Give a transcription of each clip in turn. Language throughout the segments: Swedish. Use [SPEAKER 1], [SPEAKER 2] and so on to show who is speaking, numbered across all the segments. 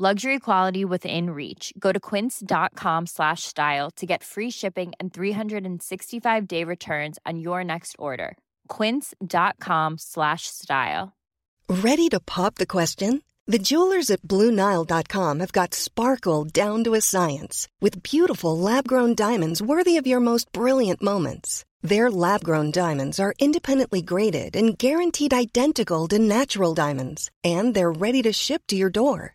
[SPEAKER 1] Luxury quality within reach. Go to quince.com slash style to get free shipping and 365 day returns on your next order. Quince.com slash style.
[SPEAKER 2] Ready to pop the question? The jewelers at BlueNile.com have got sparkle down to a science with beautiful lab grown diamonds worthy of your most brilliant moments. Their lab grown diamonds are independently graded and guaranteed identical to natural diamonds, and they're ready to ship to your door.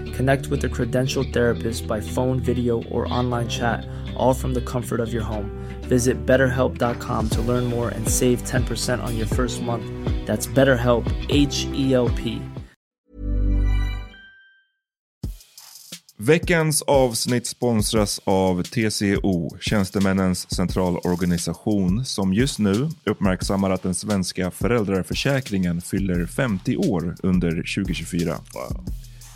[SPEAKER 3] Connect with a credentialed therapist by phone, video, or online chat, all from the comfort of your home. Visit betterhelp.com to learn more and save 10% on your first month. That's BetterHelp, H E L P.
[SPEAKER 4] Veckans avsnitt sponsras av TCO, Tjänstemännens centralorganisation, som just nu uppmärksammar att den svenska föräldraförsäkringen fyller 50 år under 2024. Wow.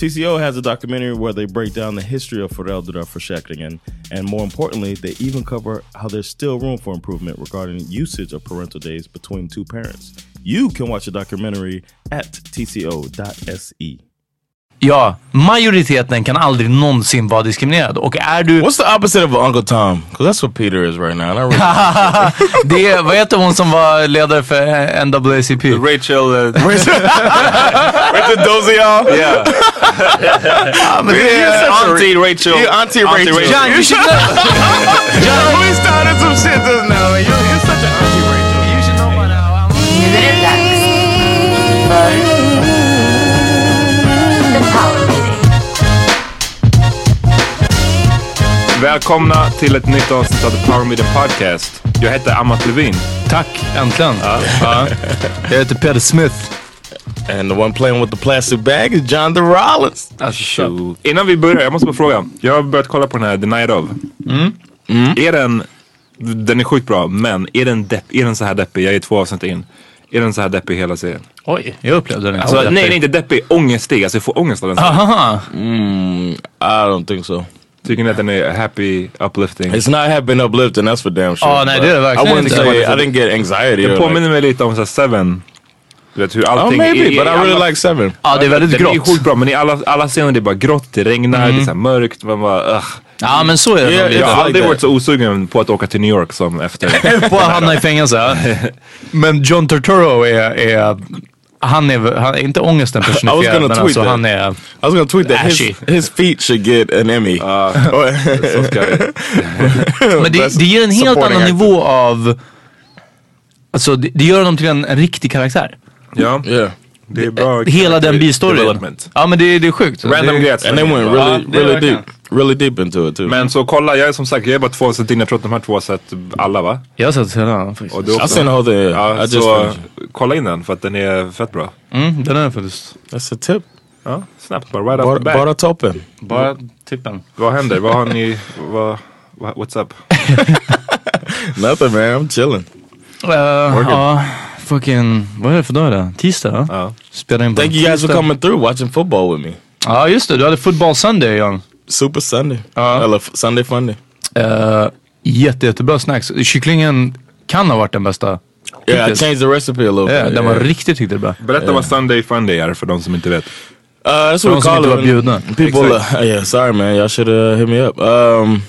[SPEAKER 5] TCO has a documentary where they break down the history of Fereldra for Shackringen, and more importantly, they even cover how there's still room for improvement regarding usage of parental days between two parents. You can watch the documentary at tco.se.
[SPEAKER 6] Ja, majoriteten kan aldrig någonsin vara diskriminerad. Och är du...
[SPEAKER 5] What's the opposite of Uncle Tom? Because that's what Peter is right now. And I really
[SPEAKER 6] det är, vad heter hon som var ledare för eh, NAACP?
[SPEAKER 7] Rachel, uh,
[SPEAKER 6] Rachel.
[SPEAKER 5] Rachel Dozial.
[SPEAKER 7] yeah.
[SPEAKER 5] Ah,
[SPEAKER 7] yeah, Auntie Rachel.
[SPEAKER 5] Yeah, Auntie Rachel.
[SPEAKER 6] John, you should know. John,
[SPEAKER 5] we started some shit just now. You're, you're such an Auntie Rachel.
[SPEAKER 6] you should know by now. I'm-
[SPEAKER 4] Välkomna till ett nytt avsnitt av The Power Media Podcast. Jag heter Amat Levin.
[SPEAKER 6] Tack, äntligen. Jag heter Peter Smith.
[SPEAKER 5] And the one playing with the plastic bag is John the Rollins.
[SPEAKER 6] Shoot.
[SPEAKER 4] Innan vi börjar, jag måste bara fråga. Jag har börjat kolla på den här The Night Of. Är den... Den är sjukt bra, men är den, depp, är den så här deppig? Jag är två avsnitt in. Är den så här deppig hela serien?
[SPEAKER 6] Oj, jag upplevde den
[SPEAKER 4] Alltså, nej, nej, inte deppig. Ångestig. Alltså jag får ångest av den. serien.
[SPEAKER 6] Aha.
[SPEAKER 5] Hmm, I don't think so.
[SPEAKER 4] Tycker ni att den är happy, uplifting?
[SPEAKER 5] It's not have been uplifting, that's for damn sure.
[SPEAKER 6] Oh, no,
[SPEAKER 5] but
[SPEAKER 6] dude, like,
[SPEAKER 5] I wouldn't
[SPEAKER 6] no,
[SPEAKER 5] say,
[SPEAKER 6] it's-
[SPEAKER 5] I didn't get anxiety.
[SPEAKER 4] Det
[SPEAKER 5] Or like,
[SPEAKER 4] påminner mig lite om så här Seven. Du vet hur
[SPEAKER 5] oh,
[SPEAKER 4] allting...
[SPEAKER 5] maybe,
[SPEAKER 4] i- i-
[SPEAKER 5] but I really
[SPEAKER 4] alla-
[SPEAKER 5] like Seven.
[SPEAKER 6] Ja, det är väldigt
[SPEAKER 4] Den är ju
[SPEAKER 6] grått.
[SPEAKER 4] sjukt bra, men i alla, alla scener det är bara grått, det regnar, det är så här mörkt. Man bara, ugh.
[SPEAKER 6] Ja, men så är det
[SPEAKER 5] Yeah,
[SPEAKER 6] nog
[SPEAKER 4] Jag
[SPEAKER 6] lite.
[SPEAKER 4] har
[SPEAKER 5] like
[SPEAKER 4] aldrig
[SPEAKER 5] that.
[SPEAKER 4] varit så osugen på att åka till New York som efter.
[SPEAKER 6] på att hamna i fängelse. ja. Men John Turturro är, är han är, han är inte ångesten
[SPEAKER 5] I was
[SPEAKER 6] personifierad
[SPEAKER 5] gonna
[SPEAKER 6] men
[SPEAKER 5] tweet
[SPEAKER 6] alltså
[SPEAKER 5] that.
[SPEAKER 6] han är...
[SPEAKER 5] I was gonna tweet that his,
[SPEAKER 6] Ashy.
[SPEAKER 5] his feet should get an Emmy.
[SPEAKER 4] Så ska det.
[SPEAKER 6] Men det,
[SPEAKER 5] Best
[SPEAKER 6] det ger en helt
[SPEAKER 5] supporting
[SPEAKER 6] annan
[SPEAKER 5] actor.
[SPEAKER 6] nivå av... Alltså det, det gör honom till en, en riktig karaktär.
[SPEAKER 4] Ja,
[SPEAKER 5] Yeah.
[SPEAKER 4] det är bra.
[SPEAKER 6] Hela den
[SPEAKER 4] character
[SPEAKER 6] bistoryn.
[SPEAKER 4] development.
[SPEAKER 6] Ja men det, det är sjukt.
[SPEAKER 4] Random
[SPEAKER 6] det,
[SPEAKER 4] greats.
[SPEAKER 5] And they went
[SPEAKER 6] Ja,
[SPEAKER 5] really,
[SPEAKER 6] det är
[SPEAKER 5] really
[SPEAKER 6] verkligen.
[SPEAKER 5] deep. really deep into it too.
[SPEAKER 4] Men så kolla, jag är som sagt, jag är bara två avsnitt in. Jag tror att de här två har sett alla va?
[SPEAKER 6] Jag har sett hela den faktiskt.
[SPEAKER 4] Och du
[SPEAKER 5] I've seen the whole thing. I
[SPEAKER 4] Ja,
[SPEAKER 5] just
[SPEAKER 4] så
[SPEAKER 5] finished
[SPEAKER 4] kolla in den för att den är fett bra.
[SPEAKER 6] Mm, den är faktiskt...
[SPEAKER 5] That's a tip.
[SPEAKER 4] Ja, snabbt bara, right off
[SPEAKER 5] Bara,
[SPEAKER 4] the bat.
[SPEAKER 5] bara toppen.
[SPEAKER 6] Bara typ tippen.
[SPEAKER 4] Vad händer? Vad har ni, vad, vad- what's up?
[SPEAKER 5] Nothing man, I'm chilling.
[SPEAKER 6] Uh, ja, fucking... Vad är det för dag idag? Tisdag? va?
[SPEAKER 4] Ja.
[SPEAKER 6] Spelar in på
[SPEAKER 5] Thank you guys for
[SPEAKER 6] tisdag.
[SPEAKER 5] coming through watching football with me.
[SPEAKER 6] Ja, just det. Du hade football Sunday, John.
[SPEAKER 5] Super Sunday.
[SPEAKER 4] Uh-huh.
[SPEAKER 6] Ja.
[SPEAKER 5] Eller f- Sunday Funday.
[SPEAKER 6] Uh, jätte, jättebra snacks. Kycklingen kan ha varit den bästa.
[SPEAKER 5] Yeah, I
[SPEAKER 6] hittills.
[SPEAKER 5] changed the recipe a little
[SPEAKER 6] Ja,
[SPEAKER 5] bit.
[SPEAKER 6] den var riktigt, riktigt bra.
[SPEAKER 4] Berätta vad Sunday Funday är för de som inte vet.
[SPEAKER 5] Uh, that's
[SPEAKER 6] För de
[SPEAKER 5] what we
[SPEAKER 6] som
[SPEAKER 5] call
[SPEAKER 6] inte
[SPEAKER 5] it.
[SPEAKER 6] var
[SPEAKER 5] when
[SPEAKER 6] bjudna.
[SPEAKER 5] People, uh, yeah, sorry man, y'all should uh, hit me up. Um,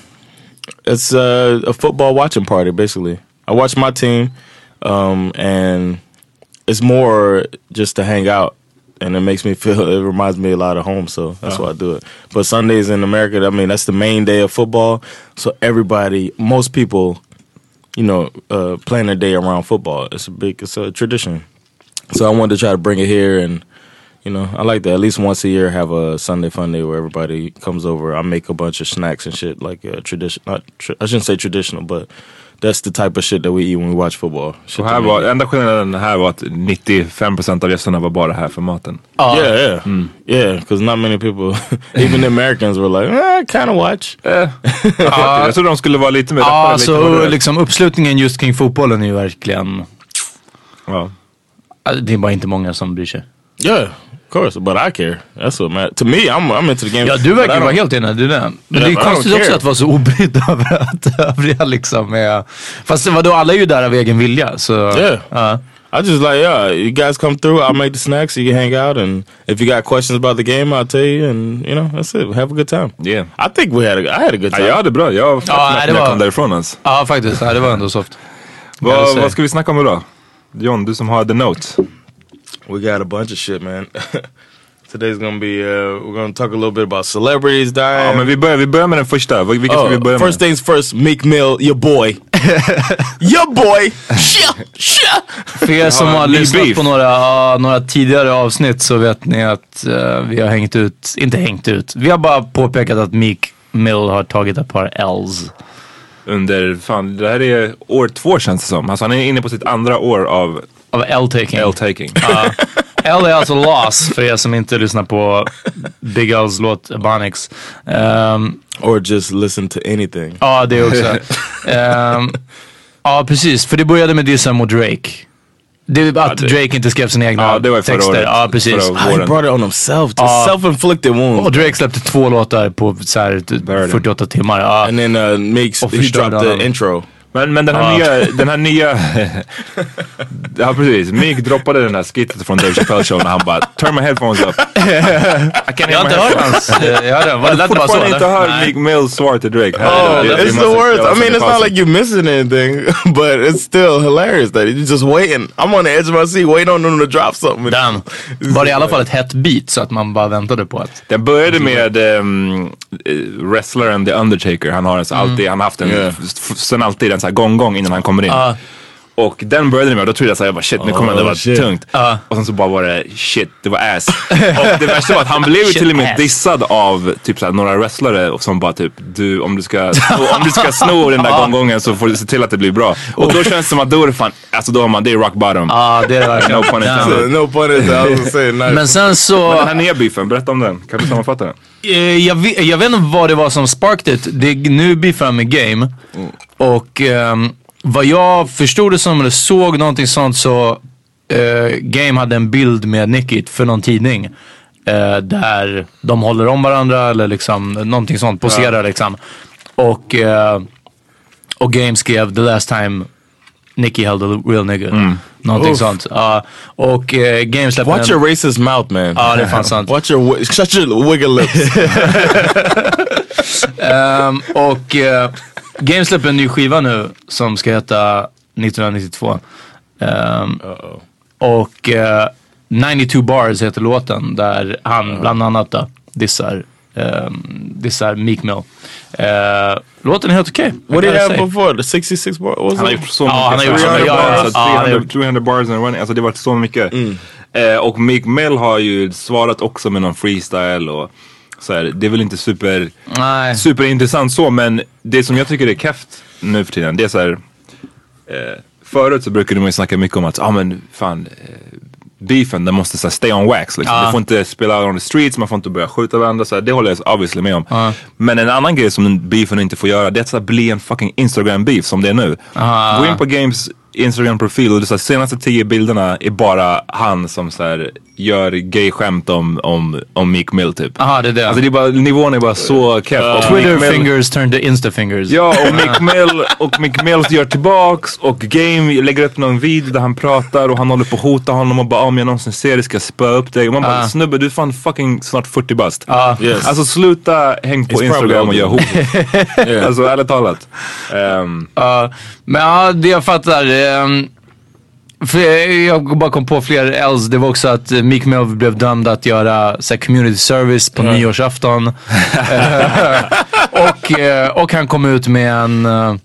[SPEAKER 5] it's uh, a football watching party basically. I watch my team, um, and it's more just to hang out, and it makes me feel. It reminds me a lot of home, so that's why I do it. But Sundays in America, I mean, that's the main day of football, so everybody, most people, you know, uh, plan their day around football. It's a big, it's a tradition. So I wanted to try to bring it here and. You know, I like that. At least once a year, have a Sunday fun day where everybody comes over. I make a bunch of snacks and shit, like uh, tradition. Not tr I shouldn't say traditional, but that's the type of shit that we eat when we watch football. Shit
[SPEAKER 4] Och här
[SPEAKER 5] that
[SPEAKER 4] var,
[SPEAKER 5] we-
[SPEAKER 4] enda skillnaden här var att 95% av gästerna var bara här för maten.
[SPEAKER 5] yeah, yeah, yeah. Because not many people, even the Americans, were like, eh, I kind of watch.
[SPEAKER 4] Ja, jag trodde de skulle vara lite mer
[SPEAKER 6] Ja,
[SPEAKER 4] rappare, lite
[SPEAKER 6] alltså
[SPEAKER 4] hårdare.
[SPEAKER 6] liksom uppslutningen just kring fotbollen är ju verkligen...
[SPEAKER 4] Ja.
[SPEAKER 6] Alltså, Det är bara inte många som bryr sig.
[SPEAKER 5] Yeah, of course. But I care. That's what matters to me. I'm I'm into the game.
[SPEAKER 6] Ja, du
[SPEAKER 5] But I
[SPEAKER 6] verkar vara
[SPEAKER 5] don't-
[SPEAKER 6] helt inne i det. Men det är
[SPEAKER 5] I
[SPEAKER 6] ju
[SPEAKER 5] don't
[SPEAKER 6] konstigt också
[SPEAKER 5] care.
[SPEAKER 6] att vara så obrydd över att övriga liksom är... Fast vadå, alla är ju där av egen vilja. Så,
[SPEAKER 5] Yeah.
[SPEAKER 6] ja.
[SPEAKER 5] I just like, yeah, you guys come through. I'll make the snacks. You can hang out. And if you got questions about the game, I'll tell you. And, you know, that's it. Have a good time.
[SPEAKER 4] Yeah.
[SPEAKER 5] I think we had a, I had a good
[SPEAKER 4] Ja,
[SPEAKER 5] time.
[SPEAKER 4] jag hade bra. Jag var fett
[SPEAKER 6] Ja,
[SPEAKER 4] mätt
[SPEAKER 6] det
[SPEAKER 4] när jag
[SPEAKER 6] var-
[SPEAKER 4] kom därifrån ens.
[SPEAKER 6] ja, faktiskt. Ja, det var ändå soft. Jag
[SPEAKER 4] Vad,
[SPEAKER 6] säger.
[SPEAKER 4] vad ska vi snacka om idag? John, du som har the note.
[SPEAKER 5] We got a bunch of shit, man. Today's gonna be, uh, we're gonna talk a little bit about celebrities dying. Oh,
[SPEAKER 4] Ja, men vi börjar, vi börjar med den första. Vil- Vilken ska vi börja
[SPEAKER 5] first
[SPEAKER 4] med?
[SPEAKER 5] things first, Meek Mill, your boy. your boy.
[SPEAKER 6] För er som
[SPEAKER 4] Ja,
[SPEAKER 6] har
[SPEAKER 4] ny
[SPEAKER 6] lyssnat
[SPEAKER 4] beef.
[SPEAKER 6] på några, ja, några tidigare avsnitt så vet ni att eh, vi har hängt ut, inte hängt ut, vi har bara påpekat att Meek Mill har tagit ett par L's.
[SPEAKER 4] Under, fan, det här är år två känns det som. Alltså han är inne på sitt andra år av
[SPEAKER 6] Av L-taking.
[SPEAKER 4] L-taking.
[SPEAKER 6] Uh, L är alltså loss för er som inte lyssnar på Big L's låt Abonics. Ehm,
[SPEAKER 5] or just listen to anything.
[SPEAKER 6] Ja, det också. Ehm, Ja, precis. För det började med dissar mot Drake. Det, att
[SPEAKER 4] det-
[SPEAKER 6] Drake inte skrev sina egna
[SPEAKER 4] Ja, det var ju förra
[SPEAKER 6] texter.
[SPEAKER 4] året.
[SPEAKER 6] Ja, precis.
[SPEAKER 4] Förra året.
[SPEAKER 5] Ah, he
[SPEAKER 4] Warren.
[SPEAKER 5] brought it on himself. The
[SPEAKER 6] Uh,
[SPEAKER 5] self-inflicted wound.
[SPEAKER 6] Och Drake släppte två låtar på så här, t-
[SPEAKER 4] Burden.
[SPEAKER 6] 48 timmar. Ja.
[SPEAKER 5] and then uh, Meek's,
[SPEAKER 6] Och
[SPEAKER 5] he
[SPEAKER 6] förstörde
[SPEAKER 5] dropped the
[SPEAKER 6] honom.
[SPEAKER 5] intro.
[SPEAKER 4] Men, men den här nya, den här nya... ja precis, Meek droppade den här skittet från Dave Chappelle show när han bara “Turn my headphones up”. I can't
[SPEAKER 6] Jag
[SPEAKER 4] hear
[SPEAKER 6] har
[SPEAKER 4] my
[SPEAKER 6] inte hört
[SPEAKER 4] headphones.
[SPEAKER 6] hans... eh, Jag hörde den. Var det lät bara så?
[SPEAKER 4] Fortfarande inte hört
[SPEAKER 6] eller?
[SPEAKER 4] Meek Mills svar till Drake.
[SPEAKER 5] Oh, it's the worst. I mean, it's not like you're missing anything, but it's still hilarious that you're just waiting. I'm on the edge of my seat waiting on them to drop something.
[SPEAKER 6] Damn. Var det i alla fall ett hett beat så att man bara väntade på att...
[SPEAKER 4] Den började med ehm, eh, wrestlaren The Undertaker. Han har en, så alltid, han har haft en,
[SPEAKER 5] Yeah.
[SPEAKER 4] f- sen alltid en så här gång-gång innan han kommer in.
[SPEAKER 6] Ja.
[SPEAKER 4] Och den började det med och då trodde jag såhär, jag bara, shit nu kommer det
[SPEAKER 5] Oh,
[SPEAKER 4] vara
[SPEAKER 5] shit.
[SPEAKER 4] tungt. Och sen så bara var det shit, det var ass. och det värsta var att han blev ju
[SPEAKER 6] Shit,
[SPEAKER 4] till och med
[SPEAKER 6] ass.
[SPEAKER 4] dissad av typ såhär, några wrestlare och som bara typ, du om du ska sno, om du ska sno den där gånggången så får du se till att det blir bra. Och då känns det som att då är det fan, alltså då har man, det är rock bottom.
[SPEAKER 6] Ja, det är det verkligen.
[SPEAKER 4] No pun intended.
[SPEAKER 5] So, no pun intended. I was gonna say, nice.
[SPEAKER 6] Men sen så...
[SPEAKER 4] Men den här nya beefen, berätta om den. Kan du sammanfatta den?
[SPEAKER 6] Eh, jag, vet, jag vet inte vad det var som sparked it. Det är nu beefar med game. Och ehm, vad jag förstod det som, eller såg någonting sånt, så eh, game hade en bild med Nickit för någon tidning. eh, där de håller om varandra eller liksom någonting sånt, poserar liksom. Och, eh, och game skrev the last time Nicky held a real nigga. Någonting
[SPEAKER 5] Mm. Oof.
[SPEAKER 6] sånt. Ja, och eh, game släppte
[SPEAKER 5] Watch
[SPEAKER 6] en...
[SPEAKER 5] your racist mouth, man.
[SPEAKER 6] Ja, det är fan sant.
[SPEAKER 5] Watch your wi- shut your wiggle lips.
[SPEAKER 6] Ehm, och eh, Game släpper en ny skiva nu som ska heta 1992. Ehm, och eh, 92 bars heter låten där
[SPEAKER 4] Uh-huh.
[SPEAKER 6] han bland annat då, dissar, ehm, dissar Meek Mill. Eh, låten är helt okej.
[SPEAKER 5] what
[SPEAKER 6] I
[SPEAKER 5] did he
[SPEAKER 6] gotta
[SPEAKER 5] have
[SPEAKER 6] say.
[SPEAKER 5] before? The 66 bar? What was
[SPEAKER 4] Han har
[SPEAKER 5] it?
[SPEAKER 4] gjort så
[SPEAKER 6] Ja, han har
[SPEAKER 4] mycket.
[SPEAKER 6] gjort så
[SPEAKER 4] 300
[SPEAKER 6] mycket.
[SPEAKER 4] bars,
[SPEAKER 6] Ja,
[SPEAKER 4] alltså,
[SPEAKER 6] ja, han har
[SPEAKER 4] 300
[SPEAKER 6] gjort- Mm.
[SPEAKER 4] 300 bars and running. Alltså det har varit så mycket. Eh, och Meek Mill har ju svarat också med någon freestyle och Så här, det är väl inte super,
[SPEAKER 6] Nej.
[SPEAKER 4] superintressant så, men det som jag tycker är keft nu för tiden, det är så här. Eh, förut så brukade man ju snacka mycket om att, ja ah, men fan, eh, beefen den måste så här, stay on wax. Liksom.
[SPEAKER 6] Ja.
[SPEAKER 4] Du får inte spela on the streets, man får inte börja skjuta varandra. Så här, det håller jag obviously med om.
[SPEAKER 6] Ja.
[SPEAKER 4] Men en annan grej som beefen inte får göra, det är att så här, bli en fucking Instagram-beef som det är nu.
[SPEAKER 6] Ah.
[SPEAKER 4] Gå in på Games Instagram-profil och de så här, senaste tio bilderna är bara han som så här, gör gay-skämt om, om, om Meek Mill typ.
[SPEAKER 6] Aha, det är det.
[SPEAKER 4] Alltså det är bara, nivån är bara så keff. Och
[SPEAKER 6] Ah, Twitter
[SPEAKER 4] Meek Mill-
[SPEAKER 6] fingers turned to Insta fingers.
[SPEAKER 4] Ja, och Mick Mill, och Mick Mills gör tillbaks och Game lägger upp någon video där han pratar och han håller på att hota honom och bara "Ah, om jag någonsin ser dig ska jag spöa upp dig. Och man bara
[SPEAKER 6] Ah.
[SPEAKER 4] snubbe du är fan fucking snart 40 bast.
[SPEAKER 6] Ah.
[SPEAKER 5] Yes.
[SPEAKER 4] Alltså sluta häng på
[SPEAKER 5] It's
[SPEAKER 4] Instagram och
[SPEAKER 5] probably
[SPEAKER 4] gör hot. Alltså ärligt talat. Ehm,
[SPEAKER 6] Ja, men ja, det jag fattar. ehm, för jag- jag bara kom på fler else. Det var också att eh, Meek Mill blev dömd att göra så här, community service på nyårsafton. Eh, och, eh, och han kom ut med en, eh,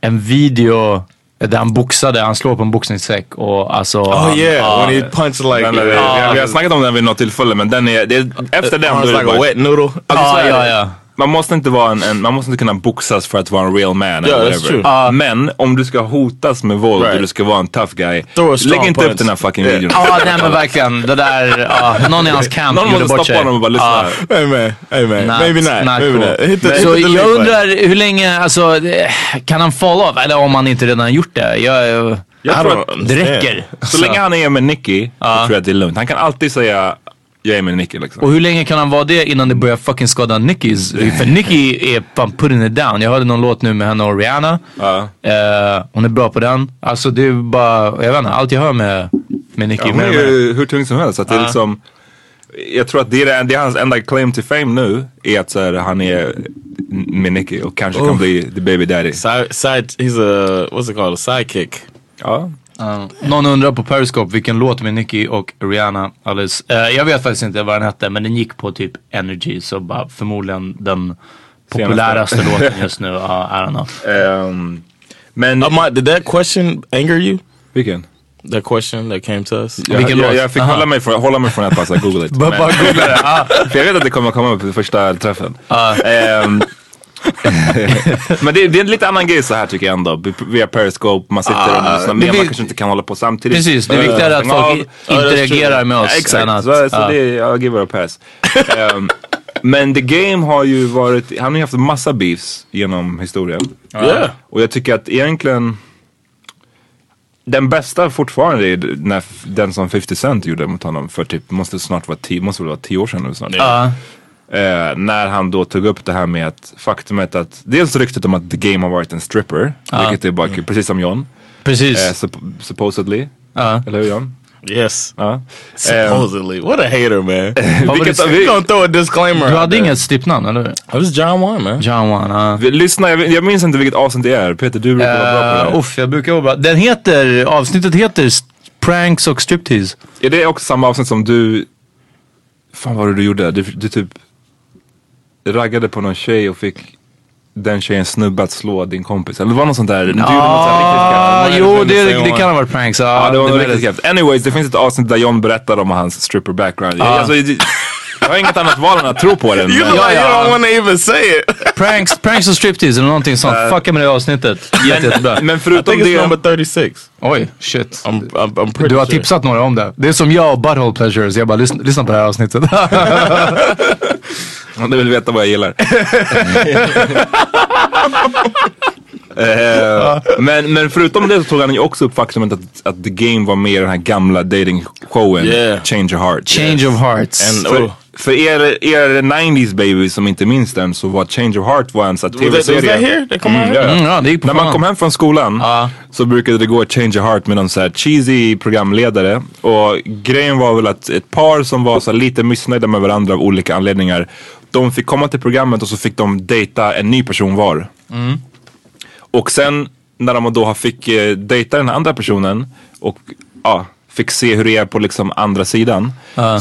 [SPEAKER 6] en video där han boxade. Han slår på en boxningssäck och alltså...
[SPEAKER 5] Oh
[SPEAKER 6] han-
[SPEAKER 5] yeah, when he punched like
[SPEAKER 4] den där, vi,
[SPEAKER 5] uh,
[SPEAKER 4] har- vi har snackat om den vid något tillfälle men den är, det är efter den då
[SPEAKER 5] arms
[SPEAKER 4] är det
[SPEAKER 5] like uh, a
[SPEAKER 4] bara,
[SPEAKER 5] wet noodle.
[SPEAKER 4] Alltså, så
[SPEAKER 6] Ja,
[SPEAKER 4] är
[SPEAKER 6] ja,
[SPEAKER 4] det.
[SPEAKER 6] ja.
[SPEAKER 4] Man måste inte vara en, en man måste inte kunna boxas för att vara en real man
[SPEAKER 5] Yeah,
[SPEAKER 4] eller
[SPEAKER 5] that's
[SPEAKER 4] whatever.
[SPEAKER 5] true.
[SPEAKER 4] Men om du ska hotas med våld
[SPEAKER 5] Right.
[SPEAKER 4] och du ska vara en tough guy,
[SPEAKER 5] Throw a
[SPEAKER 4] lägg
[SPEAKER 5] strong
[SPEAKER 4] inte upp
[SPEAKER 5] punch.
[SPEAKER 4] den här fucking
[SPEAKER 5] Yeah.
[SPEAKER 4] videon.
[SPEAKER 6] Ja, nej men verkligen. Det där, ja, någon i hans camp
[SPEAKER 4] Någon
[SPEAKER 6] gjorde
[SPEAKER 4] måste
[SPEAKER 6] bort sig.
[SPEAKER 4] stoppa honom och bara lyssna.
[SPEAKER 6] Ja.
[SPEAKER 5] Hey man, hey man,
[SPEAKER 6] Not-
[SPEAKER 5] maybe not,
[SPEAKER 6] not
[SPEAKER 5] maybe
[SPEAKER 6] cool.
[SPEAKER 5] not. Hit the, hit
[SPEAKER 6] Så
[SPEAKER 5] the delete
[SPEAKER 6] jag
[SPEAKER 5] button.
[SPEAKER 6] undrar hur länge, alltså, det- kan han fall off? Eller om han inte redan gjort det. Jag, jag,
[SPEAKER 4] Jag tror att
[SPEAKER 6] det räcker.
[SPEAKER 4] så länge han är med Nicky så tror jag att det är lugnt. Han kan alltid säga jag är med Nicky liksom.
[SPEAKER 6] Och hur länge kan han vara det innan det börjar fucking skada Nickys? För Nicky är fan putting it down. Jag hörde någon låt nu med henne och Rihanna.
[SPEAKER 4] Ja.
[SPEAKER 6] Eh, hon är bra på den. Alltså det är bara, jag vet inte, allt jag hör med, med Nicky.
[SPEAKER 4] Ja, hon
[SPEAKER 6] mer
[SPEAKER 4] är
[SPEAKER 6] och mer.
[SPEAKER 4] ju hur tung som helst. Så att det är liksom, jag tror att det är, det- det är hans enda claim to fame nu är att så här, han är med Nicky och kanske kan bli the baby daddy.
[SPEAKER 5] Side, side, he's a what's it called? A sidekick.
[SPEAKER 4] Ja.
[SPEAKER 6] Ja. Någon undrar på Periscope vilken låt med Nicki och Rihanna alldeles. eh, jag vet faktiskt inte vad den hette men den gick på typ Energy så bara förmodligen den populäraste låten just nu. Ja, I don't know.
[SPEAKER 4] Ehm, men
[SPEAKER 5] Ahmad, did that question anger you?
[SPEAKER 4] vilken?
[SPEAKER 5] That question that came to us.
[SPEAKER 4] Jag,
[SPEAKER 6] Vilken
[SPEAKER 4] jag,
[SPEAKER 6] låt?
[SPEAKER 4] jag fick
[SPEAKER 6] Aha.
[SPEAKER 4] hålla mig, från, hålla mig från att passa Google it.
[SPEAKER 6] Bara- bara googla det, Ah.
[SPEAKER 4] för jag vet att det kommer komma upp vid första träffen. Ehm, men det, det är en lite annan grej så här tycker jag ändå. Via Periscope, man sitter och lyssnar
[SPEAKER 6] Ah. det
[SPEAKER 4] med.
[SPEAKER 6] vi-
[SPEAKER 4] Man kanske inte kan hålla på samtidigt.
[SPEAKER 6] Precis, det
[SPEAKER 4] Eh,
[SPEAKER 6] viktiga är att
[SPEAKER 4] stäng
[SPEAKER 6] folk
[SPEAKER 4] av.
[SPEAKER 6] i- interagerar med oss. än
[SPEAKER 4] Exakt,
[SPEAKER 6] att, Ah.
[SPEAKER 4] så, så
[SPEAKER 6] ja.
[SPEAKER 4] det är, jag give it a pass. Ehm, men The Game har ju varit, han har ju haft massa beefs genom historien.
[SPEAKER 5] Yeah.
[SPEAKER 4] Och jag tycker att egentligen den bästa fortfarande är när f- den som 50 Cent gjorde mot honom för typ, måste snart vara 10, måste väl vara 10 år sedan nu snart.
[SPEAKER 6] Ja.
[SPEAKER 4] Eh, när han då tog upp det här med att faktumet att, dels ryktet om att The Game har varit en stripper, vilket är bara kul, precis som John,
[SPEAKER 6] precis.
[SPEAKER 4] eh, supp- supposedly.
[SPEAKER 6] Ja.
[SPEAKER 4] Eller hur John?
[SPEAKER 5] Yes.
[SPEAKER 4] Ja. Eh,
[SPEAKER 5] Supposedly. Um, what a hater, man.
[SPEAKER 6] Vad var
[SPEAKER 4] vilket,
[SPEAKER 6] det-
[SPEAKER 4] vi,
[SPEAKER 5] We're gonna throw a disclaimer.
[SPEAKER 6] Du
[SPEAKER 5] out
[SPEAKER 6] hade
[SPEAKER 5] there.
[SPEAKER 6] inget stippnamn eller Eh, hur?
[SPEAKER 5] It was John Wan, man.
[SPEAKER 6] John Wan. ja.
[SPEAKER 4] vi, lyssna, jag, jag minns inte vilket avsnitt det är. Peter, du brukar vara bra på det
[SPEAKER 6] Eh,
[SPEAKER 4] här.
[SPEAKER 6] uff, jag brukar vara bra. Den heter, avsnittet heter S- Pranks och Striptease.
[SPEAKER 4] Är det också samma avsnitt som du... Fan vad var det du gjorde? Du, du typ raggade på någon tjej och fick den tjejen snubbe att slå din kompis. Eller det var något sånt där. Du gjorde något sånt här riktigt
[SPEAKER 6] Ah,
[SPEAKER 4] gammalt.
[SPEAKER 6] jo,
[SPEAKER 5] det
[SPEAKER 6] det,
[SPEAKER 5] säger
[SPEAKER 6] det
[SPEAKER 5] man.
[SPEAKER 6] kan ha varit pranks.
[SPEAKER 4] Ja, det var något
[SPEAKER 6] är
[SPEAKER 4] riktigt gammalt. Anyways, det finns ett avsnitt där John berättar om hans stripper
[SPEAKER 6] Ah.
[SPEAKER 4] background. Jag, alltså, det- jag har inget annat val än att tro på den. men-
[SPEAKER 5] You look like
[SPEAKER 6] yeah.
[SPEAKER 5] you don't want to even say it.
[SPEAKER 6] pranks, pranks och Striptease eller någonting sånt. Fucka med det avsnittet. Jätte, jättebra.
[SPEAKER 4] Men
[SPEAKER 5] I think
[SPEAKER 4] förutom
[SPEAKER 5] it's number
[SPEAKER 4] det...
[SPEAKER 5] 36.
[SPEAKER 6] Oj, shit.
[SPEAKER 5] I'm, I'm, I'm pretty
[SPEAKER 6] Du har
[SPEAKER 5] sure.
[SPEAKER 6] tipsat några om det. Det är som jag och Butthole Pleasures. Jag bara, lyssna, lyssna på det här avsnittet.
[SPEAKER 4] Om du vill veta vad jag gillar. Eh, men, men förutom det så tog han ju också upp faktumet att, att The Game var med i den här gamla dating-showen
[SPEAKER 5] Yeah.
[SPEAKER 4] Change Your Heart.
[SPEAKER 6] Change of hearts.
[SPEAKER 5] And
[SPEAKER 4] För,
[SPEAKER 5] oh,
[SPEAKER 4] för er, er 90s baby som inte minns den så var Change of Heart var en sån här
[SPEAKER 5] was that, was that
[SPEAKER 4] tv-serie.
[SPEAKER 5] here? They come out
[SPEAKER 4] Mm,
[SPEAKER 5] here?
[SPEAKER 4] ja, ja.
[SPEAKER 6] Mm, ja, det gick på
[SPEAKER 4] När
[SPEAKER 6] fan.
[SPEAKER 4] man kom hem från skolan
[SPEAKER 6] Ja.
[SPEAKER 4] så brukade det gå ett change of heart med någon så här cheesy programledare. Och grejen var väl att ett par som var så här lite missnöjda med varandra av olika anledningar. De fick komma till programmet och så fick de dejta en ny person var.
[SPEAKER 6] Mm.
[SPEAKER 4] Och sen när de då har fick eh, dejta den här andra personen och ja, fick se hur det är på liksom andra sidan.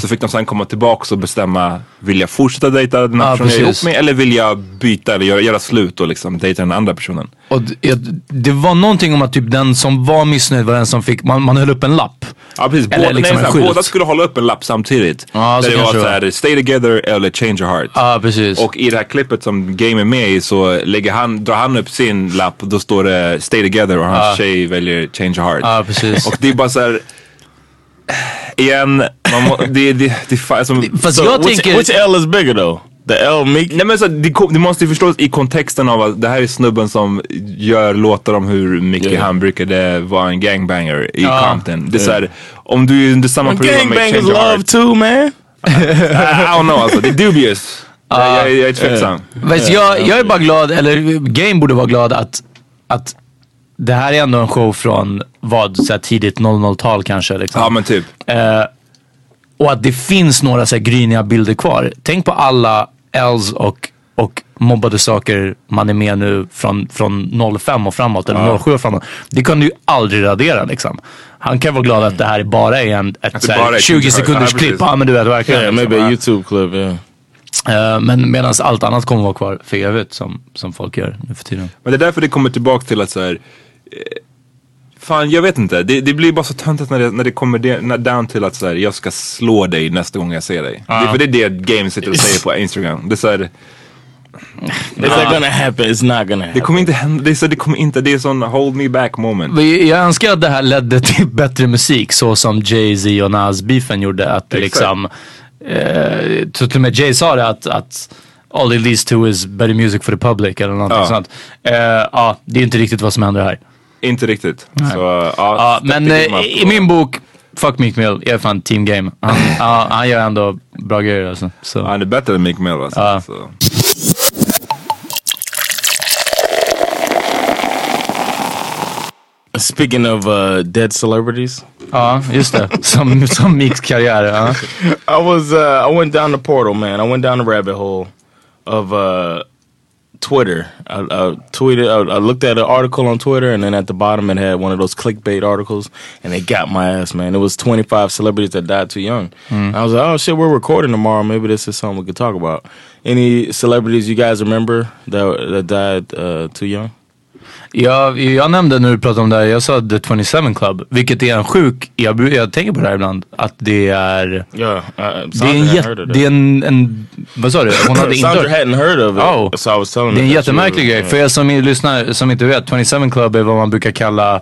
[SPEAKER 4] Så fick de sen komma tillbaka och bestämma, vill jag fortsätta dejta den här
[SPEAKER 6] Ja,
[SPEAKER 4] personen jag är ihop
[SPEAKER 6] precis.
[SPEAKER 4] med eller vill jag byta eller göra, göra slut och liksom dejta den andra personen?
[SPEAKER 6] Och d- jag, det var någonting om att typ den som var missnöjd var den som fick, man, man höll upp en lapp.
[SPEAKER 4] Ja precis,
[SPEAKER 6] Eller
[SPEAKER 4] båda,
[SPEAKER 6] liksom en
[SPEAKER 4] nej, såhär,
[SPEAKER 6] skylt.
[SPEAKER 4] båda skulle hålla upp en lapp samtidigt.
[SPEAKER 6] Ja, så
[SPEAKER 4] där det var
[SPEAKER 6] kanske det var.
[SPEAKER 4] såhär, stay together eller change your heart.
[SPEAKER 6] Ja, precis.
[SPEAKER 4] Och i det här klippet som Game är med i så lägger han, drar han upp sin lapp och då står det Stay Together och hans tjej väljer Change Your Heart.
[SPEAKER 6] Ja, precis.
[SPEAKER 4] Och det är bara så här. Igen, man må, det, det, det, fa- alltså,
[SPEAKER 6] Fast
[SPEAKER 4] så-
[SPEAKER 6] jag
[SPEAKER 4] what's-
[SPEAKER 6] tänker...
[SPEAKER 5] Which L is bigger though? The L Meek?
[SPEAKER 4] Nej men så, det, kom- det måste ju förstås i kontexten av att det här är snubben som gör låtar om hur mycket
[SPEAKER 5] Ja.
[SPEAKER 4] han brukade vara en gangbanger i
[SPEAKER 6] Ja.
[SPEAKER 4] Compton. Det är så här, om du är under samma
[SPEAKER 5] When
[SPEAKER 4] period med Change
[SPEAKER 5] gangbangers
[SPEAKER 4] Your
[SPEAKER 5] love
[SPEAKER 4] Heart.
[SPEAKER 5] too man.
[SPEAKER 4] I, I don't know alltså, det är dubious.
[SPEAKER 6] Ah.
[SPEAKER 4] jag, jag, jag är tveksam.
[SPEAKER 6] Vet, jag, jag är bara glad, eller Game borde vara glad att, att det här är ändå en show från vad, så här tidigt 00-tal kanske. Liksom.
[SPEAKER 4] Ja men typ.
[SPEAKER 6] Och att det finns några så här gryniga bilder kvar. Tänk på alla Ls och, och mobbade saker man är med nu från, från 05 och framåt, eller 07 och framåt. Det kan du ju aldrig radera liksom. Han kan vara glad att det här bara är en, ett så
[SPEAKER 4] bara är
[SPEAKER 6] här, 20
[SPEAKER 4] ett-
[SPEAKER 6] sekunders
[SPEAKER 4] ja,
[SPEAKER 6] klipp.
[SPEAKER 4] precis.
[SPEAKER 6] Ja men du vet verkligen.
[SPEAKER 5] Yeah,
[SPEAKER 6] liksom.
[SPEAKER 5] maybe a YouTube clip, yeah.
[SPEAKER 6] Eh, men medan allt annat kommer vara kvar för evigt som, som folk gör nu för tiden.
[SPEAKER 4] Men det är därför det kommer tillbaka till att så här. eh, Fan jag vet inte, det, det blir bara så töntigt när det, när det kommer det, när, down till att så här, jag ska slå dig nästa gång jag ser dig.
[SPEAKER 6] Ah.
[SPEAKER 4] Det, för det är det Game sitter och säger på Instagram. Det, är så här,
[SPEAKER 5] Is that gonna happen? It's not gonna
[SPEAKER 4] det
[SPEAKER 5] happen.
[SPEAKER 4] kommer inte hända, det är, så, det kommer inte, det är sån hold me back moment.
[SPEAKER 6] Vi- Jag önskar att det här ledde till bättre musik så som Jay-Z och Nas-beefen gjorde. Att det
[SPEAKER 4] Exakt.
[SPEAKER 6] liksom, eh, så till och med Jay sa det att, att all it leads to is better music for the public eller någonting
[SPEAKER 4] Ja.
[SPEAKER 6] sånt. Eh, Ja, det är inte riktigt vad som händer här.
[SPEAKER 4] Inte riktigt. Så, ja,
[SPEAKER 6] Ja,
[SPEAKER 4] step
[SPEAKER 6] men
[SPEAKER 4] the
[SPEAKER 6] eh,
[SPEAKER 4] game up
[SPEAKER 6] i i
[SPEAKER 4] och-
[SPEAKER 6] min bok, fuck Meek Mill, jag är fan team game. Han, ja, han gör ändå bra grejer alltså. Så.
[SPEAKER 4] Han är bättre än Mick Mill alltså.
[SPEAKER 6] Ja.
[SPEAKER 4] Så.
[SPEAKER 5] Speaking of uh, dead celebrities,
[SPEAKER 6] Ja, just det. Som, som Meeks karriär. Ja.
[SPEAKER 5] I was uh, I went down the portal, man. I went down the rabbit hole of uh, Twitter. I, I tweeted. I, I looked at an article on Twitter, and then at the bottom it had one of those clickbait articles, and it got my ass, man. It was 25 celebrities that died too young. I was like, oh shit, we're recording tomorrow. Maybe this is something we could talk about. Any celebrities you guys remember that that died uh, too young?
[SPEAKER 6] Jag, jag nämnde när du pratade om det här, jag sa The 27 Club, vilket är en sjuk, jag, bru- jag tänker på det här ibland, att det är...
[SPEAKER 5] Yeah, uh,
[SPEAKER 6] Det är en, jätte, det är en, en vad sa du? Hon hade inte
[SPEAKER 5] Sandra
[SPEAKER 6] hört.
[SPEAKER 5] hadn't heard of it,
[SPEAKER 6] Oh.
[SPEAKER 5] so I was telling
[SPEAKER 6] Det är
[SPEAKER 5] her
[SPEAKER 6] en
[SPEAKER 5] that she was-
[SPEAKER 6] jättemärklig grej. För er som är- lyssnar som inte vet, 27 Club är vad man brukar kalla,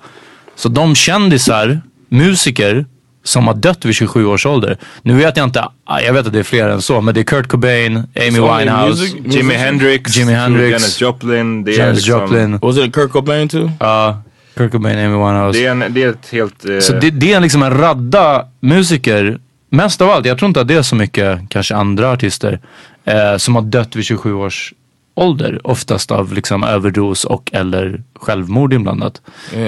[SPEAKER 6] så de kändisar, musiker, som har dött vid 27 års ålder. Nu vet jag inte, ah, jag vet att det är fler än så, men det är Kurt Cobain, Amy
[SPEAKER 5] only
[SPEAKER 6] Winehouse,
[SPEAKER 5] music- music-
[SPEAKER 4] Jimi Hendrix,
[SPEAKER 6] Jimi Hendrix,
[SPEAKER 4] Janis Joplin. Det är
[SPEAKER 6] Janis
[SPEAKER 4] liksom,
[SPEAKER 6] Joplin.
[SPEAKER 5] Was it Kurt Cobain too?
[SPEAKER 6] Ja, Kurt Cobain, Amy Winehouse.
[SPEAKER 4] Det är, en, det är ett helt... eh,
[SPEAKER 6] Så det, det är liksom en radda musiker, mest av allt, jag tror inte att det är så mycket kanske andra artister, eh, som har dött vid 27 års ålder. Oftast av liksom överdos och eller självmord inblandat. Eh,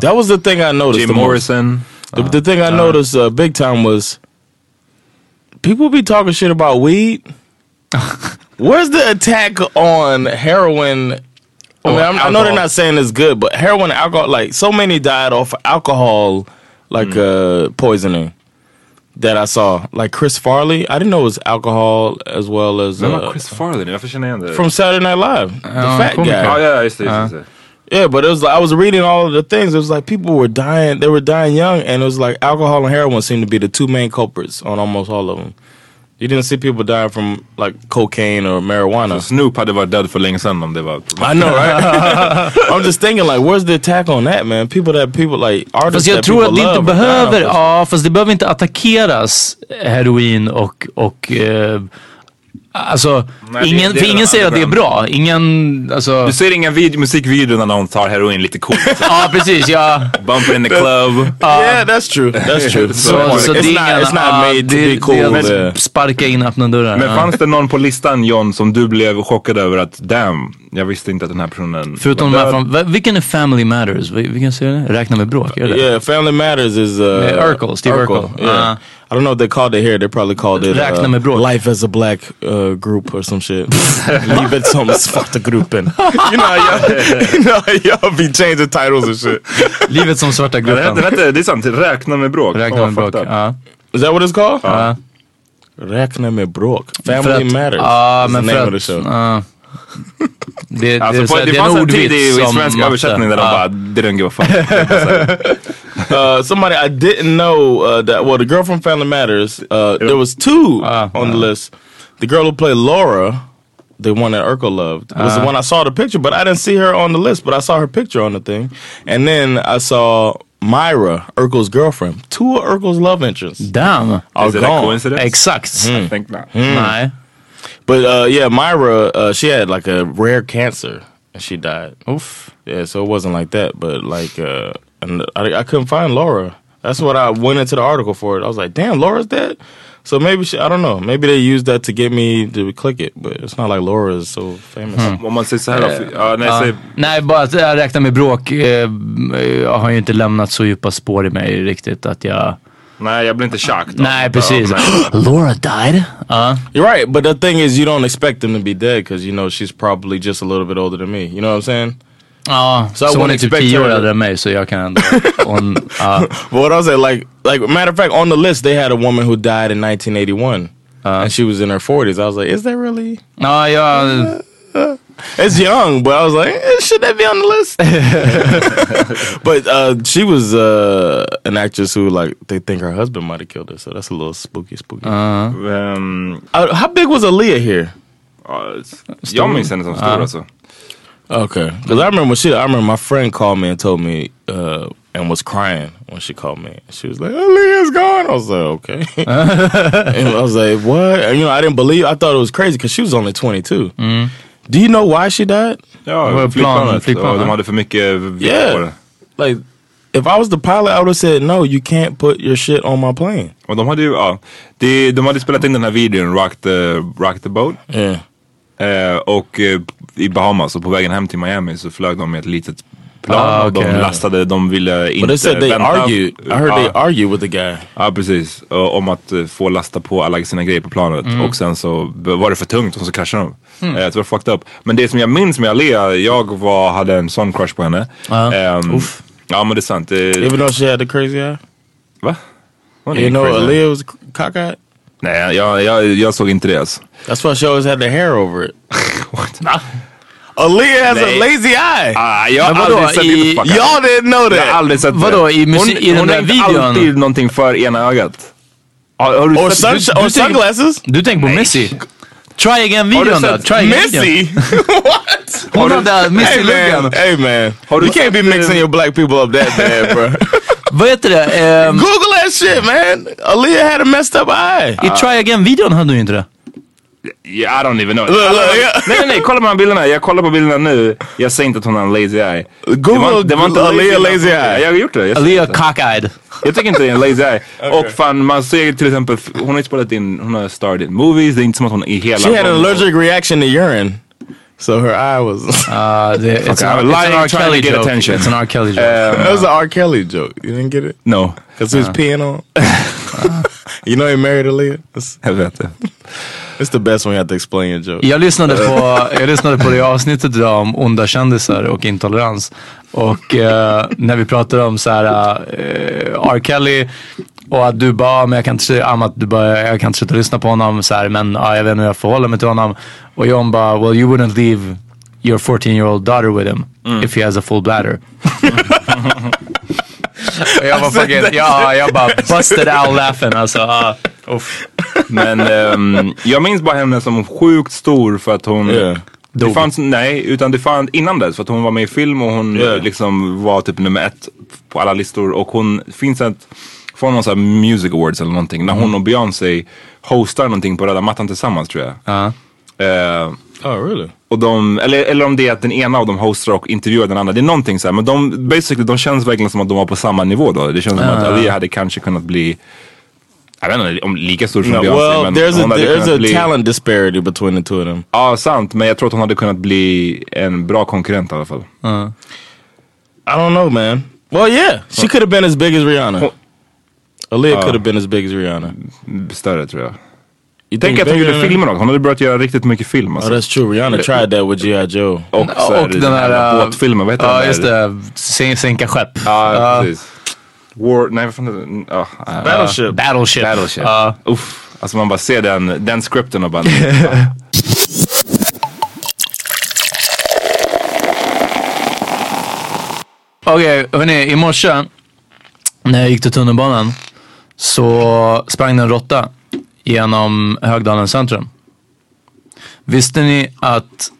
[SPEAKER 5] That was the thing I noticed.
[SPEAKER 4] Jim
[SPEAKER 5] the most.
[SPEAKER 4] Morrison.
[SPEAKER 5] The,
[SPEAKER 4] Uh-huh.
[SPEAKER 5] the thing I noticed uh, big time was people be talking shit about weed. Where's the attack on heroin? I mean, I'm, I know they're
[SPEAKER 4] Oh, alcohol.
[SPEAKER 5] not saying it's good, but heroin, alcohol, like so many died off alcohol, like
[SPEAKER 4] Mm.
[SPEAKER 5] uh, poisoning that I saw. Like Chris Farley, I didn't know it was alcohol as well as
[SPEAKER 4] Vem
[SPEAKER 5] uh,
[SPEAKER 4] var Chris Uh, Farley nu? Varför känner jag igen det?
[SPEAKER 5] from Saturday Night Live, the fat
[SPEAKER 6] cool.
[SPEAKER 5] guy.
[SPEAKER 4] Ja, ja, just det. Just det.
[SPEAKER 5] Yeah, but it was like I was reading all of the things. It was like people were dying; they were dying young, and it was like alcohol and heroin seemed to be the two main culprits on almost all of them. You didn't see people dying from like cocaine or marijuana.
[SPEAKER 4] Snoop hade varit död för länge sedan om det var...
[SPEAKER 5] I know, right? I'm just thinking, like, where's the attack on that, man? People that people like artists
[SPEAKER 6] Fast
[SPEAKER 5] that
[SPEAKER 6] jag tror
[SPEAKER 5] people
[SPEAKER 6] att det inte
[SPEAKER 5] love are dying off
[SPEAKER 6] behöver,
[SPEAKER 5] this.
[SPEAKER 6] ja fast det behöver inte attackeras eh, heroin och, och eh, alltså,
[SPEAKER 4] Nej, det-
[SPEAKER 6] ingen,
[SPEAKER 4] det är
[SPEAKER 6] för
[SPEAKER 4] väl
[SPEAKER 6] ingen säger att det är
[SPEAKER 4] underground.
[SPEAKER 6] bra. Ingen, alltså,
[SPEAKER 4] Du ser inga vid- musikvideor när någon tar heroin lite coolt.
[SPEAKER 6] ja precis, ja.
[SPEAKER 4] Bumper in the club.
[SPEAKER 5] yeah, that's true. That's true.
[SPEAKER 6] Så,
[SPEAKER 4] It's
[SPEAKER 6] så det är
[SPEAKER 5] not-
[SPEAKER 6] ingen-
[SPEAKER 5] it's not
[SPEAKER 6] ah,
[SPEAKER 5] made to
[SPEAKER 6] det-
[SPEAKER 5] be cool,
[SPEAKER 6] det är att
[SPEAKER 5] yeah.
[SPEAKER 6] Sparka in öppna dörrar.
[SPEAKER 4] eh. Men
[SPEAKER 6] ja.
[SPEAKER 4] fanns det någon på listan John som du blev chockad över att damn, jag visste inte att den här personen
[SPEAKER 6] Förutom de
[SPEAKER 4] var
[SPEAKER 6] här
[SPEAKER 4] död.
[SPEAKER 6] från, va- vilken är Family Matters? Vi, vi kan se det. Räkna med bråk, är det det?
[SPEAKER 5] Yeah, Family Matters is uh,
[SPEAKER 6] Yeah, Urkel, Steve Urkel.
[SPEAKER 5] Yeah.
[SPEAKER 6] Uh-huh.
[SPEAKER 5] I don't know what they called it here. They probably called it uh,
[SPEAKER 6] Räkna med bråk.
[SPEAKER 5] Life as a Black uh, Group or some shit. Livet som svarta gruppen. You know how y'all, you know how y'all be changing titles and shit.
[SPEAKER 6] Livet som svarta
[SPEAKER 4] Ja, Den hette,
[SPEAKER 6] gruppen.
[SPEAKER 4] den hette, det är sant, Räkna med bråk.
[SPEAKER 6] Räkna
[SPEAKER 4] Fan,
[SPEAKER 6] med
[SPEAKER 4] vad
[SPEAKER 6] bråk.
[SPEAKER 4] fucked up.
[SPEAKER 6] Ja.
[SPEAKER 5] Is that what it's called?
[SPEAKER 6] Ja.
[SPEAKER 5] Räkna med bråk.
[SPEAKER 6] För
[SPEAKER 5] Family
[SPEAKER 6] att-
[SPEAKER 5] Matters.
[SPEAKER 6] Ja,
[SPEAKER 5] is
[SPEAKER 6] men
[SPEAKER 5] the
[SPEAKER 6] för
[SPEAKER 5] name
[SPEAKER 6] att...
[SPEAKER 5] of the show.
[SPEAKER 6] ja. Det, det,
[SPEAKER 4] Alltså,
[SPEAKER 6] är så
[SPEAKER 4] på,
[SPEAKER 6] här,
[SPEAKER 4] det,
[SPEAKER 6] det är
[SPEAKER 4] fanns
[SPEAKER 6] en
[SPEAKER 4] en tid
[SPEAKER 6] ordvits
[SPEAKER 4] i, i
[SPEAKER 6] som
[SPEAKER 4] svensk
[SPEAKER 6] måste-
[SPEAKER 4] översättning där de
[SPEAKER 6] ja.
[SPEAKER 4] bara, they don't give a fuck.
[SPEAKER 5] uh, somebody I didn't know uh, that. Well, the girl from Family Matters. Uh, there was two
[SPEAKER 6] Ah,
[SPEAKER 5] on the list. The girl who played Laura, the one that Urkel loved, was the one I saw the picture, but I didn't see her on the list. But I saw her picture on the thing, and then I saw Myra, Urkel's girlfriend. Two of Urkel's love interests
[SPEAKER 6] Damn!
[SPEAKER 5] are
[SPEAKER 4] Is it a
[SPEAKER 5] gone.
[SPEAKER 4] coincidence?
[SPEAKER 6] Exakt!
[SPEAKER 4] I think not.
[SPEAKER 6] Nej.
[SPEAKER 5] But uh, yeah, Myra, uh, she had like a rare cancer and she died. Oof. Yeah, so it wasn't like that, but like, uh, and I, I couldn't find Laura. That's what I went into the article for. It. I was like, damn, Laura's dead. So maybe she, I don't know. Maybe they used that to get me to click it, but it's not like Laura is so famous.
[SPEAKER 4] Om man säger så här då, för- ja, nej, säg,
[SPEAKER 6] Nej, bara att jag räknar med bråk eh, m- eh, har ju inte lämnat så djupa spår i mig riktigt att jag...
[SPEAKER 4] nej, jag blir inte chockad.
[SPEAKER 6] Nej, precis.
[SPEAKER 4] Ja, nej.
[SPEAKER 6] Laura died? Ja.
[SPEAKER 5] You're right, but the thing is, you don't expect them to be dead because you know she's probably just a little bit older than me. You know what I'm saying?
[SPEAKER 6] Ja,
[SPEAKER 5] I
[SPEAKER 6] så hon är
[SPEAKER 5] wouldn't
[SPEAKER 6] typ
[SPEAKER 5] expect
[SPEAKER 6] tio år
[SPEAKER 5] her to-
[SPEAKER 6] äldre än mig så jag kan ändå... Hon, ja.
[SPEAKER 5] But what I was at, like, like matter of fact, on the list they had a woman who died in 1981, and she was in her 40s. I was like, is that really?
[SPEAKER 6] ja, jag...
[SPEAKER 5] It's young, but I was like, eh, should that be on the list? but uh, she was uh, an actress who, like, they think her husband might have killed her, so that's a little spooky, spooky.
[SPEAKER 4] Ehm,
[SPEAKER 5] Uh, how big was Aaliyah here?
[SPEAKER 4] ja, jag minns henne som stor alltså.
[SPEAKER 5] Okay, because I remember when she, I remember my friend called me and told me, uh, and was crying when she called me. She was like, Aaliyah's gone. I was like, okay. and I was like, what? And, you know, I didn't believe. I thought it was crazy because she was only twenty two. Do you know why she died?
[SPEAKER 6] Det var
[SPEAKER 4] Ja,
[SPEAKER 6] plan-
[SPEAKER 4] flygplanet.
[SPEAKER 6] flygplan,
[SPEAKER 4] och de
[SPEAKER 6] ja.
[SPEAKER 4] hade för mycket vikt på
[SPEAKER 5] Yeah.
[SPEAKER 4] det.
[SPEAKER 5] Like, if I was the pilot, I would have said, no, you can't put your shit on my plane.
[SPEAKER 4] Och de hade ju, ja. De, de hade spelat in den här videon, Rock the, Rock the Boat.
[SPEAKER 5] Yeah.
[SPEAKER 4] Eh, och eh, i Bahamas och på vägen hem till Miami så flög de med ett litet plan
[SPEAKER 6] Ah,
[SPEAKER 4] och de
[SPEAKER 6] okej.
[SPEAKER 4] lastade, de ville inte
[SPEAKER 5] But they said they
[SPEAKER 4] vänta.
[SPEAKER 5] argued. I heard they
[SPEAKER 4] Ja.
[SPEAKER 5] argued with the guy.
[SPEAKER 4] Ja precis, Ö, om att eh, få lasta på alla sina grejer på planet och sen så b- var det för tungt och så kraschade de. Mm. det var fucked up. Men det som jag minns med Alea, jag var, hade en sån crush på henne.
[SPEAKER 6] Ja.
[SPEAKER 4] Ehm, ja men det är sant. Eh,
[SPEAKER 5] Even though she had the crazy eye.
[SPEAKER 4] va? Var det
[SPEAKER 5] You know,
[SPEAKER 4] crazy?
[SPEAKER 5] Aaliyah was cockeyed.
[SPEAKER 4] Nej jag, jag, jag såg inte det alltså.
[SPEAKER 5] That's why she always had the hair over it.
[SPEAKER 4] What?
[SPEAKER 5] Aaliyah has
[SPEAKER 4] They-
[SPEAKER 5] a lazy eye.
[SPEAKER 4] Ah, jag har
[SPEAKER 6] Men vadå,
[SPEAKER 4] aldrig sett
[SPEAKER 6] i-
[SPEAKER 4] det på fucking-
[SPEAKER 5] Y'all didn't
[SPEAKER 4] Jag
[SPEAKER 5] know
[SPEAKER 4] har
[SPEAKER 5] that.
[SPEAKER 4] aldrig sett
[SPEAKER 6] Vadå,
[SPEAKER 4] det.
[SPEAKER 6] i musi- i den
[SPEAKER 4] hon
[SPEAKER 6] där
[SPEAKER 4] har inte
[SPEAKER 6] videon?
[SPEAKER 4] alltid någonting för ena ögat. Har, har du
[SPEAKER 5] Or,
[SPEAKER 4] sett,
[SPEAKER 5] sun,
[SPEAKER 4] du,
[SPEAKER 5] or
[SPEAKER 6] du tänker-
[SPEAKER 5] sunglasses.
[SPEAKER 6] Du tänker på Missy? Try
[SPEAKER 4] Har
[SPEAKER 6] again-videon
[SPEAKER 4] du
[SPEAKER 6] då.
[SPEAKER 4] sett
[SPEAKER 6] Try again-videon.
[SPEAKER 5] Missy? what?
[SPEAKER 6] Hon hade
[SPEAKER 5] Hey man,
[SPEAKER 6] Missy-looken.
[SPEAKER 5] hey man. You can't be mixing
[SPEAKER 4] eh,
[SPEAKER 5] your black people up that bad, bro.
[SPEAKER 6] Vad heter det? Ehm,
[SPEAKER 5] Google that shit, man. Aaliyah had a messed up eye.
[SPEAKER 6] I Try Again-videon hade du inte det.
[SPEAKER 4] Yeah, I don't even know.
[SPEAKER 5] Look, look, yeah.
[SPEAKER 4] nej, nej, nej, kolla på de här bilderna. Jag kollar på bilderna nu. Jag säger inte att hon har en lazy eye.
[SPEAKER 5] Google Aaliyah lazy eye.
[SPEAKER 4] Jag har gjort det. Jag,
[SPEAKER 6] Aaliyah cockeyed.
[SPEAKER 4] jag tycker inte det är en lazy eye. Och fan, man ser till exempel, hon har ju spelat in, hon har starred in movies. Det är inte som att hon i hela...
[SPEAKER 5] She had an allergic reaction to urine. So her eye was.
[SPEAKER 6] Uh, the,
[SPEAKER 4] Okay,
[SPEAKER 6] it's, an,
[SPEAKER 4] I'm
[SPEAKER 6] it's an
[SPEAKER 4] lying,
[SPEAKER 6] R.
[SPEAKER 4] trying
[SPEAKER 6] Kelly
[SPEAKER 4] to get
[SPEAKER 6] joke.
[SPEAKER 4] attention.
[SPEAKER 6] It's an R. Kelly joke.
[SPEAKER 5] that was an R. Kelly joke. You didn't get it?
[SPEAKER 4] Eh, No,
[SPEAKER 5] Because he was peeing on. Uh-huh. you know he married Aaliyah. It's,
[SPEAKER 4] jag vet det.
[SPEAKER 5] it's the best when you have to explain your joke.
[SPEAKER 6] Eh, Jag lyssnade, på, jag lyssnade på det avsnittet idag om onda kändisar och intolerans. Och eh, när vi pratade om så här, eh, R. Kelly och att du bara, men jag kan inte, se- om att du bara, jag kan inte sluta lyssna på honom, så här, men ja, jag vet inte hur jag förhåller mig till honom. Och John bara, well you wouldn't leave your 14 year old daughter with him if he has a full bladder. och jag var fucking, ja, jag bara busted out laughing alltså. ah, uff.
[SPEAKER 4] Men ehm, jag minns bara henne som sjukt stor för att hon...
[SPEAKER 5] Yeah.
[SPEAKER 4] Det
[SPEAKER 6] Dog.
[SPEAKER 4] fanns, nej, utan det fanns innan dess för att hon var med i film och hon
[SPEAKER 5] Yeah.
[SPEAKER 4] liksom var typ nummer ett på alla listor. Och hon finns ett, från någon sån här music awards eller någonting, när
[SPEAKER 6] Mm.
[SPEAKER 4] hon och Beyoncé hostar någonting på röda mattan tillsammans tror jag.
[SPEAKER 6] Ja.
[SPEAKER 4] Eh,
[SPEAKER 5] Oh, really?
[SPEAKER 4] och de, eller, eller om det är att den ena av dem hostar och intervjuar den andra. Det är någonting så här, men de,
[SPEAKER 5] Ah.
[SPEAKER 4] basically, de känns verkligen som att de var på samma nivå då. Det känns som att Aaliyah hade kanske kunnat bli Jag vet inte om lika stor som
[SPEAKER 5] No,
[SPEAKER 4] Beyoncé,
[SPEAKER 5] well,
[SPEAKER 4] men
[SPEAKER 5] there's a
[SPEAKER 4] hon hade
[SPEAKER 5] there's
[SPEAKER 4] kunnat
[SPEAKER 5] a
[SPEAKER 4] bli...
[SPEAKER 5] talent disparity between the two of them.
[SPEAKER 4] Ja, sant. Men jag tror att hon hade kunnat bli en bra konkurrent i alla fall.
[SPEAKER 5] I don't know, man. Well, Oh. yeah, she could have been as big as Rihanna. Aaliyah could have been as big as Rihanna.
[SPEAKER 4] Större tror jag.
[SPEAKER 5] You
[SPEAKER 4] Tänk att hon
[SPEAKER 5] bigger
[SPEAKER 4] gjorde
[SPEAKER 5] than her?
[SPEAKER 4] filmer också. Hon hade börjat göra riktigt mycket film
[SPEAKER 5] Oh,
[SPEAKER 4] alltså.
[SPEAKER 5] that's true. Rihanna Oh. tried that with G.I. Joe.
[SPEAKER 4] och, så här, äh,
[SPEAKER 6] Och den
[SPEAKER 5] äh,
[SPEAKER 6] här... äh,
[SPEAKER 4] båtfilmen, vad heter
[SPEAKER 6] Ja,
[SPEAKER 4] den? där?
[SPEAKER 6] just det. Sen- Sänka skepp.
[SPEAKER 4] Ja,
[SPEAKER 6] Ja.
[SPEAKER 4] precis. War... Nej, vad fan heter den? Ja, äh. ja.
[SPEAKER 5] Battleship.
[SPEAKER 6] Battleship.
[SPEAKER 4] Battleship.
[SPEAKER 6] Ja.
[SPEAKER 4] Uff. Alltså man bara ser den, den scripten och bara...
[SPEAKER 6] Okej, hörni. I morse när jag gick till tunnelbanan så sprang det en råtta genom Högdalens centrum. Visste ni att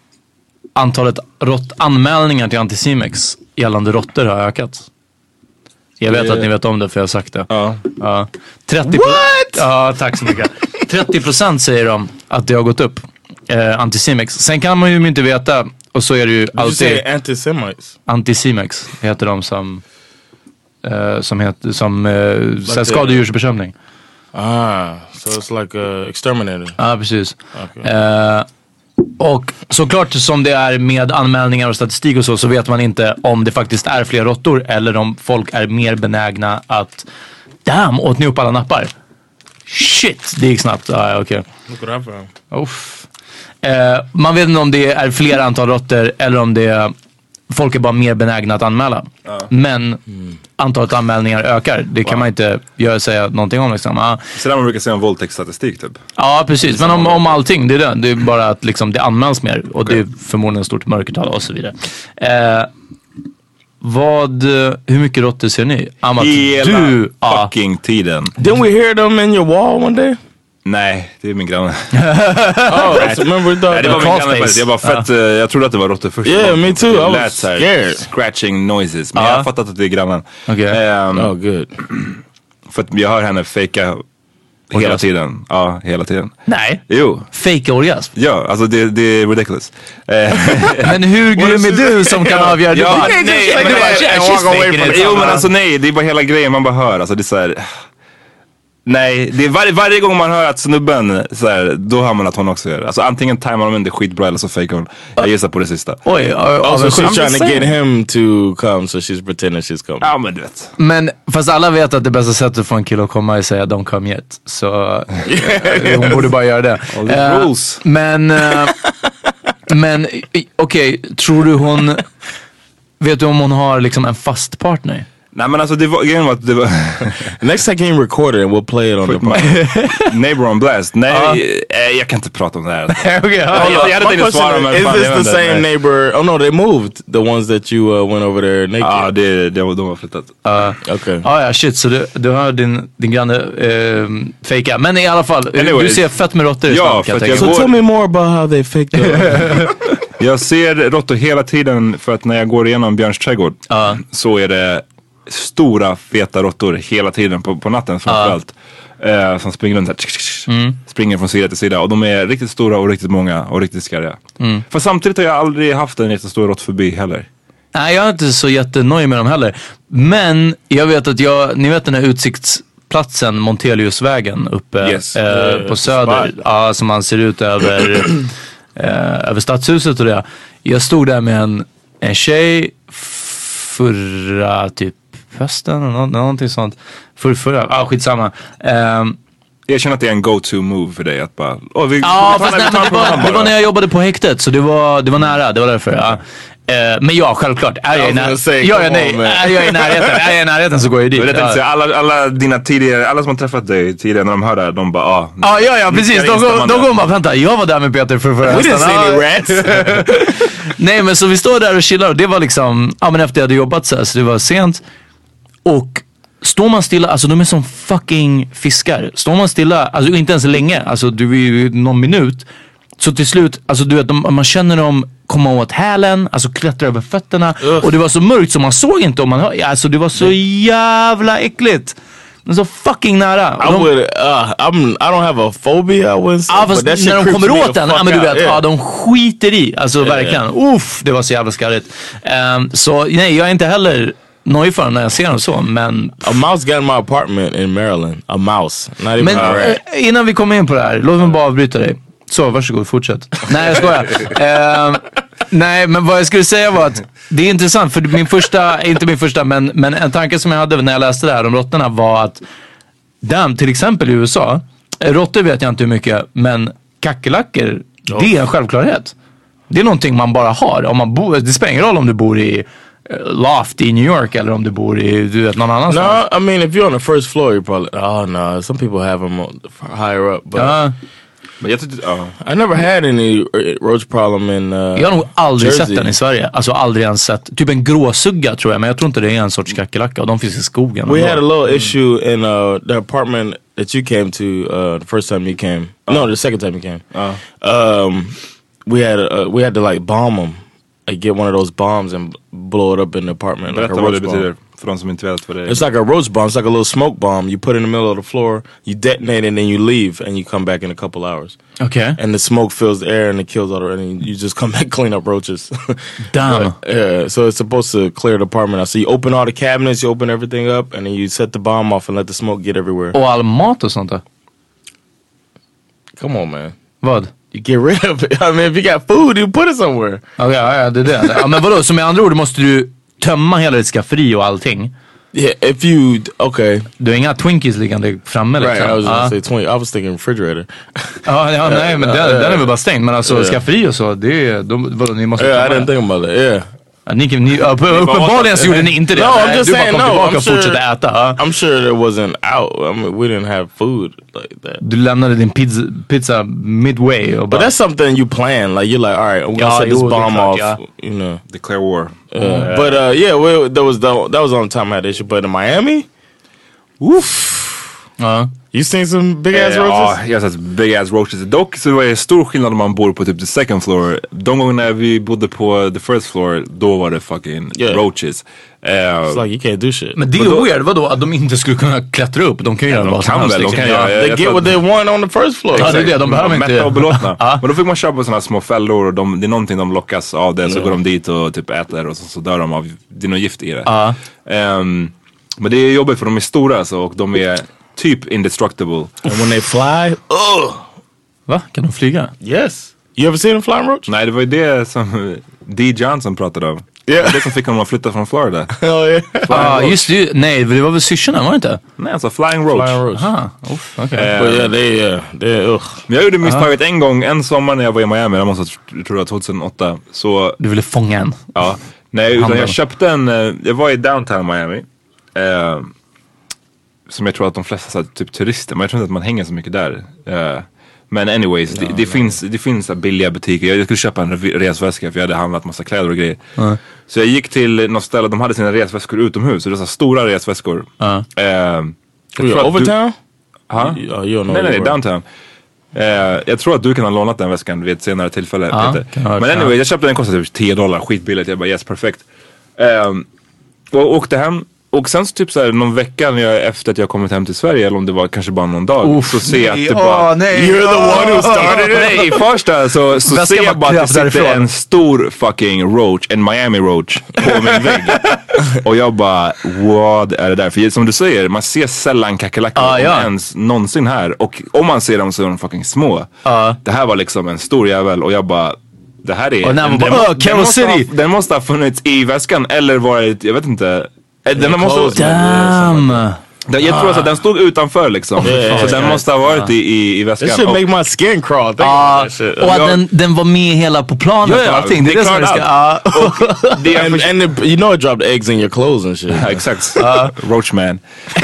[SPEAKER 6] antalet rått- anmälningar till Anticimex gällande råttor har ökat? Jag vet att ni vet om det för jag har sagt det.
[SPEAKER 5] Ja.
[SPEAKER 6] Ja. 30 What? Ja, tack så mycket. 30 procent säger de att det har gått upp. Eh, Anticimex. Sen kan man ju inte veta och så är det ju
[SPEAKER 5] Did you
[SPEAKER 6] alltid
[SPEAKER 5] say anti-Semites?
[SPEAKER 6] Anticimex heter de som eh, som, heter, som eh, så här
[SPEAKER 5] det-
[SPEAKER 6] skadedjursbekämpning.
[SPEAKER 5] Ah, so it's like uh, a exterminator.
[SPEAKER 6] Ja, precis.
[SPEAKER 5] Okay.
[SPEAKER 6] Eh, och såklart som det är med anmälningar och statistik och så, så vet man inte om det faktiskt är fler råttor eller om folk är mer benägna att Damn, åt ni upp alla nappar? Shit, det gick snabbt. Ah, ja, okej.
[SPEAKER 5] Look what I found.
[SPEAKER 6] Uff. Eh, man vet inte om det är fler antal råttor eller om det är, folk är bara mer benägna att anmäla. Men
[SPEAKER 4] Mm.
[SPEAKER 6] antalet anmälningar ökar. Det kan man inte göra, säga någonting om. Liksom. Ja,
[SPEAKER 4] Sådär man brukar säga om våldtäktsstatistik typ.
[SPEAKER 6] ja precis. Men om, om allting, det är det. Det är bara att liksom, det anmäls mer och det är förmodligen stort mörkertal och så vidare. Eh, vad, hur mycket råttor ser ni? Amat,
[SPEAKER 4] Hela
[SPEAKER 6] du, ja,
[SPEAKER 4] fucking tiden.
[SPEAKER 5] Didn't we hear them in your wall one day?
[SPEAKER 4] Nej, det är min granne.
[SPEAKER 5] Oh, I remember
[SPEAKER 4] Nej,
[SPEAKER 5] that.
[SPEAKER 4] det var min
[SPEAKER 6] crawl
[SPEAKER 4] granne
[SPEAKER 6] space.
[SPEAKER 4] faktiskt. Jag bara fett, eh, jag trodde att det var råttor först.
[SPEAKER 5] Yeah, me too. I
[SPEAKER 4] Det
[SPEAKER 5] was
[SPEAKER 4] lät så här
[SPEAKER 5] scared.
[SPEAKER 4] Scratching noises. Men
[SPEAKER 6] Ja.
[SPEAKER 4] jag har fattat att det är grannen.
[SPEAKER 6] Okej.
[SPEAKER 4] Ehm,
[SPEAKER 5] Oh, good.
[SPEAKER 4] För att jag hör henne fejka hela
[SPEAKER 6] Orgasm.
[SPEAKER 4] tiden. Ja, hela tiden.
[SPEAKER 6] nej.
[SPEAKER 4] Jo,
[SPEAKER 6] Fake orgasm.
[SPEAKER 4] ja, alltså det, det är ridiculous. Eh,
[SPEAKER 6] Men hur grym är du som kan avgöra? Du
[SPEAKER 4] Ja,
[SPEAKER 6] bara,
[SPEAKER 4] nej,
[SPEAKER 6] nej,
[SPEAKER 4] men
[SPEAKER 6] du
[SPEAKER 4] det
[SPEAKER 6] bara,
[SPEAKER 4] är-
[SPEAKER 6] "She's
[SPEAKER 4] and walk away
[SPEAKER 6] faking
[SPEAKER 4] from
[SPEAKER 6] it."
[SPEAKER 4] it. Jo men alltså nej, det är bara hela grejen man bara hör. Alltså det är så här. Nej, det är varje, varje gång man hör att snubben, så här, då hör man att hon också gör det. Alltså antingen tajmar de inte skitbra eller så fejkar hon. Jag gissar på det sista.
[SPEAKER 6] Oj,
[SPEAKER 5] Also,
[SPEAKER 6] avundsjuk.
[SPEAKER 5] she's trying to get him to come, so she's pretending she's coming.
[SPEAKER 4] Ja men du vet.
[SPEAKER 6] Men fast alla vet att det bästa sättet att få en kille att komma är att säga don't come yet. Så eh, hon borde bara göra det.
[SPEAKER 4] All the
[SPEAKER 6] Eh,
[SPEAKER 4] rules.
[SPEAKER 6] Men, eh, men i- i- okej, tror du hon, vet du om hon har liksom en fast partner?
[SPEAKER 4] Nej men alltså det var, grejen var att det var
[SPEAKER 5] Next time, can you record it and we'll play it on the podcast?
[SPEAKER 4] neighbor on blast. Nej, eh, jag kan inte prata om det här.
[SPEAKER 6] Okej,
[SPEAKER 4] jag- jag hade
[SPEAKER 5] My
[SPEAKER 4] tänkt att
[SPEAKER 5] question
[SPEAKER 4] svara, men
[SPEAKER 5] is,
[SPEAKER 4] fan, jag
[SPEAKER 5] is this
[SPEAKER 4] vet
[SPEAKER 5] the
[SPEAKER 4] inte.
[SPEAKER 5] same
[SPEAKER 4] Nej.
[SPEAKER 5] neighbor? Oh no, they moved. The ones that you uh, went over there naked.
[SPEAKER 4] Ja, det, det, de har flyttat.
[SPEAKER 5] Uh, okay.
[SPEAKER 6] Ja, ja, shit. Så du, du har din, din granne eh, fejka. Men i alla fall, eh,
[SPEAKER 4] Anyways.
[SPEAKER 6] du ser fett med råttor i
[SPEAKER 4] Ja,
[SPEAKER 6] stan,
[SPEAKER 4] för
[SPEAKER 6] kan
[SPEAKER 4] att
[SPEAKER 6] tänka
[SPEAKER 4] jag
[SPEAKER 6] mig.
[SPEAKER 5] so
[SPEAKER 4] går-
[SPEAKER 5] tell me more about how they faked it.
[SPEAKER 4] Jag ser råttor hela tiden för att när jag går igenom Björns trädgård så är det stora feta råttor hela tiden på, på natten framförallt. Eh, som springer runt här, tsk, tsk, tsk,
[SPEAKER 5] Mm.
[SPEAKER 4] springer från sida till sida och de är riktigt stora och riktigt många och riktigt skarriga.
[SPEAKER 5] Mm.
[SPEAKER 4] För samtidigt har jag aldrig haft en jättestor råttfobi heller.
[SPEAKER 6] Nej, jag är inte så jättenöjd med dem heller. Men jag vet att jag, ni vet den här utsiktsplatsen, Monteliusvägen uppe
[SPEAKER 4] Yes.
[SPEAKER 6] eh, på Söder.
[SPEAKER 5] Spar.
[SPEAKER 6] Ja, som man ser ut över, eh, över stadshuset och det. Jag stod där med en, en tjej förra typ hösten eller nå- någonting sånt. Förr, förra, ah, skitsamma. Ehm,
[SPEAKER 4] Jag känner att det är en go-to move för dig att bara,
[SPEAKER 5] Oh,
[SPEAKER 4] åh vi,
[SPEAKER 6] Ja,
[SPEAKER 4] vi tar-
[SPEAKER 6] fast
[SPEAKER 4] vi
[SPEAKER 6] nej,
[SPEAKER 4] tar
[SPEAKER 6] men det,
[SPEAKER 4] program
[SPEAKER 6] var, det
[SPEAKER 4] bara."
[SPEAKER 6] var när jag jobbade på häktet, så det var, det var nära. Det var därför. Ja. Eh, men ja, självklart. Är jag, i
[SPEAKER 5] was
[SPEAKER 6] när-
[SPEAKER 5] gonna say,
[SPEAKER 6] jag,
[SPEAKER 5] come
[SPEAKER 6] är,
[SPEAKER 5] on,
[SPEAKER 6] nej,
[SPEAKER 5] man.
[SPEAKER 6] är jag i närheten är jag i närheten så går jag
[SPEAKER 4] Det
[SPEAKER 6] dit.
[SPEAKER 4] var det jag tänkte säga, alla, alla dina tidigare, alla som har träffat dig tidigare när de hör det här, de bara ah,
[SPEAKER 6] Ja, ja, ja precis.
[SPEAKER 4] Nickar
[SPEAKER 6] De, går-
[SPEAKER 4] instämmande.
[SPEAKER 6] de går bara, vänta, jag var där med Peter för förra
[SPEAKER 5] We didn't see
[SPEAKER 6] Ja,
[SPEAKER 5] any rats.
[SPEAKER 6] Nej men så vi står där och chillar och det var liksom, ja men efter jag hade jobbat så här så det var sent. Och står man stilla, alltså de är som fucking fiskar. Står man stilla, alltså inte ens länge, alltså du är ju någon minut. Så till slut, alltså du vet, de, man känner dem komma åt hälen, alltså klättra över fötterna. Och det var så mörkt så man såg inte om man hör, alltså det var så jävla äckligt. De är så fucking nära. Och
[SPEAKER 5] I
[SPEAKER 6] de-
[SPEAKER 5] would. Uh, I'm. I don't have a phobia. I wouldn't. Say,
[SPEAKER 6] Ja
[SPEAKER 5] but
[SPEAKER 6] fast
[SPEAKER 5] that shit
[SPEAKER 6] när de
[SPEAKER 5] creeps
[SPEAKER 6] kommer
[SPEAKER 5] me
[SPEAKER 6] åt
[SPEAKER 5] the
[SPEAKER 6] den,
[SPEAKER 5] fuck
[SPEAKER 6] ja men du
[SPEAKER 5] out.
[SPEAKER 6] vet,
[SPEAKER 5] Yeah.
[SPEAKER 6] ja, de skiter i. Alltså
[SPEAKER 5] Ja, ja, ja.
[SPEAKER 6] verkligen. Uff, det var så jävla skarrigt. Ehm, så nej, jag är inte heller nojig för honom när jag ser honom så, men...
[SPEAKER 5] A mouse got in my apartment in Maryland. A mouse. Not even
[SPEAKER 6] Men
[SPEAKER 5] a rat.
[SPEAKER 6] eh, innan vi kommer in på det här, låt mig bara avbryta dig. Så, varsågod, fortsätt. Nej, jag skojar. Ehm, nej, men vad jag skulle säga var att det är intressant, för min första, inte min första, men, men en tanke som jag hade när jag läste det här om råttorna var att, damn, till exempel i USA, eh, råttor vet jag inte hur mycket, men kackerlackor, det är en självklarhet. Det är någonting man bara har. Om man bor, det spelar ingen roll om du bor i eh, loft i New York eller om du bor i du vet, någon annanstans.
[SPEAKER 5] No, Uh, I mean if you're on the first floor, you probably. Oh no, some people have them on, higher up, but
[SPEAKER 6] Ja.
[SPEAKER 4] Men jag tyckte, ja.
[SPEAKER 5] I never had any uh, roach problem in. Uh,
[SPEAKER 6] Jag har nog aldrig
[SPEAKER 5] Jersey.
[SPEAKER 6] sett den i Sverige. Alltså aldrig ens sett. Typ en gråsugga tror jag, men jag tror inte det är en sorts kackerlacka. Och de finns i skogen.
[SPEAKER 5] We had a little issue in uh, the apartment that you came to uh, the first time you came. no, the second time you came. um, we had uh, we had to like bomb them, like get one of those bombs and blow it up in the apartment. Like a
[SPEAKER 4] Berätta vad det
[SPEAKER 5] roach
[SPEAKER 4] betyder
[SPEAKER 5] bomb.
[SPEAKER 4] för de som inte vet vad det är.
[SPEAKER 5] It's like a roach bomb. It's like a little smoke bomb. You put it in the middle of the floor, you detonate it, and then you leave, and you come back in a couple hours.
[SPEAKER 6] Okej.
[SPEAKER 5] and the smoke fills the air and it kills all the and you just come back clean up roaches. Uh-huh.
[SPEAKER 6] Damn.
[SPEAKER 5] yeah, so it's supposed to clear the apartment out. So you open all the cabinets, you open everything up, and then you set the bomb off and let the smoke get everywhere.
[SPEAKER 6] Och all mat och sånt där.
[SPEAKER 5] Come on, man.
[SPEAKER 6] Vad?
[SPEAKER 5] You get rid of it. I mean, if you got food, you put it somewhere.
[SPEAKER 6] Okej, ja, ja, det är det. Ja, men vadå? Så med andra ord måste du tömma hela ditt skafferi och allting.
[SPEAKER 5] Yeah, if you okay, uh-huh.
[SPEAKER 6] Du har inga Twinkies liggande framme
[SPEAKER 5] right?
[SPEAKER 6] liksom.
[SPEAKER 5] I was gonna
[SPEAKER 6] ja.
[SPEAKER 5] say twenty. I was thinking refrigerator.
[SPEAKER 6] ja, ja, nej, men den, den är väl bara stängd. Men alltså
[SPEAKER 5] Ja.
[SPEAKER 6] skafferi och så, det är... De, vadå, ni måste
[SPEAKER 5] Yeah, I
[SPEAKER 6] tömma
[SPEAKER 5] didn't
[SPEAKER 6] det.
[SPEAKER 5] think about that. Yeah,
[SPEAKER 6] Ja, ni, kan- ni, ja, uppenbarligen så gjorde ni inte det.
[SPEAKER 5] No, I'm
[SPEAKER 6] Nej,
[SPEAKER 5] just
[SPEAKER 6] du bara
[SPEAKER 5] saying,
[SPEAKER 6] kom
[SPEAKER 5] no,
[SPEAKER 6] tillbaka
[SPEAKER 5] I'm
[SPEAKER 6] och
[SPEAKER 5] sure-
[SPEAKER 6] fortsatte äta. ja.
[SPEAKER 5] I'm sure it wasn't out. I mean, we didn't have food like that.
[SPEAKER 6] Du lämnade din pizza, pizza midway och
[SPEAKER 5] But
[SPEAKER 6] bara...
[SPEAKER 5] that's something you plan. Like you're like, all right, I'm gonna
[SPEAKER 6] Yeah,
[SPEAKER 5] set this
[SPEAKER 6] you-
[SPEAKER 5] bomb
[SPEAKER 6] yeah.
[SPEAKER 5] off. You know.
[SPEAKER 4] Declare war. Eh,
[SPEAKER 5] Uh, but uh, yeah, well, that was the that was the only time I had an issue. But in Miami, woof,
[SPEAKER 6] Ja.
[SPEAKER 5] you seen some big ass
[SPEAKER 4] Eh, Ja,
[SPEAKER 5] roaches?
[SPEAKER 4] jag har sett big ass roaches. Dock så är det stor skillnad om man bor på typ the second floor. De gångerna vi bodde på the first floor, då var det fucking
[SPEAKER 5] Yeah.
[SPEAKER 4] roaches. Eh,
[SPEAKER 5] It's like you can't do shit.
[SPEAKER 6] Men det är ju weird, vadå? Att de inte skulle kunna klättra upp? De kan ju göra
[SPEAKER 4] de
[SPEAKER 6] vad som
[SPEAKER 4] kan
[SPEAKER 6] helst.
[SPEAKER 4] väl, de
[SPEAKER 6] liksom.
[SPEAKER 4] kan göra-
[SPEAKER 6] Ja.
[SPEAKER 4] jag-
[SPEAKER 5] They
[SPEAKER 4] jag
[SPEAKER 5] get
[SPEAKER 4] tror
[SPEAKER 5] what
[SPEAKER 4] att-
[SPEAKER 5] they want on the first floor.
[SPEAKER 6] Ja, det är det. De behöver inte...
[SPEAKER 4] Mätta och belåtna.
[SPEAKER 6] Ja.
[SPEAKER 4] Men då fick man köpa sådana här små fällor och de, det är någonting de lockas av det. Så går de dit och typ äter och så, så dör de av, det är något gift i det. Ehm, men det är jobbigt för de är stora alltså och de är typ indestructible.
[SPEAKER 5] And when they fly,
[SPEAKER 6] Va? Kan de flyga?
[SPEAKER 5] yes. You ever seen a flying roach?
[SPEAKER 4] Nej, det var ju det som D. Johnson pratade om. Det var det som fick honom att flytta från Florida.
[SPEAKER 5] Hell yeah.
[SPEAKER 6] Ja, ah, just det. ju- Nej, det var väl syrsorna, var det inte?
[SPEAKER 4] Nej, alltså flying roach.
[SPEAKER 5] flying roach.
[SPEAKER 6] Ah, uff, okej.
[SPEAKER 4] Eh.
[SPEAKER 5] But yeah, they uh, they ugh.
[SPEAKER 4] Men jag gjorde misstaget en gång, en sommar när jag var i Miami, jag måste tro det var 2008. Så
[SPEAKER 6] Du ville fånga en.
[SPEAKER 4] Ja, nej utan
[SPEAKER 6] Handel.
[SPEAKER 4] jag köpte en, eh, jag var i downtown Miami. Eh, som jag tror att de flesta så här, typ turister, men jag tror inte att man hänger så mycket där. Eh, men anyways, det, det, finns, det finns så här billiga butiker. Jag, jag skulle köpa en re- resväska för jag hade handlat massa kläder och grejer. Så jag gick till något ställe, de hade sina resväskor utomhus. Så det var så här stora resväskor.
[SPEAKER 6] Ja.
[SPEAKER 4] Eh, jag
[SPEAKER 5] Oh,
[SPEAKER 4] tror
[SPEAKER 5] yeah,
[SPEAKER 4] att du-
[SPEAKER 5] Overtown?
[SPEAKER 4] Ha?
[SPEAKER 5] You- oh, you don't know
[SPEAKER 4] Nej, nej, nej,
[SPEAKER 5] where-
[SPEAKER 4] downtown. Eh, jag tror att du kan ha lånat den väskan vid ett senare tillfälle.
[SPEAKER 6] Ja,
[SPEAKER 4] Peter.
[SPEAKER 6] kan ha varit,
[SPEAKER 4] Men anyway,
[SPEAKER 6] ja.
[SPEAKER 4] jag köpte den, kostade typ 10 dollar, skitbilligt. Jag bara yes, perfekt. Ehm, och åkte hem. Och sen så typ så här, någon vecka när jag, efter att jag kommit hem till Sverige, eller om det var kanske bara någon dag, så ser jag att det bara...
[SPEAKER 6] nej.
[SPEAKER 4] You're the one who started it! Nej, i första så, så
[SPEAKER 6] Väskan
[SPEAKER 4] ser
[SPEAKER 6] bara
[SPEAKER 4] jag bara att det
[SPEAKER 6] kröp
[SPEAKER 4] sitter
[SPEAKER 6] därifrån.
[SPEAKER 4] en stor fucking roach, en Miami roach, på min vägg. och jag bara, vad är det där? För som du säger, man ser sällan kackerlackor,
[SPEAKER 6] Ah,
[SPEAKER 4] om
[SPEAKER 6] ja.
[SPEAKER 4] ens någonsin här. Och om man ser dem så är de fucking små.
[SPEAKER 6] Ja.
[SPEAKER 4] Det här var liksom en stor jävel och jag bara, det här är...
[SPEAKER 6] Ah. Och när man bara, "Åh, Carol
[SPEAKER 4] måste ha,
[SPEAKER 6] City!"
[SPEAKER 4] den måste ha funnits i väskan eller varit, jag vet inte. Eh, Den måste,
[SPEAKER 6] Damn!
[SPEAKER 4] den, jag tror alltså att den stod utanför liksom. så den måste ha varit i, i, i väskan.
[SPEAKER 5] This should
[SPEAKER 4] Och-
[SPEAKER 5] make my skin crawl. Think about
[SPEAKER 6] Ah,
[SPEAKER 5] that shit.
[SPEAKER 6] och att
[SPEAKER 4] jag-
[SPEAKER 6] den, den var med hela på planet
[SPEAKER 4] Ja, ja,
[SPEAKER 6] och allting. Det är
[SPEAKER 4] det är
[SPEAKER 6] det som är det
[SPEAKER 4] klart
[SPEAKER 6] ska... Ah.
[SPEAKER 4] det jag
[SPEAKER 5] And,
[SPEAKER 4] försöker-
[SPEAKER 5] and it, you know it dropped eggs in your clothes and shit.
[SPEAKER 4] Ja, exakt. Roachman.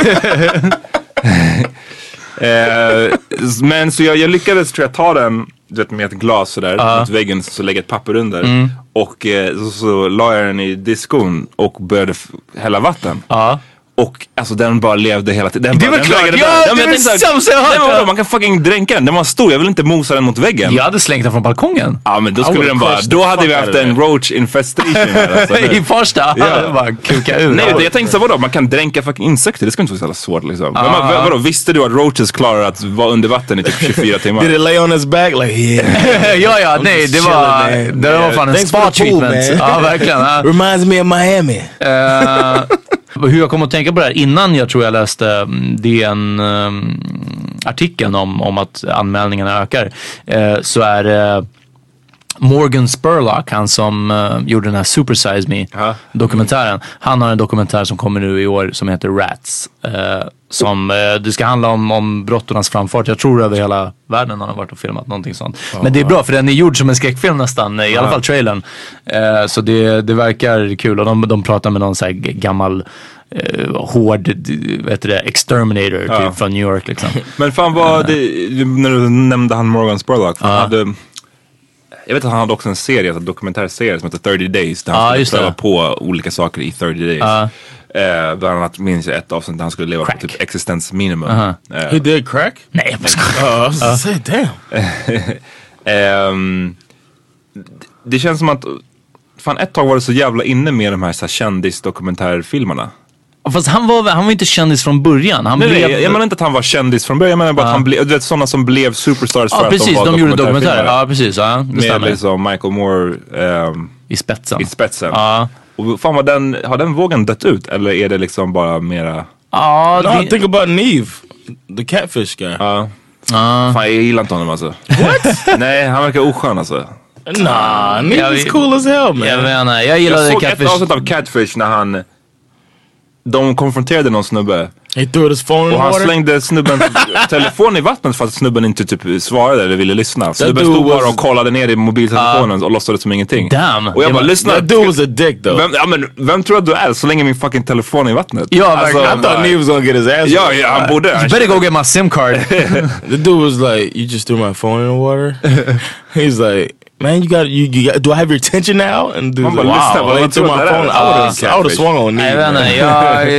[SPEAKER 4] eh, s- men så jag, jag lyckades tror jag ta den du vet, med ett glas sådär mot väggen så lägga ett papper under.
[SPEAKER 6] Mm.
[SPEAKER 4] Och eh, så, så la jag den i diskon och började f- hälla vatten.
[SPEAKER 6] Ja.
[SPEAKER 4] Och alltså den bara levde hela tiden. Den
[SPEAKER 6] Det är
[SPEAKER 4] bara,
[SPEAKER 6] väl
[SPEAKER 4] den
[SPEAKER 6] klart,
[SPEAKER 4] vägrade
[SPEAKER 6] ja,
[SPEAKER 4] bära.
[SPEAKER 6] det
[SPEAKER 4] men
[SPEAKER 6] är
[SPEAKER 4] jag
[SPEAKER 6] väl
[SPEAKER 4] tänkte så här,
[SPEAKER 6] sämsta jag har
[SPEAKER 4] nej, men
[SPEAKER 6] hört.
[SPEAKER 4] vadå, Man kan fucking dränka den, den var stor. Jag vill inte mosa den mot väggen.
[SPEAKER 6] Jag hade slängt den från balkongen.
[SPEAKER 4] Ja men då
[SPEAKER 6] I
[SPEAKER 4] skulle
[SPEAKER 6] would
[SPEAKER 4] den bara,
[SPEAKER 6] crush
[SPEAKER 4] då
[SPEAKER 6] the
[SPEAKER 4] hade
[SPEAKER 6] fuck
[SPEAKER 4] vi
[SPEAKER 6] out
[SPEAKER 4] haft
[SPEAKER 6] of it.
[SPEAKER 4] en roach infestation här alltså.
[SPEAKER 6] I Farsta?
[SPEAKER 4] Ja.
[SPEAKER 6] Ja. Bara kuka ur.
[SPEAKER 4] Nej, det jag tänkte så här, vadå, man kan dränka fucking insekter, det ska inte vara så jävla svårt liksom. Men
[SPEAKER 6] Ah.
[SPEAKER 4] man, vad- vadå, visste du att roaches klarar att vara under vatten i typ 24
[SPEAKER 5] Did
[SPEAKER 4] timmar?
[SPEAKER 5] it lay on his back? Like, yeah.
[SPEAKER 6] ja, ja, nej, det var,
[SPEAKER 5] chilling, man.
[SPEAKER 6] det var
[SPEAKER 5] Yeah,
[SPEAKER 6] fan en
[SPEAKER 5] thanks for
[SPEAKER 6] spa
[SPEAKER 5] the pool,
[SPEAKER 6] treatment.
[SPEAKER 5] man.
[SPEAKER 6] ja, verkligen. Ja.
[SPEAKER 5] Reminds me of Miami.
[SPEAKER 6] Eh, hur jag kom att tänka på det här innan jag tror jag läste mm, DN um, artikeln om, om att anmälningarna ökar. eh, så är det Morgan Spurlock, han som eh, gjorde den här Super Size Me dokumentären. Han har en dokumentär som kommer nu i år som heter Rats. eh, som, eh, det ska handla om, om brottornas framfart. Jag tror över hela världen har han varit och filmat någonting sånt. Men det är bra för den är gjord som en skräckfilm nästan, i alla fall trailern. Eh, så det, det verkar kul och de, de pratar med någon så här g- gammal eh, hård, d- vad heter det, exterminator
[SPEAKER 4] Ja.
[SPEAKER 6] typ, från New York liksom.
[SPEAKER 4] Men fan vad, det, när du nämnde han Morgan Spurlock, han hade, jag vet att han hade också en serie, alltså en dokumentärserie som heter 30 Days, där han
[SPEAKER 6] Ja,
[SPEAKER 4] skulle
[SPEAKER 6] just det.
[SPEAKER 4] pröva på olika saker i 30 Days. Eh, bland annat minns jag ett avsnitt där han skulle leva
[SPEAKER 6] Crack.
[SPEAKER 4] på typ existensminimum. Eh,
[SPEAKER 5] He did crack?
[SPEAKER 6] Nej, jag bara skojar.
[SPEAKER 5] Oh, I was gonna say, damn.
[SPEAKER 4] Ehm, d- det känns som att Fan ett tag var det så jävla inne med de här, så här kändisdokumentärfilmerna.
[SPEAKER 6] Fast han var, väl- han var inte kändis från början. Han
[SPEAKER 4] Nej, nej,
[SPEAKER 6] blev...
[SPEAKER 4] jag, jag menar inte att han var kändis från början, jag menar bara att han blev, du vet sådana som blev superstars för
[SPEAKER 6] Ja
[SPEAKER 4] att
[SPEAKER 6] precis,
[SPEAKER 4] de var
[SPEAKER 6] de gjorde dokumentärer.
[SPEAKER 4] dokumentärfilmare.
[SPEAKER 6] Ja precis, ja, det stämmer.
[SPEAKER 4] med liksom Michael Moore ehm,
[SPEAKER 6] I spetsen.
[SPEAKER 4] i spetsen.
[SPEAKER 6] Ja.
[SPEAKER 4] Och fan vad den, har den vågen dött ut eller är det liksom bara mera,
[SPEAKER 6] Ja,
[SPEAKER 5] No,
[SPEAKER 6] det-
[SPEAKER 5] think about Neve, the catfish guy.
[SPEAKER 4] ja. fan jag gillar inte honom alltså. What? nej, han verkar oskön alltså.
[SPEAKER 5] nah, Neve
[SPEAKER 6] yeah,
[SPEAKER 5] is
[SPEAKER 6] we-
[SPEAKER 5] cool as hell,
[SPEAKER 6] jag
[SPEAKER 5] man.
[SPEAKER 6] menar, jag
[SPEAKER 4] Jag
[SPEAKER 6] gillade
[SPEAKER 4] såg ett
[SPEAKER 6] Catfish.
[SPEAKER 4] avsnitt av Catfish när han, de konfronterade någon snubbe.
[SPEAKER 5] He threw his phone in
[SPEAKER 4] Och han
[SPEAKER 5] water.
[SPEAKER 4] slängde snubben telefon i vattnet för att snubben inte typ svarade eller ville lyssna. Snubben
[SPEAKER 5] dude
[SPEAKER 4] stod bara
[SPEAKER 5] was-
[SPEAKER 4] och kollade ner i mobiltelefonen och låtsades som ingenting.
[SPEAKER 6] Damn.
[SPEAKER 4] Och jag
[SPEAKER 6] Det
[SPEAKER 4] bara,
[SPEAKER 6] var-
[SPEAKER 4] lyssna.
[SPEAKER 5] That dude was a dick, though.
[SPEAKER 4] Vem, ja, men, vem tror du att du är? Så länge min fucking telefon är i vattnet. Alltså,
[SPEAKER 6] Ja,
[SPEAKER 5] I
[SPEAKER 6] verkligen.
[SPEAKER 5] thought Neve was gonna get his ass.
[SPEAKER 4] Ja,
[SPEAKER 5] whooped.
[SPEAKER 4] ja, han borde.
[SPEAKER 6] You
[SPEAKER 4] Han,
[SPEAKER 6] better go get my sim card.
[SPEAKER 5] The dude was like, "You just threw my phone in the water." He's like, "Man, you got you, you got, do I have your attention now?" And the dude's
[SPEAKER 4] I'm
[SPEAKER 5] like,
[SPEAKER 4] about to
[SPEAKER 5] "Wow,
[SPEAKER 4] listen,
[SPEAKER 5] well,
[SPEAKER 4] but I thought
[SPEAKER 5] he threw my
[SPEAKER 4] that
[SPEAKER 5] phone.
[SPEAKER 4] was
[SPEAKER 5] I would have
[SPEAKER 4] catfish.
[SPEAKER 5] I would have swung on
[SPEAKER 6] Nej,
[SPEAKER 5] Neve.
[SPEAKER 6] jag vet
[SPEAKER 5] man.
[SPEAKER 6] inte.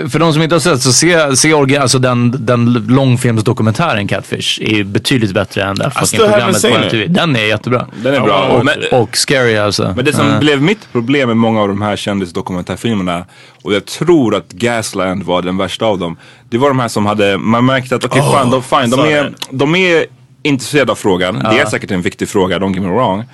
[SPEAKER 6] Jag, eh, för de som inte har sett så se, se orgi- alltså den, den långfilmsdokumentären Catfish är betydligt bättre än det här
[SPEAKER 4] Alltså,
[SPEAKER 6] fucking
[SPEAKER 5] still haven't
[SPEAKER 6] programmet på
[SPEAKER 5] seen
[SPEAKER 6] MTV. Den är jättebra.
[SPEAKER 4] den är bra.
[SPEAKER 6] Och,
[SPEAKER 4] men,
[SPEAKER 6] och scary alltså.
[SPEAKER 4] men det som blev mitt problem med många av de här kändisdokumentärfilmerna och jag tror att Gasland var den värsta av dem. Det var de här som hade, man märkte att okej fan, de, fine, de,
[SPEAKER 5] saw
[SPEAKER 4] är,
[SPEAKER 5] that.
[SPEAKER 4] de är intresserade av frågan. Det är säkert en viktig fråga, don't get me wrong.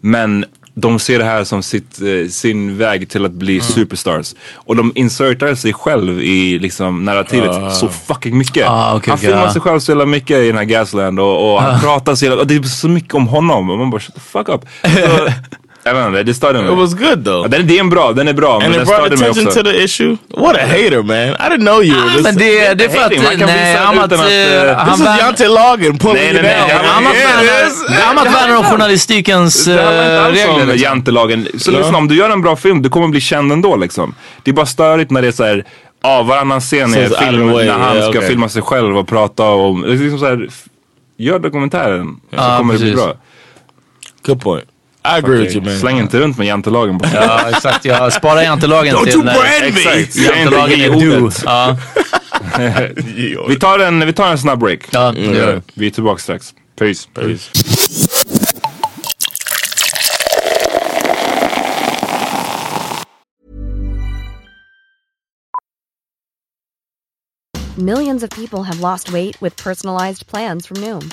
[SPEAKER 4] Men de ser det här som sitt, eh, sin väg till att bli
[SPEAKER 6] Mm.
[SPEAKER 4] superstars. Och de insertar sig själv i liksom, narrativet så fucking mycket.
[SPEAKER 6] Ah, okej,
[SPEAKER 4] han
[SPEAKER 6] okej,
[SPEAKER 4] filmar
[SPEAKER 6] ja.
[SPEAKER 4] sig själv så jävla mycket i den här Gasland och, och han pratar så jävla, och det är så mycket om honom. Och man bara shut the fuck up. Så, jag vet inte, det störde mig.
[SPEAKER 5] It was good though,
[SPEAKER 4] Ja, Den, det är en bra, den är bra.
[SPEAKER 5] and
[SPEAKER 4] men
[SPEAKER 5] it
[SPEAKER 4] den
[SPEAKER 5] brought
[SPEAKER 4] störde mig
[SPEAKER 5] attention
[SPEAKER 4] också.
[SPEAKER 5] to the issue. What a hater, man! I didn't know you. were this
[SPEAKER 6] men det, det är för
[SPEAKER 4] Hating, man
[SPEAKER 6] att...
[SPEAKER 4] kan
[SPEAKER 6] Nej,
[SPEAKER 4] visa
[SPEAKER 6] Amat,
[SPEAKER 4] utan att, eh,
[SPEAKER 6] eh,
[SPEAKER 4] this
[SPEAKER 5] this
[SPEAKER 6] han
[SPEAKER 5] is
[SPEAKER 6] vän-
[SPEAKER 5] Jante Lagen pulling
[SPEAKER 4] Nej,
[SPEAKER 5] you
[SPEAKER 4] nej, nej,
[SPEAKER 5] down.
[SPEAKER 4] jag-
[SPEAKER 5] man.
[SPEAKER 6] Amat
[SPEAKER 4] Yeah,
[SPEAKER 6] värnar-
[SPEAKER 4] yes.
[SPEAKER 6] Amat värnar om journalistikens eh,
[SPEAKER 4] Det handlar inte alls
[SPEAKER 6] regler.
[SPEAKER 4] om
[SPEAKER 6] liksom.
[SPEAKER 4] jantelagen. Så lyssna, om du gör en bra film, du kommer bli känd ändå liksom. Det är bara störigt när det är så här, ja varannan scen
[SPEAKER 5] Så
[SPEAKER 4] är
[SPEAKER 5] it's out of
[SPEAKER 4] film
[SPEAKER 5] the way,
[SPEAKER 4] när han
[SPEAKER 5] yeah,
[SPEAKER 4] ska
[SPEAKER 5] okay.
[SPEAKER 4] filma sig själv och prata om, det är liksom så här, f- gör dokumentären så
[SPEAKER 5] Ah,
[SPEAKER 6] Ja,
[SPEAKER 4] kommer det bli
[SPEAKER 6] precis.
[SPEAKER 4] bra.
[SPEAKER 5] Good point. I agree with you, man.
[SPEAKER 4] Släng inte runt med jantelagen bara.
[SPEAKER 6] Ja, exakt. Jag sparar jantelagen
[SPEAKER 4] Don't
[SPEAKER 6] till...
[SPEAKER 4] you
[SPEAKER 6] när-
[SPEAKER 4] brand me!
[SPEAKER 6] Exakt.
[SPEAKER 4] Säg inte
[SPEAKER 6] Jantelagen är du.
[SPEAKER 4] J-ordet.
[SPEAKER 6] Ja,
[SPEAKER 4] Vi tar en, vi tar en snabb break. Mm,
[SPEAKER 6] ja, det gör det.
[SPEAKER 4] Vi är tillbaka strax. Peace. Peace.
[SPEAKER 8] Millions of people have lost weight with personalized plans from Noom,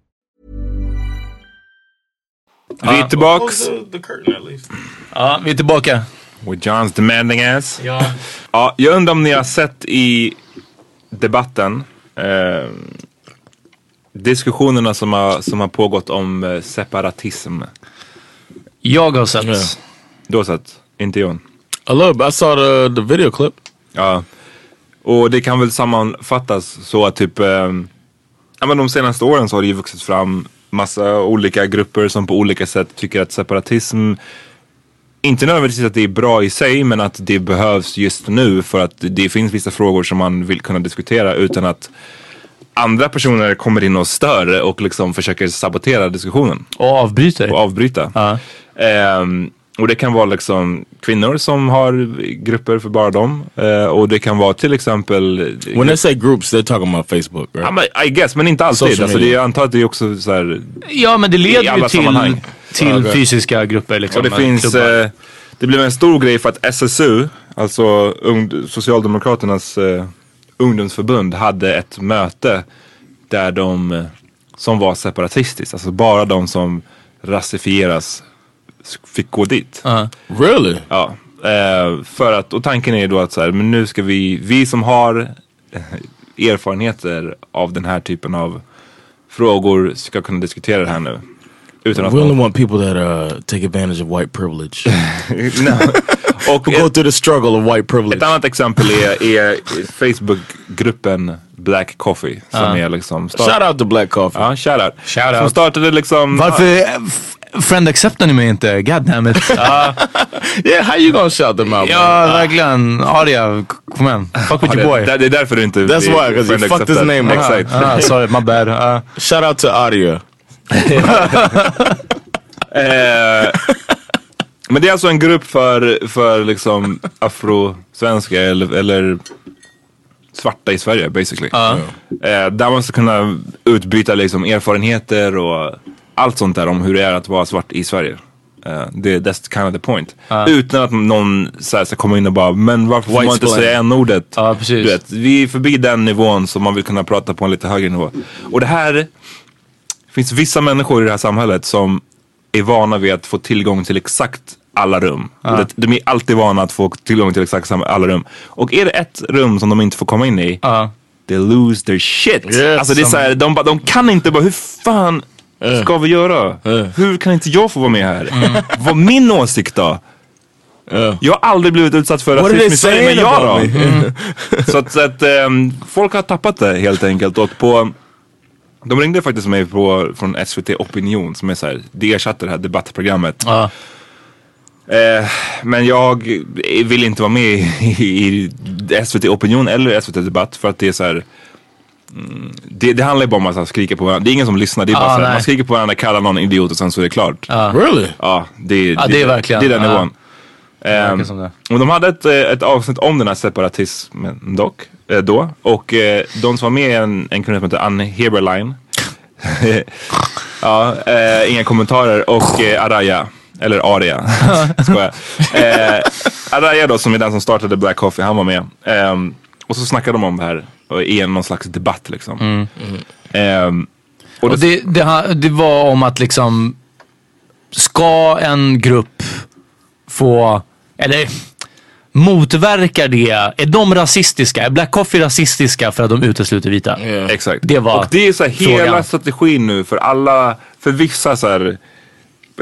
[SPEAKER 4] Vi är tillbaks.
[SPEAKER 6] Ja, vi är tillbaka.
[SPEAKER 4] With Johns demanding ass.
[SPEAKER 6] Ja.
[SPEAKER 4] Ja, jag undrar om ni har sett i debatten eh, diskussionerna som har, som har pågått om eh, separatism.
[SPEAKER 6] Jag har sett.
[SPEAKER 4] Du har sett, inte John.
[SPEAKER 5] I love. I saw the the video clip.
[SPEAKER 4] Ja. Och det kan väl sammanfattas så att typ, eh, ja men de senaste åren så har det ju vuxit fram massa olika grupper som på olika sätt tycker att separatism, inte nödvändigtvis att det är bra i sig, men att det behövs just nu för att det finns vissa frågor som man vill kunna diskutera utan att andra personer kommer in och stör och liksom försöker sabotera diskussionen
[SPEAKER 6] Och avbryter.
[SPEAKER 4] och avbryta.
[SPEAKER 6] Ja.
[SPEAKER 4] Ehm, och det kan vara liksom kvinnor som har grupper för bara dem. Eh, och det kan vara till exempel... eh,
[SPEAKER 5] When they say groups, they're talking about Facebook, right?
[SPEAKER 4] Ja, men I guess, men inte alltid.
[SPEAKER 5] Social
[SPEAKER 4] Alltså, det,
[SPEAKER 5] media.
[SPEAKER 4] jag antar att det är också så här...
[SPEAKER 6] Ja, men det
[SPEAKER 4] I
[SPEAKER 6] leder
[SPEAKER 4] alla
[SPEAKER 6] ju till,
[SPEAKER 4] sammanhang.
[SPEAKER 6] till
[SPEAKER 4] Ja, okej.
[SPEAKER 6] fysiska grupper. Liksom,
[SPEAKER 4] Och det
[SPEAKER 6] eh,
[SPEAKER 4] finns...
[SPEAKER 6] klubbar.
[SPEAKER 4] Eh, det blev en stor grej för att SSU, alltså ung, Socialdemokraternas eh, ungdomsförbund, hade ett möte där de eh, som var separatistiskt, alltså bara de som rasifieras fick gå dit.
[SPEAKER 6] Ja.
[SPEAKER 5] Really?
[SPEAKER 4] Ja, eh, för att, och tanken är ju då att så här, men nu ska vi, vi som har eh, erfarenheter av den här typen av frågor ska kunna diskutera det här nu. Utan att
[SPEAKER 5] We only
[SPEAKER 4] någon-
[SPEAKER 5] want people that uh, take advantage of white privilege.
[SPEAKER 4] Nej. och
[SPEAKER 5] Who go
[SPEAKER 4] ett,
[SPEAKER 5] through the struggle of white privilege.
[SPEAKER 4] ett annat exempel är, är Facebookgruppen Black Coffee som är liksom start-
[SPEAKER 5] Shout out to Black Coffee.
[SPEAKER 4] Ja, shout out.
[SPEAKER 6] Shout
[SPEAKER 4] Som
[SPEAKER 6] out.
[SPEAKER 4] startade liksom...
[SPEAKER 6] Varför eh, f- friend acceptar ni mig inte? God damn it. Ja,
[SPEAKER 5] Yeah, how you gonna shout them out? man?
[SPEAKER 6] ja verkligen. Aria, k- kom igen. Fuck with
[SPEAKER 4] Ja,
[SPEAKER 6] your boy.
[SPEAKER 4] det, det, det är därför du inte...
[SPEAKER 5] That's
[SPEAKER 4] blir
[SPEAKER 5] why, 'cause you
[SPEAKER 4] friend
[SPEAKER 5] fucked his
[SPEAKER 4] accepted.
[SPEAKER 5] name up. Uh-huh.
[SPEAKER 4] Exakt.
[SPEAKER 6] Ah, sorry, my bad. Ah.
[SPEAKER 5] Shout out to Aria.
[SPEAKER 4] Eh, men det är alltså en grupp för, för liksom afrosvenskar eller, eller svarta i Sverige basically. Eh, där man ska kunna utbyta liksom erfarenheter och allt sånt där om hur det är att vara svart i Sverige. Eh, det, that's kind of the point. Utan att någon så här, ska komma in och bara, men varför får
[SPEAKER 5] White
[SPEAKER 4] man inte
[SPEAKER 5] splaining."
[SPEAKER 4] säga n-ordet?
[SPEAKER 6] Ja, precis.
[SPEAKER 4] Du vet, vi är förbi den nivån som man vill kunna prata på en lite högre nivå. Och det här det finns vissa människor i det här samhället som är vana vid att få tillgång till exakt alla rum. Det- De är alltid vana att få tillgång till exakt samma- alla rum. Och är det ett rum som de inte får komma in i,
[SPEAKER 6] Ja.
[SPEAKER 4] they lose their shit.
[SPEAKER 5] Yes.
[SPEAKER 4] alltså det är så här, de, bara- de kan inte bara, hur fan
[SPEAKER 5] Eh.
[SPEAKER 4] ska vi göra? Hur kan inte jag få vara med här?
[SPEAKER 5] Mm.
[SPEAKER 4] Vad min åsikt då?
[SPEAKER 5] Yeah.
[SPEAKER 4] Jag har aldrig blivit utsatt för
[SPEAKER 5] Eh. What are
[SPEAKER 4] rasism
[SPEAKER 5] they
[SPEAKER 4] i Sverige, men
[SPEAKER 5] saying
[SPEAKER 4] jag då? Mm.
[SPEAKER 5] about me?
[SPEAKER 6] Mm.
[SPEAKER 4] så att, så att ehm, folk har tappat det helt enkelt. Och på, de ringde faktiskt mig på, från SVT Opinion som är så här, det ersatte det här debattprogrammet.
[SPEAKER 6] Ja.
[SPEAKER 4] Eh, men jag vill inte vara med i, i, i SVT Opinion eller SVT Debatt för att det är så här. mm, Det, det handlar ju bara om att så här skrika på varandra. Det är ingen som lyssnar. Det är bara
[SPEAKER 6] Ah,
[SPEAKER 4] så här,
[SPEAKER 6] nej.
[SPEAKER 4] man skriker på varandra, kallar någon idiot och sen så är det klart.
[SPEAKER 5] Really?
[SPEAKER 4] Ja, det,
[SPEAKER 6] Ja, det är verkligen-
[SPEAKER 4] det är den
[SPEAKER 6] ja.
[SPEAKER 4] nivån.
[SPEAKER 6] verkar
[SPEAKER 4] Ehm,
[SPEAKER 6] som det.
[SPEAKER 4] och de hade ett, eh, ett avsnitt om den här separatismen dock. eh, Då. Och eh, de som var med är en, en kvinna som heter Anne Heberlein. ja, eh, inga kommentarer. Och eh, Araya. Eller Aria. Skojar. Eh, Araya då som är den som startade Black Coffee, han var med. Ehm, och så snackade de om det här och i en någon slags debatt liksom. Ehm, och
[SPEAKER 6] Och
[SPEAKER 4] det,
[SPEAKER 6] det, det, ha- det var om att liksom, ska en grupp få, eller motverkar det, är de rasistiska? Är Black Coffee rasistiska för att de utesluter vita?
[SPEAKER 4] Exakt.
[SPEAKER 6] Det var
[SPEAKER 4] och det är så här hela
[SPEAKER 6] frågan.
[SPEAKER 4] strategin nu för alla, för vissa så här,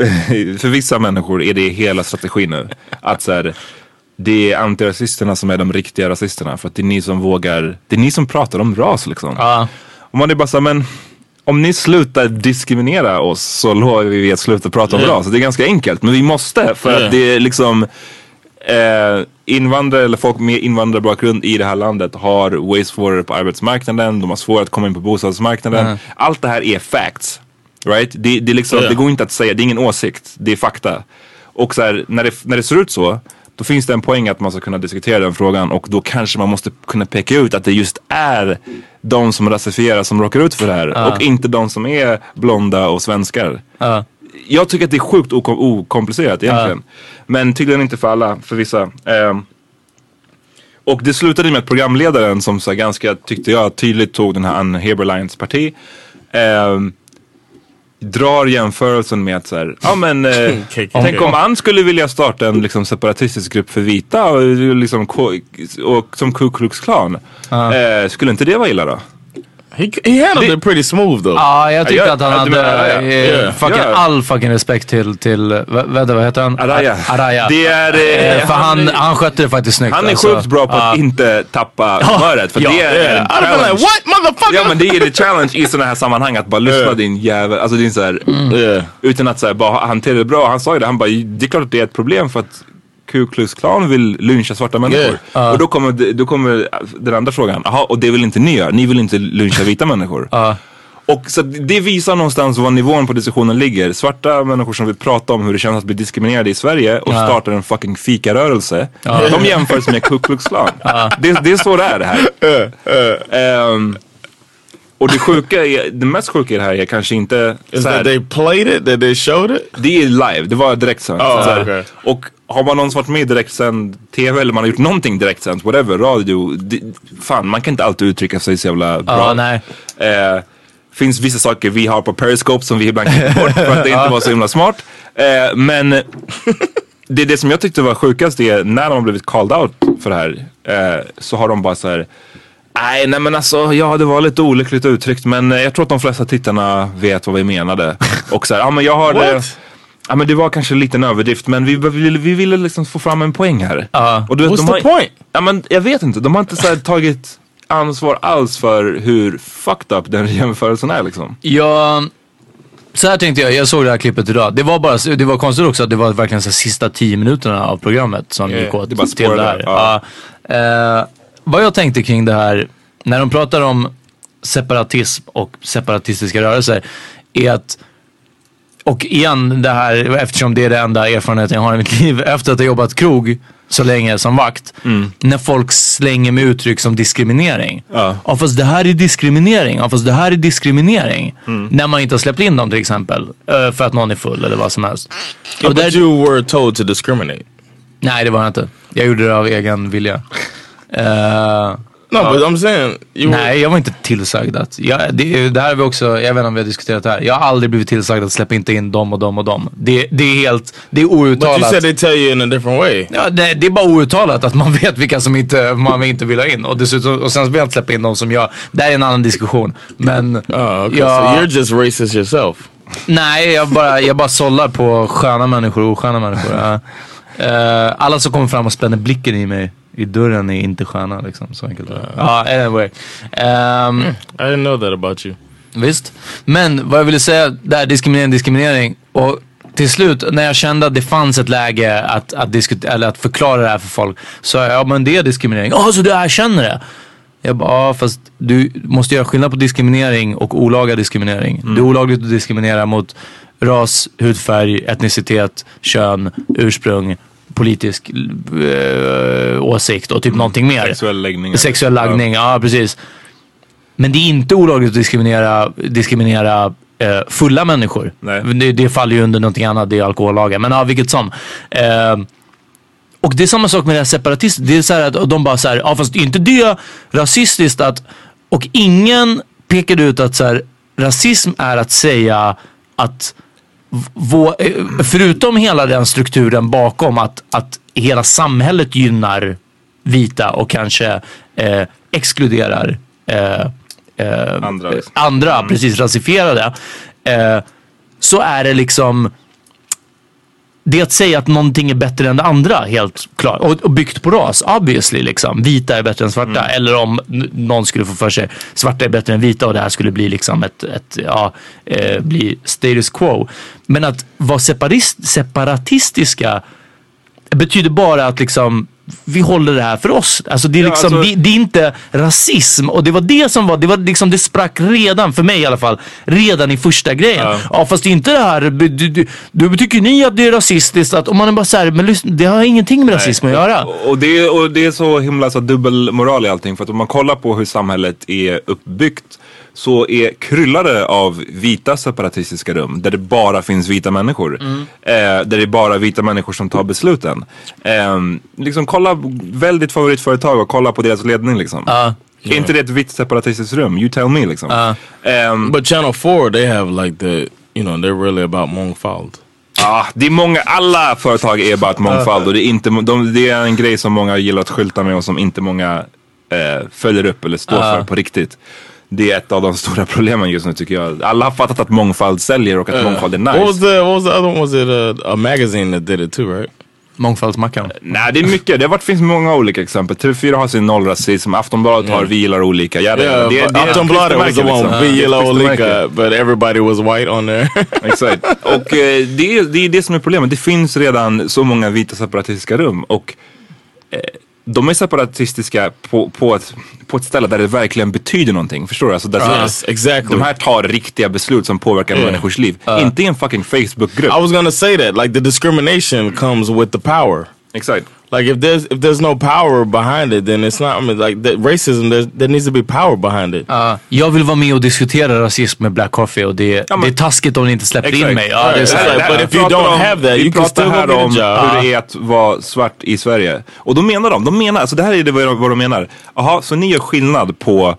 [SPEAKER 4] för vissa människor är det hela strategin nu. Att så här, det är antirasisterna som är de riktiga rasisterna för att det är ni som vågar, det är ni som pratar om ras liksom.
[SPEAKER 6] Ja.
[SPEAKER 4] Och man är bara så här, men Om ni slutar diskriminera oss så lovar vi att sluta prata om
[SPEAKER 9] Ja.
[SPEAKER 4] ras. Det är ganska enkelt, men vi måste för
[SPEAKER 9] Ja.
[SPEAKER 4] att det är liksom eh, invandrare eller folk med invandrarbakgrund i det här landet har way svårare på arbetsmarknaden, de har svårare att komma in på bostadsmarknaden.
[SPEAKER 9] Mm.
[SPEAKER 4] Allt det här är facts. Right? Det, det, är liksom,
[SPEAKER 9] Ja.
[SPEAKER 4] det går inte att säga, det är ingen åsikt, det är fakta. Och så här, när, det, när det ser ut så, då finns det en poäng att man ska kunna diskutera den frågan och då kanske man måste kunna peka ut att det just är de som rasifieras som råkar ut för det här
[SPEAKER 9] Ja.
[SPEAKER 4] och inte de som är blonda och svenskar.
[SPEAKER 6] Ja.
[SPEAKER 4] Jag tycker att det är sjukt okom- okomplicerat egentligen. Men tydligen inte för alla, för vissa. Ehm, och det slutade med att programledaren som så här ganska, tyckte jag, tydligt tog den här Ann Heberleins parti. ehm, drar jämförelsen med att så här, ja men eh, tänk om Ann skulle vilja starta en liksom, separatistisk grupp för vita och, liksom, K- och som Ku Klux Klan. Eh, skulle inte det vara illa då?
[SPEAKER 5] He, he handled it pretty smooth though.
[SPEAKER 6] Ja, jag tyckte
[SPEAKER 4] Ja,
[SPEAKER 6] att han
[SPEAKER 4] ja,
[SPEAKER 6] hade
[SPEAKER 4] du menar Araya.
[SPEAKER 6] eh,
[SPEAKER 4] Ja.
[SPEAKER 6] fucking
[SPEAKER 4] Ja.
[SPEAKER 6] all fucking respekt till, till eh, vad- vänta, vad heter han?
[SPEAKER 4] Araya.
[SPEAKER 6] Araya.
[SPEAKER 4] Det är, eh,
[SPEAKER 6] Eh, för han,
[SPEAKER 4] han-
[SPEAKER 6] han, skötte det faktiskt snyggt. alltså.
[SPEAKER 4] Han är sjukt bra på att inte tappa humöret. För
[SPEAKER 6] Typ, Ja.
[SPEAKER 4] det är
[SPEAKER 6] Yeah.
[SPEAKER 4] en
[SPEAKER 6] I'd have been like,
[SPEAKER 4] challenge.
[SPEAKER 6] "What, motherfucker?"
[SPEAKER 4] Ja men det är det challenge i sådana här sammanhang. Att bara lyssna din jävel. Alltså det är så här,
[SPEAKER 6] Mm.
[SPEAKER 4] Utan att så här, bara hantera det bra. Han sa ju det. Han bara, det är klart att det är ett problem för att Ku Klux Klan vill lyncha svarta människor.
[SPEAKER 6] Ja.
[SPEAKER 4] Och då kommer, det- då kommer den andra frågan. Jaha, och det vill inte ni göra? Ni vill inte lyncha vita människor? Och så att det visar någonstans var nivån på diskussionen ligger. Svarta människor som vill prata om hur det känns att bli diskriminerade i Sverige och
[SPEAKER 9] Ja.
[SPEAKER 4] startar en fucking fikarörelse.
[SPEAKER 9] Ja.
[SPEAKER 4] De jämförs med Ku Klux Klan. Det, det är så det är det här. Ehm, och det sjuka, är, det mest sjuka i det här är kanske inte...
[SPEAKER 5] Is that they played it? That they showed it?
[SPEAKER 4] Det är live, det var direktsänt.
[SPEAKER 5] Oh,
[SPEAKER 4] Så här.
[SPEAKER 5] okay.
[SPEAKER 4] Och har man någonsin varit med i direktsänd TV eller man har gjort någonting direktsänt, whatever, radio. Det, fan, man kan inte alltid uttrycka sig så jävla bra.
[SPEAKER 6] Ja, nej.
[SPEAKER 4] Eh, finns vissa saker vi har på Periscope som vi ibland klipper bort för att det inte var så himla smart. Eh, men det, det som jag tyckte var sjukast är när de har blivit called out för det här eh, så har de bara så här Nej, nej men alltså ja det var lite olyckligt uttryckt men eh, jag tror att de flesta tittarna vet vad vi menade. Och så här, ja men jag har det.
[SPEAKER 9] What?
[SPEAKER 4] Ja men det var kanske en liten överdrift men vi, vi, ville- vi ville liksom få fram en poäng här. Och du vet,
[SPEAKER 9] What's
[SPEAKER 4] de
[SPEAKER 9] the
[SPEAKER 4] har, point? Ja men jag vet inte, de har inte så här, tagit ansvar alls för hur fucked up den jämförelsen är liksom.
[SPEAKER 6] Jag, så här tänkte jag, jag såg det här klippet idag. Det var, bara, det var konstigt också att det var verkligen så här sista tio minuterna av programmet som
[SPEAKER 4] Yeah,
[SPEAKER 6] gick åt
[SPEAKER 4] Eh, det bara
[SPEAKER 6] till det här.
[SPEAKER 4] spårade, ja.
[SPEAKER 6] Ja. Eh, vad jag tänkte kring det här, när de pratar om separatism och separatistiska rörelser, är att och igen det här, eftersom det är den enda erfarenheten jag har i mitt liv, efter att ha jobbat krog så länge som vakt, när folk slänger med uttryck som diskriminering. Ja. fast det här är diskriminering. Ja, fast det här är diskriminering. När man inte har släppt in dem till exempel. eh, För att någon är full eller vad som helst.
[SPEAKER 5] Yeah, but you were told to discriminate.
[SPEAKER 6] Nej, det var jag inte. Jag gjorde det av egen vilja. Eh,
[SPEAKER 5] No, but I'm saying. You
[SPEAKER 6] Nej, jag var inte tillsagd att. Jag, det, det här är vi också, jag vet inte om vi har diskuterat det här. Jag har aldrig blivit tillsagd att släpp inte in dem och dem och dem. Det, det är helt, det är
[SPEAKER 5] But you
[SPEAKER 6] outtalat.
[SPEAKER 5] said they tell you in a different way.
[SPEAKER 6] Ja, det, det är bara outtalat att man vet vilka som inte, man inte vill ha in. Och, dessutom, och sen vill jag inte släppa in de som jag, det här är en annan diskussion. Men
[SPEAKER 5] Okay,
[SPEAKER 6] jag,
[SPEAKER 5] so you're just racist yourself.
[SPEAKER 6] nej, jag bara, jag bara sållar på sköna människor och osköna människor. Ja. Eh, alla som kommer fram och spänner blicken i mig i dörren är inte sköna liksom. Så enkelt är det. Ja, anyway. Ehm,
[SPEAKER 5] I didn't know that about you.
[SPEAKER 6] Visst. Men vad jag ville säga, där diskriminering, diskriminering. Och till slut när jag kände att det fanns ett läge att, att, diskutera, eller att förklara det här för folk. Så jag, ja men det är diskriminering. Ja, så du erkänner det? Jag bara, ja fast du måste göra skillnad på diskriminering och olaga diskriminering. Det är olagligt att diskriminera mot ras, hudfärg, etnicitet, kön, ursprung, politisk eh, åsikt och typ någonting mer.
[SPEAKER 4] Sexuell läggning.
[SPEAKER 6] Sexuell laggning, ja. precis. Men det är inte olagligt att diskriminera, diskriminera eh, fulla människor. Det, det faller ju under någonting annat, det är alkohollagen. Men ja, vilket som. Eh, och det är samma sak med det här separatist. Det är så här att och de bara så här, ja fast är inte det rasistiskt att... Och ingen pekade ut att så här, rasism är att säga att vå, eh, förutom hela den strukturen bakom att, att hela samhället gynnar vita och kanske eh, exkluderar eh, eh,
[SPEAKER 4] Andra, liksom.
[SPEAKER 6] andra precis rasifierade. Eh, så är det liksom det att säga att någonting är bättre än det andra, helt klart. Och, och byggt på ras, obviously. Liksom. Vita är bättre än svarta. Eller om n- någon skulle få för sig svarta är bättre än vita och det här skulle bli liksom ett, ett ja, eh, bli status quo. Men att vara separist, separatistiska betyder bara att liksom vi håller det här för oss. Alltså det, är
[SPEAKER 4] Ja,
[SPEAKER 6] liksom,
[SPEAKER 4] alltså-
[SPEAKER 6] det, det är inte rasism. Och det var det som var, det var liksom, det sprack redan, för mig i alla fall, redan i första grejen. Ja, fast det är inte det här, du, du, du tycker ni att det är rasistiskt? Att, och man är bara såhär, men lyssna, det har ingenting med rasism att göra.
[SPEAKER 4] Och det, är, och det är så himla så dubbelmoral i allting. För att om man kollar på hur samhället är uppbyggt så är kryllade av vita separatistiska rum där det bara finns vita människor.
[SPEAKER 5] Mm.
[SPEAKER 4] Eh, där det är bara vita människor som tar besluten. Eh, liksom kolla, välj ditt favoritföretag och kolla på deras ledning liksom. Är inte det ett vitt separatistiskt rum? You tell me liksom.
[SPEAKER 5] but Channel 4, they have like the, you know, they're really about mångfald.
[SPEAKER 4] Ja, Ah, det är många, alla företag är bara ett mångfald och det är, inte, de, det är en grej som många gillar att skylta med och som inte många eh, följer upp eller står
[SPEAKER 5] Ja.
[SPEAKER 4] för på riktigt. Det är ett av de stora problemen just nu tycker jag. Alla har fattat att mångfald säljer och att
[SPEAKER 5] Uh,
[SPEAKER 4] mångfald är
[SPEAKER 5] What was
[SPEAKER 4] nice.
[SPEAKER 5] the What was the other one? Was it a, a magazine that did it too, right?
[SPEAKER 6] Mångfaldsmackan.
[SPEAKER 4] Nej, det är mycket. Det har varit, finns många olika exempel. TV4 har sin nollrasism, Aftonbladet har vi gillar olika. Ja, det,
[SPEAKER 5] Yeah,
[SPEAKER 4] det,
[SPEAKER 5] but Aftonbladet was the one.
[SPEAKER 4] liksom.
[SPEAKER 5] Vi gillar olika, but everybody was white on there.
[SPEAKER 4] Exakt. Och eh, det är, det är det som är problemet. Det finns redan så många vita separatistiska rum. Och eh, de är separatistiska på, på, ett, på ett ställe där det verkligen betyder någonting. Förstår du? Alltså, där
[SPEAKER 5] Yes, exactly.
[SPEAKER 4] De här tar riktiga beslut som påverkar
[SPEAKER 5] Yeah.
[SPEAKER 4] människors liv.
[SPEAKER 5] Uh.
[SPEAKER 4] Inte i en fucking Facebook-grupp.
[SPEAKER 5] I was gonna say that like the discrimination comes with the power.
[SPEAKER 4] Exactly.
[SPEAKER 5] Like if there's if there's no power behind it, then it's not. I mean, like the racism, there's, there needs to be power behind it.
[SPEAKER 6] Ja, jag vill vara med och diskutera rasism med Black Coffee och det, det är taskigt om ni inte släpper in mig. Ja, det är så här.
[SPEAKER 4] vi pratar här om hur det är att vara svart i Sverige. Och då menar de, de menar, alltså det här är det vad de, vad de menar. Jaha, så ni gör skillnad på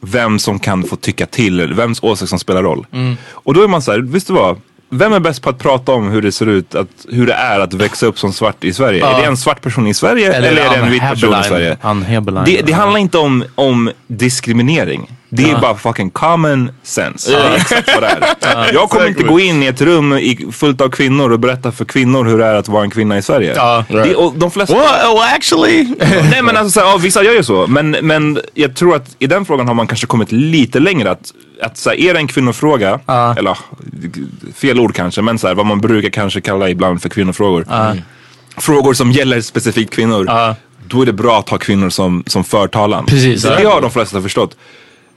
[SPEAKER 4] vem som kan få tycka till, eller vems åsikt som spelar roll. Mm. Och då är man så här, visst du vad? Vem är bäst på att prata om hur det ser ut, att, hur det är att växa upp som svart i Sverige?
[SPEAKER 6] Ja.
[SPEAKER 4] Är det en svart person i Sverige eller, är det en
[SPEAKER 6] Ann
[SPEAKER 4] vit person i
[SPEAKER 6] Heberlein.
[SPEAKER 4] Sverige?
[SPEAKER 6] Ann Heberlein.
[SPEAKER 4] Det, det handlar inte om, om diskriminering. Det är
[SPEAKER 6] Ja.
[SPEAKER 4] bara fucking common sense.
[SPEAKER 6] Ja.
[SPEAKER 4] Det är exakt vad det
[SPEAKER 6] Ja.
[SPEAKER 4] är. Jag kommer inte
[SPEAKER 6] Exactly.
[SPEAKER 4] gå in i ett rum i, fullt av kvinnor och berätta för kvinnor hur det är att vara en kvinna i Sverige.
[SPEAKER 5] Ja.
[SPEAKER 4] Det, och de flesta...
[SPEAKER 5] Well, well, actually.
[SPEAKER 4] Nej men alltså såhär, ja, vissa gör ju så. Men, men jag tror att i den frågan har man kanske kommit lite längre. Att, att så här, är det en kvinnofråga, eller ah, fel ord kanske, men så här, vad man brukar kanske kalla ibland för kvinnofrågor. Frågor som gäller specifikt kvinnor. Då är det bra att ha kvinnor som, som förtalan.
[SPEAKER 6] Precis.
[SPEAKER 4] Det har de flesta förstått.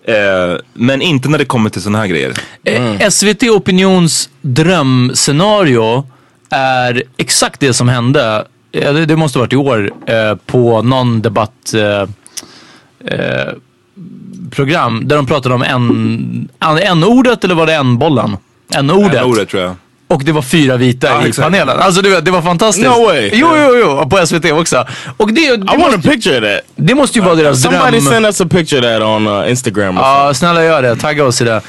[SPEAKER 4] Eh, men inte när det kommer till sådana här grejer.
[SPEAKER 5] Mm.
[SPEAKER 6] Eh, SVT Opinions drömscenario är exakt det som hände, eh, det, det måste ha varit i år, eh, på någon debatt eh, eh, program där de pratade om en, an- n-ordet eller var det n-bollen? N-ordet.
[SPEAKER 4] N-ordet tror jag.
[SPEAKER 6] Och det var fyra vita
[SPEAKER 4] Ja,
[SPEAKER 6] i
[SPEAKER 4] exakt.
[SPEAKER 6] panelen. Alltså du vet, det var fantastiskt.
[SPEAKER 5] No way.
[SPEAKER 6] Jo, jo, jo. På SVT också. Och det, det
[SPEAKER 5] I want a picture of that.
[SPEAKER 6] Det måste ju vara deras
[SPEAKER 5] Somebody
[SPEAKER 6] dröm.
[SPEAKER 5] send us a picture of that on uh, Instagram.
[SPEAKER 6] Ja, snälla gör det. Tagga oss i det.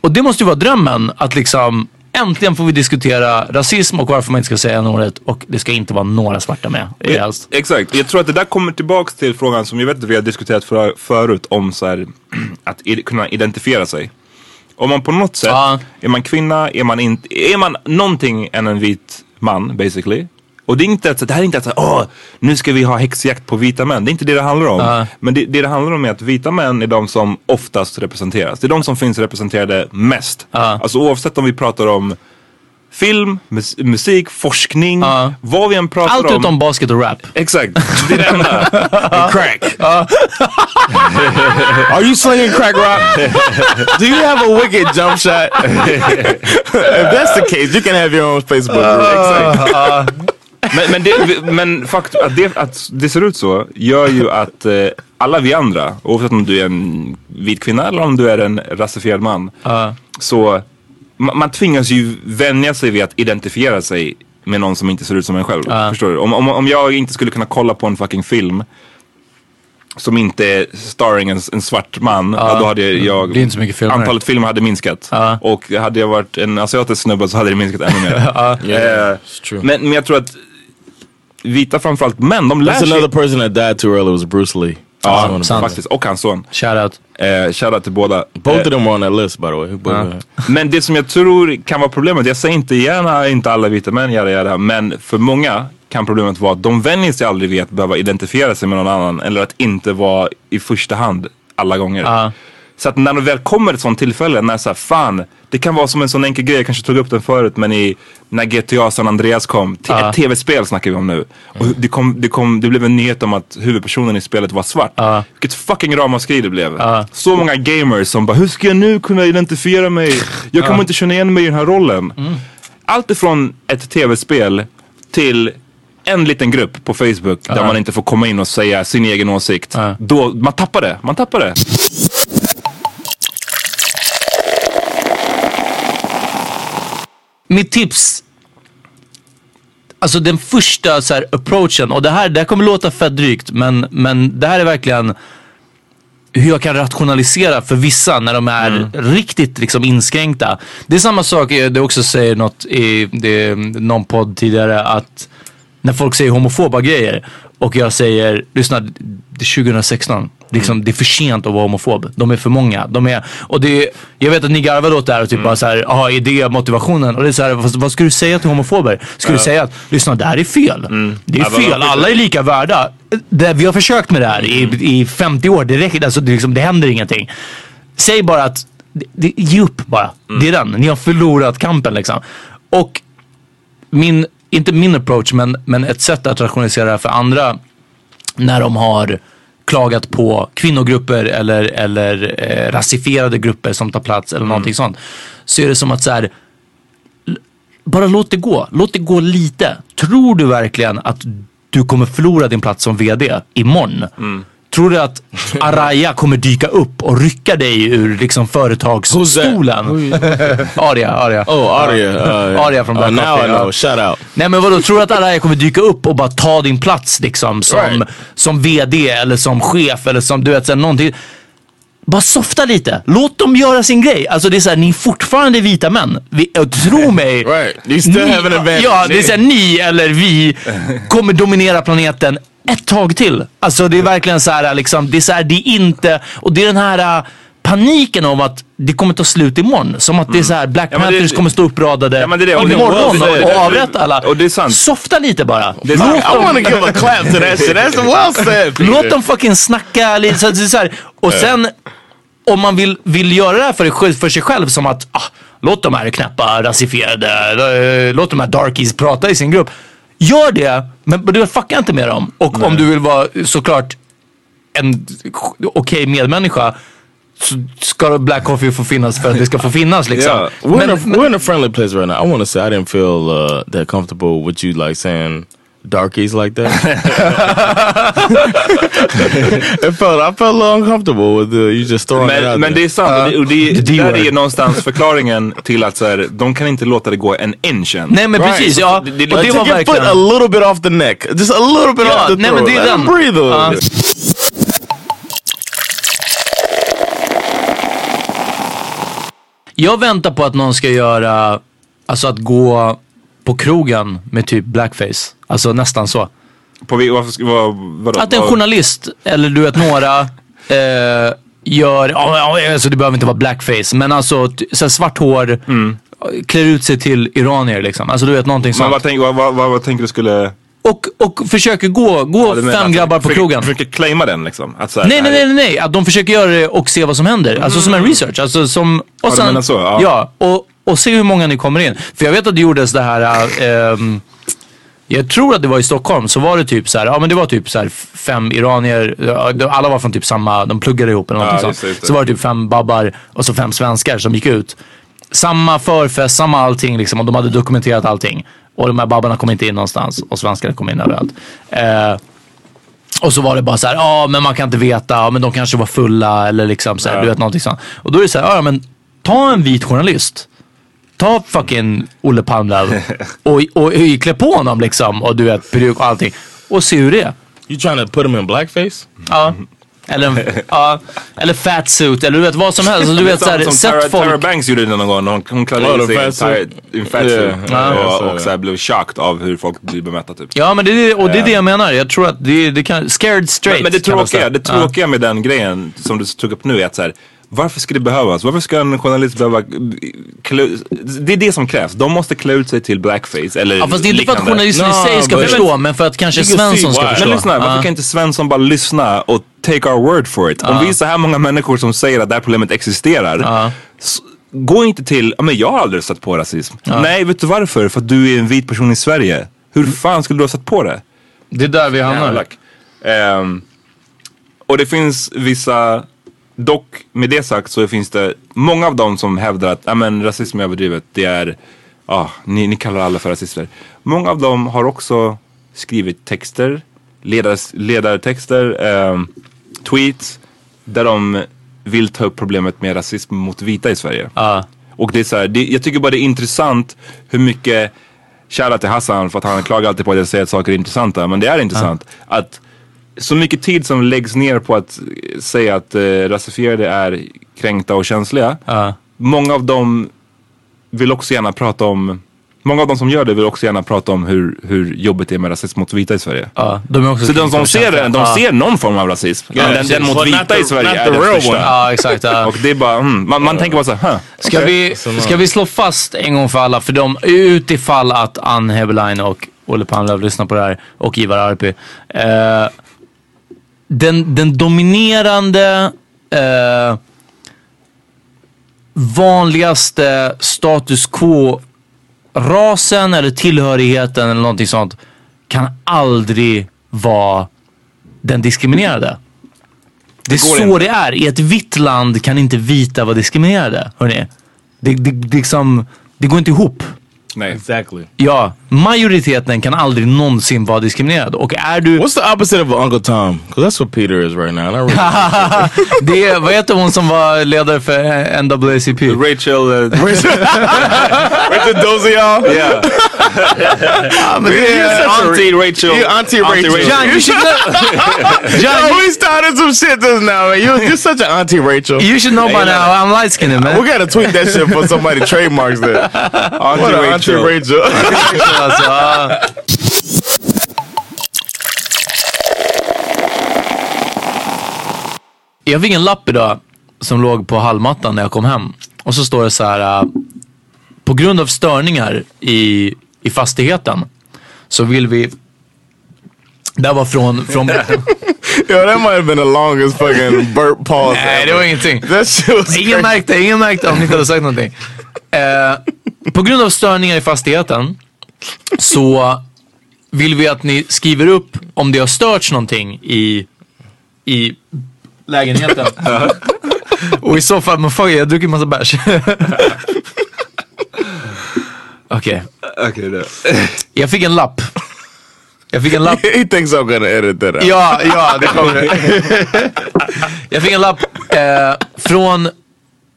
[SPEAKER 6] Och det måste ju vara drömmen att liksom äntligen får vi diskutera rasism och varför man inte ska säga n-ordet och det ska inte vara några svarta med.
[SPEAKER 4] Ja, Exakt, jag tror att det där kommer tillbaks till frågan som jag vet att vi har diskuterat för, förut om så här, att i, kunna identifiera sig. Om man på något sätt, är man kvinna, är man, inte är man någonting än en vit man basically. Och det, är inte, att- det här är inte att så här, åh, nu ska vi ha häxjakt på vita män. Det är inte det det handlar om.
[SPEAKER 5] Ja.
[SPEAKER 4] Men det, det det handlar om är att vita män är de som oftast representeras. Det är de som finns representerade mest. Alltså oavsett om vi pratar om film, mus- musik, forskning, vad vi än pratar om.
[SPEAKER 6] Allt utom basket och rap.
[SPEAKER 4] Exakt, det är det enda. And Crack.
[SPEAKER 5] Are you slinging crack rock? Do you have a wicked jump shot? if that's the case, you can have your own Facebook group.
[SPEAKER 4] Exakt. Men, men, det, men faktum att det, att det ser ut så gör ju att eh, alla vi andra, oavsett om du är en vit kvinna eller om du är en rasifierad man, så ma- man tvingas ju vänja sig vid att identifiera sig med någon som inte ser ut som en själv. Förstår du? Om, om, om jag inte skulle kunna kolla på en fucking film som inte är starring en, en svart man, ja, då hade jag...
[SPEAKER 6] Det är inte så mycket filmer.
[SPEAKER 4] Antalet filmer hade minskat. Och hade jag varit en asiatisk snubbe så hade det minskat ännu mer. Eh, men, men jag tror att vita framförallt män, de lär
[SPEAKER 5] That's
[SPEAKER 4] sig...
[SPEAKER 5] another person that died too early was Bruce Lee. Uh,
[SPEAKER 4] Ja, faktiskt. Och hans son.
[SPEAKER 6] Shoutout.
[SPEAKER 4] Eh, shoutout till båda.
[SPEAKER 5] Both of them were on that list by the way. But, uh,
[SPEAKER 4] Ja. Men det som jag tror kan vara problemet, jag säger inte gärna inte alla vita män, yada, yada, men för många kan problemet vara att de vänjer sig aldrig vid att behöva identifiera sig med någon annan eller att inte vara i första hand alla gånger. Så att när det väl kommer ett sånt tillfälle, när så här, fan, det kan vara som en sån enkel grej, jag kanske tog upp den förut, men i, när GTA San Andreas kom, t- ett tv-spel snackar vi om nu. Och det, kom, det, kom, det blev en nyhet om att huvudpersonen i spelet var svart. Vilket fucking ramaskri det blev. Så många gamers som bara, hur ska jag nu kunna identifiera mig? Jag kommer
[SPEAKER 6] Ja.
[SPEAKER 4] inte känna igen mig i den här rollen. Allt ifrån ett tv-spel till en liten grupp på Facebook där man inte får komma in och säga sin egen åsikt. Då, man tappar det. Man tappar det.
[SPEAKER 6] Mitt tips. Alltså den första så här, approachen. Och det här, det här kommer låta fett drygt. Men, men det här är verkligen hur jag kan rationalisera för vissa när de är riktigt liksom inskränkta. Det är samma sak, eh, det också säger något i det, någon podd tidigare att när folk säger homofoba grejer och jag säger, lyssna, det är 2016. Liksom,
[SPEAKER 4] Mm.
[SPEAKER 6] Det är för sent att vara homofob. De är för många. De är, och det är, jag vet att ni garvade åt det här och typ
[SPEAKER 4] Mm.
[SPEAKER 6] bara så här, ja är det motivationen? Och det är så här, vad, vad ska du säga till homofober?
[SPEAKER 4] Ja.
[SPEAKER 6] Ska du
[SPEAKER 4] Mm.
[SPEAKER 6] säga att, lyssna det här är fel. Det är
[SPEAKER 4] Ja, vad- Mm.
[SPEAKER 6] fel, alla är lika värda. Det, vi har försökt med det här i, i 50 år, det räcker alltså, det, liksom, det händer ingenting. Säg bara att, det- det, ge upp bara.
[SPEAKER 4] Mm.
[SPEAKER 6] Det är den, ni har förlorat kampen liksom. Och min, inte min approach, men, men ett sätt att rationalisera för andra när de har klagat på kvinnogrupper eller, eller eh, rasifierade grupper som tar plats eller någonting sånt. Så är det som att så här, l- bara låt det gå. Låt det gå lite. Tror du verkligen att du kommer förlora din plats som vd imorgon? Tror du att Araya kommer dyka upp och rycka dig ur liksom företagsstolen? Aria, Aria.
[SPEAKER 5] oh, Aria. Uh,
[SPEAKER 6] Aria från Black
[SPEAKER 5] uh, Now
[SPEAKER 6] Coffee,
[SPEAKER 5] I
[SPEAKER 6] ja.
[SPEAKER 5] know. Shout out.
[SPEAKER 6] Nej men vadå, tror du att Araya kommer dyka upp och bara ta din plats liksom som,
[SPEAKER 5] Right.
[SPEAKER 6] som VD eller som chef eller som du vet såhär, någonting. Bara softa lite. Låt dem göra sin grej. Alltså det är såhär, ni är fortfarande vita män. Vi, och tro mig.
[SPEAKER 5] Right. You still have an advantage.
[SPEAKER 6] Ja, det är såhär, ni eller vi kommer dominera planeten ett tag till. Alltså det är verkligen så här, liksom, det är så här, det är inte, och det är den här äh, paniken om att det kommer ta slut imorgon. Som att det är så här, Black
[SPEAKER 4] Ja, men det-
[SPEAKER 6] Panthers kommer stå uppradade
[SPEAKER 4] Ja, men det är det. Och det-
[SPEAKER 6] imorgon
[SPEAKER 4] och det-
[SPEAKER 6] och, och avrätta alla.
[SPEAKER 4] och det är sant.
[SPEAKER 6] Softa lite bara.
[SPEAKER 4] Det är sant.
[SPEAKER 6] låt,
[SPEAKER 5] I want
[SPEAKER 6] dem,
[SPEAKER 5] to give a clap to that shit. That's well
[SPEAKER 4] eh,
[SPEAKER 5] said. Peter.
[SPEAKER 6] låt dem fucking snacka lite. Så, att det är så här. Och sen om man vill, vill göra det här för, sig själv- för sig själv som att ah, låt de här knäppa, rasifierade, eh, låt de här darkies prata i sin grupp. Gör det, men men du fuckar inte med dem. Och om du vill vara såklart en okej medmänniska så ska Black Coffee få finnas för att det ska få finnas liksom.
[SPEAKER 4] Ja.
[SPEAKER 5] We're, in a, we're in a friendly place right now. I want to say I didn't feel uh, that comfortable with you like saying darkies like that. it felt I felt a little uncomfortable with uh, you just throwing it out
[SPEAKER 4] Men, men det
[SPEAKER 5] there.
[SPEAKER 4] är sant. och det, och det,
[SPEAKER 6] the D-word.
[SPEAKER 4] där är någonstans förklaringen till att så här, de kan inte låta det gå en inch än.
[SPEAKER 6] Nej men
[SPEAKER 5] Right.
[SPEAKER 6] precis,
[SPEAKER 5] Så
[SPEAKER 6] ja.
[SPEAKER 4] det- typ- det-
[SPEAKER 6] och det
[SPEAKER 5] Like, uh,
[SPEAKER 6] var
[SPEAKER 5] take your foot
[SPEAKER 6] verkligen...
[SPEAKER 5] a little bit off the neck, just a little bit
[SPEAKER 6] Ja,
[SPEAKER 5] off the
[SPEAKER 6] nej, men
[SPEAKER 5] throat.
[SPEAKER 6] det är
[SPEAKER 5] Let
[SPEAKER 6] den.
[SPEAKER 5] him breathe a little
[SPEAKER 6] Ja.
[SPEAKER 5] bit.
[SPEAKER 6] Jag väntar på att någon ska göra, alltså att gå på krogen med typ blackface. Alltså nästan så.
[SPEAKER 4] På, vi- varför, ska- vad, vadå,
[SPEAKER 6] Att en
[SPEAKER 4] Vad-
[SPEAKER 6] journalist, eller du vet några, eh, gör, ja, ja, alltså det behöver inte vara blackface, men alltså t- så här svart hår, klär ut sig till iranier liksom. Alltså du vet någonting
[SPEAKER 4] Mm. Men
[SPEAKER 6] sånt.
[SPEAKER 4] vad, tänk, vad, vad, vad, vad tänker du skulle...
[SPEAKER 6] Och, och försöker gå, gå
[SPEAKER 4] du
[SPEAKER 6] fem
[SPEAKER 4] menar att-
[SPEAKER 6] grabbar på
[SPEAKER 4] försöker-
[SPEAKER 6] krogen.
[SPEAKER 4] Försöker claima den liksom. Att, så här,
[SPEAKER 6] Nej, nej,
[SPEAKER 4] det här
[SPEAKER 6] nej, nej, nej. Att de försöker göra det och se vad som händer. Alltså som en research. Alltså som... Och
[SPEAKER 4] Ja, du menar så, ja.
[SPEAKER 6] och, och se hur många ni kommer in. För jag vet att det gjordes det här... Äh, ehm, jag tror att det var i Stockholm, så var det typ så här, ja men det var typ så här f- fem iranier, ja, de- alla var från typ samma, de pluggade ihop eller någonting
[SPEAKER 4] Ja,
[SPEAKER 6] sånt.
[SPEAKER 4] just det, just det.
[SPEAKER 6] Så var det typ fem babbar och så fem svenskar som gick ut. Samma förfest, samma allting liksom och de hade dokumenterat allting. Och de här babbarna kom inte in någonstans och svenskarna kom in överallt. Eh, och så var det bara så här, ja men man kan inte veta, ja, men de kanske var fulla eller liksom så här, du vet någonting sånt. Och då är det så här, ja men ta en vit journalist. Ta fucking Olle Palmlöv och, och, och, klä på honom liksom och du vet peruk och allting. Och se hur det är.
[SPEAKER 5] You trying to put him in blackface?
[SPEAKER 6] Ja. Eller, en- ja, eller fat suit, eller du vet vad som helst. Alltså, Du
[SPEAKER 4] Det är
[SPEAKER 6] vet, så här,
[SPEAKER 4] som
[SPEAKER 6] sätt
[SPEAKER 4] Tara,
[SPEAKER 6] folk...
[SPEAKER 4] Tara Banks gjorde det någon gång. Hon, hon klädde
[SPEAKER 6] Ja,
[SPEAKER 4] in
[SPEAKER 6] det
[SPEAKER 4] sig i en
[SPEAKER 6] fancy.
[SPEAKER 4] tight- i en fancy
[SPEAKER 6] Yeah. Ja. Ja,
[SPEAKER 4] och,
[SPEAKER 6] så är det.
[SPEAKER 4] och så här blev chockad av hur folk blir bemötta. Typ.
[SPEAKER 6] Ja, men det är, och det är det jag menar. Jag tror att det, det kan... Scared straight
[SPEAKER 4] Men, men det
[SPEAKER 6] kan man
[SPEAKER 4] tråkiga,
[SPEAKER 6] säga.
[SPEAKER 4] det
[SPEAKER 6] Ja.
[SPEAKER 4] tråkiga med den grejen som du tog upp nu är att så här, varför ska det behövas? Varför ska en journalist behöva eh, klä, Det är det som krävs. De måste klä ut sig till blackface eller
[SPEAKER 6] Ja, fast det är inte för att
[SPEAKER 4] liknande.
[SPEAKER 6] journalisten i sig ska förstå, men för att kanske
[SPEAKER 4] You can
[SPEAKER 6] Svensson
[SPEAKER 4] see
[SPEAKER 6] ska
[SPEAKER 4] why.
[SPEAKER 6] förstå.
[SPEAKER 4] Men lyssna, varför
[SPEAKER 6] Ja.
[SPEAKER 4] kan inte Svensson bara lyssna och take our word for it? Om
[SPEAKER 6] Ja.
[SPEAKER 4] vi är så här många människor som säger att det här problemet existerar, s- gå inte till, "Ja, men jag har aldrig stött på rasism.
[SPEAKER 6] Ja.
[SPEAKER 4] Nej, vet du varför? För att du är en vit person i Sverige. Hur fan skulle du ha stött på det?
[SPEAKER 6] Det är där vi hamnar.
[SPEAKER 4] Ehm, och det finns vissa, dock med det sagt så finns det många av dem som hävdar att "Ja, men rasism är överdrivet. Det är, ah, ni, ni kallar alla för rasister. Många av dem har också skrivit texter, ledars, ledartexter, ehm, tweets där de vill ta upp problemet med rasism mot vita i Sverige. Och det är så här, det, jag tycker bara det är intressant hur mycket Shoutout till Hassan för att han klagar alltid på att jag säger att saker är intressanta. Men det är intressant. Att så mycket tid som läggs ner på att eh, säga att eh, rasifierade är kränkta och känsliga. Många av dem vill också gärna prata om Många av de som gör det vill också gärna prata om hur, hur jobbigt det är med rasism mot vita i Sverige.
[SPEAKER 6] de är också
[SPEAKER 4] så de
[SPEAKER 6] kränkta
[SPEAKER 4] som
[SPEAKER 6] och
[SPEAKER 4] ser
[SPEAKER 6] känsliga.
[SPEAKER 4] det, de
[SPEAKER 6] Ja.
[SPEAKER 4] ser någon form av rasism.
[SPEAKER 6] Ja,
[SPEAKER 4] men den,
[SPEAKER 6] precis.
[SPEAKER 4] den mot
[SPEAKER 6] Well, not
[SPEAKER 4] vita
[SPEAKER 6] the-
[SPEAKER 4] i Sverige
[SPEAKER 6] not
[SPEAKER 4] är
[SPEAKER 6] the
[SPEAKER 4] den
[SPEAKER 6] real
[SPEAKER 4] största.
[SPEAKER 6] one. Ja, exakt, ja.
[SPEAKER 4] Och det är bara, mm, man, man tänker bara såhär, huh,
[SPEAKER 6] Ska,
[SPEAKER 4] okej.
[SPEAKER 6] vi, ska vi slå fast en gång för alla, för de, utifall att Ann Heberlein och Olle Palmlöv lyssnar på det här, och Ivar Arpi. Eh, den, den dominerande eh, vanligaste status quo-rasen eller tillhörigheten eller någonting sånt kan aldrig vara den diskriminerade. Det är
[SPEAKER 4] Det går
[SPEAKER 6] så
[SPEAKER 4] inte.
[SPEAKER 6] det är. I ett vitt land kan inte vita vara diskriminerade. Hörrni. Det, det, det, liksom, det går inte ihop.
[SPEAKER 4] Nej.
[SPEAKER 5] Exactly.
[SPEAKER 6] Ja, majoriteten kan aldrig någonsin vara diskriminerad. Och är du...
[SPEAKER 5] What's the opposite of Uncle Tom? Because that's what Peter is right now. and I really-
[SPEAKER 6] det är, vad heter hon som var ledare för eh, NAACP?
[SPEAKER 4] Rachel... uh,
[SPEAKER 5] Rachel Dozial?
[SPEAKER 4] Yeah.
[SPEAKER 5] Ah,
[SPEAKER 4] but
[SPEAKER 5] you're
[SPEAKER 4] yeah,
[SPEAKER 5] such a-
[SPEAKER 4] Auntie Rachel.
[SPEAKER 5] You're Auntie
[SPEAKER 4] Auntie
[SPEAKER 5] Rachel.
[SPEAKER 4] Rachel. John,
[SPEAKER 6] you should know- John,
[SPEAKER 5] Yo, we started some shit just now, man. You, you're such an Auntie Rachel.
[SPEAKER 6] You should know by
[SPEAKER 5] Yeah.
[SPEAKER 6] now. I'm light skinned man.
[SPEAKER 5] We gotta tweet that shit for somebody trademarks that.
[SPEAKER 4] Auntie
[SPEAKER 5] What an Auntie
[SPEAKER 4] Rachel.
[SPEAKER 5] Rachel.
[SPEAKER 6] Alltså, ah. Jag fick en lapp idag som låg på hallmattan när jag kom hem. Och så står det så här. eh, På grund av störningar i, i fastigheten så vill vi... Det här var från... från
[SPEAKER 5] Yo, that might have been the longest fucking burp pause.
[SPEAKER 6] Nej, det var ingenting.
[SPEAKER 5] That shit was
[SPEAKER 6] Ingen
[SPEAKER 5] crazy.
[SPEAKER 6] märkte, ingen märkte om ni inte hade sagt någonting. Eh, på grund av störningar i fastigheten så vill vi att ni skriver upp om det har störts någonting i, i lägenheten. Och i så fall, men fuck, jag har druckit massa bärs. Okej,
[SPEAKER 4] Okej, då.
[SPEAKER 6] jag fick en lapp. Jag fick en lapp
[SPEAKER 5] He thinks I'm gonna edit that out.
[SPEAKER 6] Ja, ja, det kommer. Jag fick en lapp eh, från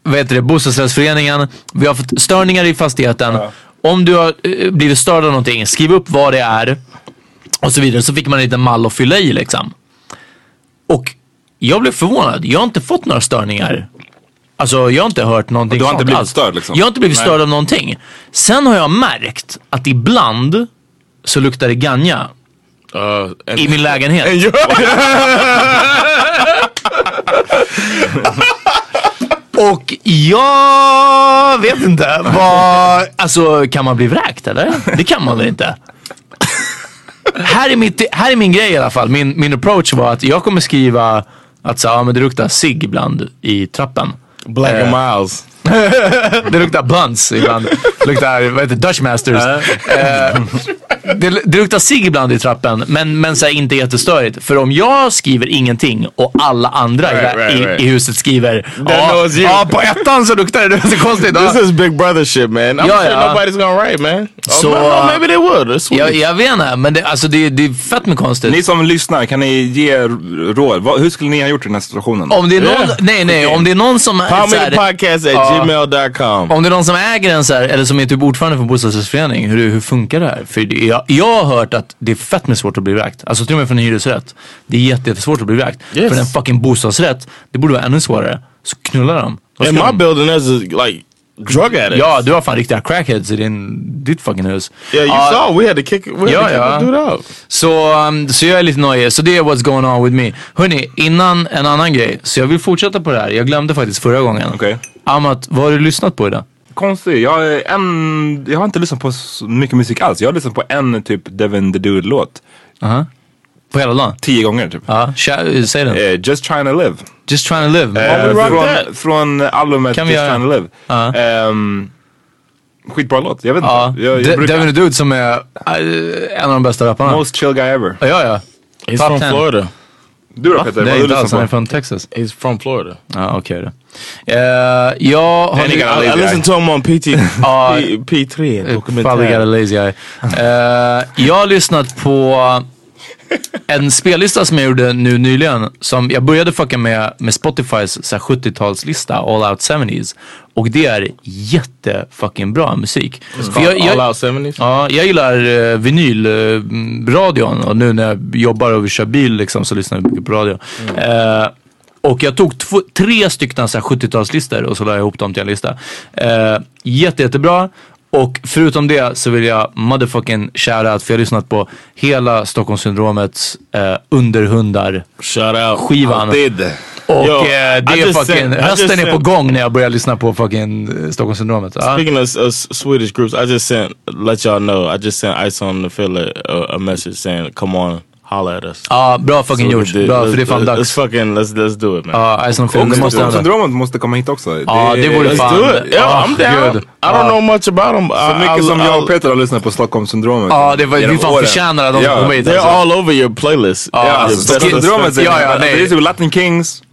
[SPEAKER 6] vad heter det, bostadsrättsföreningen. Vi har fått störningar i fastigheten. Om du har eh, blivit störd av någonting, skriv upp vad det är. Och så vidare. Så fick man en liten mall att fylla i liksom. Och jag blev förvånad. Jag har inte fått några störningar. Alltså jag har inte hört någonting
[SPEAKER 4] Du har inte
[SPEAKER 6] sånt
[SPEAKER 4] blivit
[SPEAKER 6] alls.
[SPEAKER 4] störd, liksom?
[SPEAKER 6] Jag har inte blivit
[SPEAKER 4] Nej.
[SPEAKER 6] störd av någonting. Sen har jag märkt att ibland så luktar det ganja
[SPEAKER 5] Uh, and-
[SPEAKER 6] i min lägenhet.
[SPEAKER 5] and you-
[SPEAKER 6] Och jag vet inte vad... Alltså kan man bli vräkt eller? Det kan man väl inte? här, är mitt, här är min grej i alla fall. Min, min approach var att jag kommer skriva att så, ja, men det luktar cigg ibland i trappen.
[SPEAKER 5] Black and Miles.
[SPEAKER 6] Det luktar buns ibland. Det luktar, vad heter det, Dutch Masters. Eh, det, det luktar cigg ibland i trappen, men, men så här, inte jättestörigt. För om jag skriver ingenting och alla andra i-
[SPEAKER 5] Right, right,
[SPEAKER 6] i,
[SPEAKER 5] right.
[SPEAKER 6] i huset skriver ja,
[SPEAKER 5] knows you."
[SPEAKER 6] ja, på ettan så luktar det så konstigt. Ja.
[SPEAKER 5] This is Big Brother shit, man. I'm
[SPEAKER 6] Yeah,
[SPEAKER 5] sure
[SPEAKER 6] yeah.
[SPEAKER 5] nobody's gonna write, man.
[SPEAKER 6] So,
[SPEAKER 5] oh, no, no,
[SPEAKER 6] uh,
[SPEAKER 5] maybe they would. It's
[SPEAKER 6] Jag,
[SPEAKER 5] sweet.
[SPEAKER 6] jag vet inte, men det, alltså, det, det är fett med konstigt.
[SPEAKER 4] Ni som lyssnar, kan ni ge r- råd? Vad- hur skulle ni ha gjort i den här situationen?
[SPEAKER 6] om det är någon,
[SPEAKER 5] Yeah.
[SPEAKER 6] nej, nej, om det är någon som...
[SPEAKER 5] How
[SPEAKER 6] så
[SPEAKER 5] many
[SPEAKER 6] här-
[SPEAKER 5] podcasts at
[SPEAKER 6] Uh,
[SPEAKER 5] gmail.com?
[SPEAKER 6] Om det är någon som äger en så här, eller som är typ ordförande för en bostadsrättsförening, hur, hur funkar det här? För det- jag Ja, jag har hört att det är fett med svårt att bli vräkt. Alltså till och med från en hyresrätt. Det är jätte- jättesvårt att bli vräkt.
[SPEAKER 5] Yes.
[SPEAKER 6] För en fucking bostadsrätt, det borde vara ännu svårare. Så knulla dem. Vad
[SPEAKER 5] In
[SPEAKER 6] ska
[SPEAKER 5] my
[SPEAKER 6] de-
[SPEAKER 5] building, there's a, like drug addicts.
[SPEAKER 6] Ja, du har fan riktiga crackheads i din, ditt fucking hus.
[SPEAKER 5] Yeah, you
[SPEAKER 6] Ja.
[SPEAKER 5] saw we had to kick. We had
[SPEAKER 6] Ja,
[SPEAKER 5] to kick
[SPEAKER 6] ja.
[SPEAKER 5] the dude out.
[SPEAKER 6] Så, um, så jag är lite nojig. Så det är what's going on with me. Hörni, innan en annan grej. Så jag vill fortsätta på det här. Jag glömde faktiskt förra gången.
[SPEAKER 4] Okej.
[SPEAKER 6] Amat, vad har du lyssnat på idag?
[SPEAKER 4] Konstigt. Jag, är en, jag har inte lyssnat på så mycket musik alls. Jag har lyssnat på en typ Devin the Dude-låt.
[SPEAKER 6] Aha. På hela dagen?
[SPEAKER 4] Tio gånger typ.
[SPEAKER 6] Ja, kä- säg den.
[SPEAKER 4] Eh, just trying to live.
[SPEAKER 6] Just trying to live.
[SPEAKER 4] Eh,
[SPEAKER 6] Från-
[SPEAKER 4] från, från albumet
[SPEAKER 6] Kan
[SPEAKER 4] Just
[SPEAKER 6] vi göra?
[SPEAKER 4] trying to live. Ehm, skitbra låt. Jag vet inte.
[SPEAKER 6] Ja.
[SPEAKER 4] Jag, jag
[SPEAKER 6] De-
[SPEAKER 4] brukar-
[SPEAKER 6] Devin the Dude som är eh, en av de bästa rapparna.
[SPEAKER 4] Most chill guy ever.
[SPEAKER 6] Ja, ja.
[SPEAKER 5] He's
[SPEAKER 6] Top
[SPEAKER 5] from
[SPEAKER 6] 10.
[SPEAKER 5] Florida.
[SPEAKER 4] Du då Peter? Vad
[SPEAKER 6] Nej,
[SPEAKER 4] har du
[SPEAKER 6] inte alls.
[SPEAKER 4] lyssnat
[SPEAKER 6] Han är
[SPEAKER 4] på?
[SPEAKER 6] från Texas.
[SPEAKER 5] He's from Florida.
[SPEAKER 6] Ja, okej då. Eh, Jag har...
[SPEAKER 4] Then he
[SPEAKER 6] nu-
[SPEAKER 4] got a
[SPEAKER 5] I, I
[SPEAKER 4] lazy eye.
[SPEAKER 5] listened to him on PT.
[SPEAKER 6] Ja.
[SPEAKER 5] P, P3.
[SPEAKER 6] Probably got a
[SPEAKER 5] dokumentär.
[SPEAKER 6] Eh, lazy eye. Eh, jag har lyssnat på en spellista som jag gjorde nu nyligen. Som jag började fucka med, med Spotifys så här 70-talslista, All Out 70s. Och det är jättefucking bra musik. För jag- jag-
[SPEAKER 5] All out 70s.
[SPEAKER 6] Ja, jag gillar eh, vinylradion och nu när jag jobbar och kör bil liksom, så lyssnar jag mycket på radio. Eh, och jag tog två, tre stycken så här 70-talslistor och så la jag ihop dem till en lista. Eh, jätte, jättebra. Och förutom det så vill jag motherfucking shoutout för jag har lyssnat på hela Stockholmssyndromets eh, underhundar
[SPEAKER 5] Shout out.
[SPEAKER 6] skivan.
[SPEAKER 4] Did.
[SPEAKER 6] Och
[SPEAKER 5] Yo,
[SPEAKER 6] eh, det
[SPEAKER 5] I
[SPEAKER 6] är
[SPEAKER 5] just
[SPEAKER 6] fucking,
[SPEAKER 5] sent- I just
[SPEAKER 6] hösten är på
[SPEAKER 5] sent-
[SPEAKER 6] gång när jag börjar lyssna på fucking eh, Stockholmssyndromet. Ja.
[SPEAKER 5] Speaking of, of Swedish groups, I just sent let y'all know. I just sent Ice on the Filler a, a message saying, "Come on, holla at us."
[SPEAKER 6] Ja, bra fucking
[SPEAKER 5] So we
[SPEAKER 6] gjort.
[SPEAKER 5] did-
[SPEAKER 6] Bra,
[SPEAKER 5] let's-
[SPEAKER 6] för det är fan
[SPEAKER 5] Let's
[SPEAKER 6] dags.
[SPEAKER 5] fucking let's let's do it, man.
[SPEAKER 6] Ja, Ice on Film,
[SPEAKER 4] Och
[SPEAKER 6] det måste hända.
[SPEAKER 4] Stockholmssyndromet måste komma hit också.
[SPEAKER 6] Ja, det vore
[SPEAKER 5] let's
[SPEAKER 6] fan-
[SPEAKER 5] do it. Yeah,
[SPEAKER 6] Ah,
[SPEAKER 5] I'm down.
[SPEAKER 6] good.
[SPEAKER 5] I don't
[SPEAKER 6] Ah.
[SPEAKER 5] know much about them.
[SPEAKER 4] Så mycket som jag och Peter har lyssnat på Stockholmssyndromet.
[SPEAKER 6] Ja, det var, vi
[SPEAKER 4] genom
[SPEAKER 6] fan
[SPEAKER 4] åren.
[SPEAKER 6] förtjänar att de
[SPEAKER 4] Ja.
[SPEAKER 6] ska komma hit.
[SPEAKER 5] They're
[SPEAKER 6] alltså.
[SPEAKER 5] all over your playlist.
[SPEAKER 4] Ja,
[SPEAKER 5] Your
[SPEAKER 4] alltså
[SPEAKER 5] best-
[SPEAKER 4] Stockholmssyndromet.
[SPEAKER 6] Ja, ja,
[SPEAKER 4] Ja,
[SPEAKER 6] nej.
[SPEAKER 4] Det är typ Latin Kings.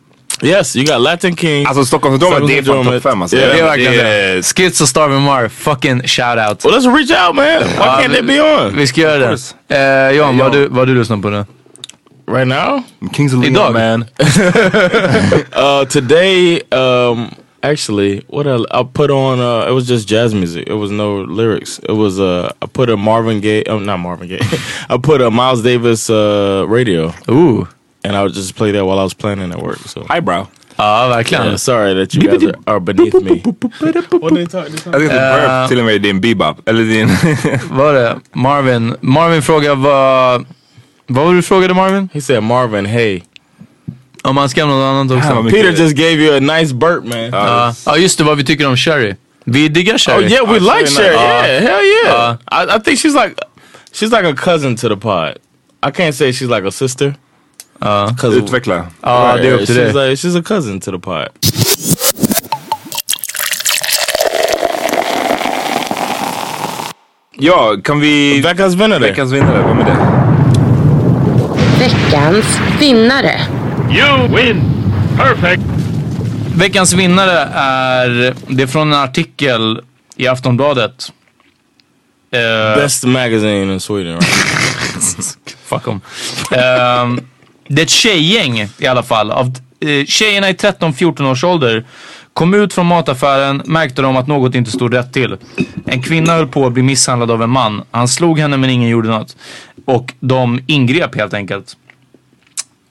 [SPEAKER 5] Yes, you got Latin King.
[SPEAKER 4] Alltså Stockholmssyndromet, det är fan topp
[SPEAKER 5] Stockholmssyndromet.
[SPEAKER 4] fem alltså.
[SPEAKER 5] Ja,
[SPEAKER 6] Det är
[SPEAKER 5] men
[SPEAKER 6] verkligen
[SPEAKER 4] det
[SPEAKER 6] det. Skits och Starvin Mar, fucking shout-out.
[SPEAKER 5] well, let's reach out, man. Why
[SPEAKER 6] Ja,
[SPEAKER 5] can't
[SPEAKER 6] vi-
[SPEAKER 5] they be on
[SPEAKER 6] Vi ska göra det.
[SPEAKER 4] course.
[SPEAKER 6] Eh, Jan, vad har du, vad har du lyssnat på nu?
[SPEAKER 5] right now?
[SPEAKER 4] Kings of
[SPEAKER 6] Idag?
[SPEAKER 4] Leon man.
[SPEAKER 5] Uh, today, um, actually, what I, I put on, uh, it was just jazz music. It was no lyrics. It was, uh, I put a Marvin Gaye, oh, not Marvin Gaye. I put a Miles Davis uh, radio,
[SPEAKER 6] Ooh.
[SPEAKER 5] and I would just play that while I was planning at work. So,
[SPEAKER 4] Highbrow.
[SPEAKER 6] Ja, verkligen.
[SPEAKER 5] yeah, sorry that you guys are, are beneath me. what are they talking
[SPEAKER 4] Jag tyckte Burp till och med din bebop. Eller din...
[SPEAKER 6] Vad var det? Marvin. Marvin frågar vad... Vad var det du frågade Marvin?
[SPEAKER 5] He said, Marvin, hey.
[SPEAKER 6] Om han skrev något annat också.
[SPEAKER 4] Fan, vad mycket-
[SPEAKER 5] Peter just gave you a nice burp, man.
[SPEAKER 4] Uh,
[SPEAKER 6] Ja, ja, just det. Vad vi tycker om Sherry. Vi diggar
[SPEAKER 5] Oh
[SPEAKER 6] Sherry. Alltså,
[SPEAKER 5] yeah, we like
[SPEAKER 4] Sherry
[SPEAKER 5] Sherry.
[SPEAKER 4] Knight.
[SPEAKER 5] yeah, hell yeah.
[SPEAKER 6] Uh,
[SPEAKER 5] I, I think she's like she's like a cousin to the pod. I can't say she's like a sister. Uh,
[SPEAKER 4] Utveckla.
[SPEAKER 6] Ja, det är upp till dig.
[SPEAKER 5] she's like she's a cousin to the pod.
[SPEAKER 4] Ja, kan vi...
[SPEAKER 5] Veckans vinnare.
[SPEAKER 4] Veckans vinnare, vem är det?
[SPEAKER 10] Veckans vinnare.
[SPEAKER 6] Veckans vinnare är... Det är från en artikel i Aftonbladet. Eh,
[SPEAKER 5] Best magazine in Sweden. Right?
[SPEAKER 6] Fuck dem. Ehm, det är ett tjejgäng i alla fall. Av, eh, tjejerna i 13-14 års ålder kom ut från mataffären, märkte de att något inte stod rätt till. En kvinna höll på att bli misshandlad av en man. Han slog henne men ingen gjorde något. Och de ingrep helt enkelt.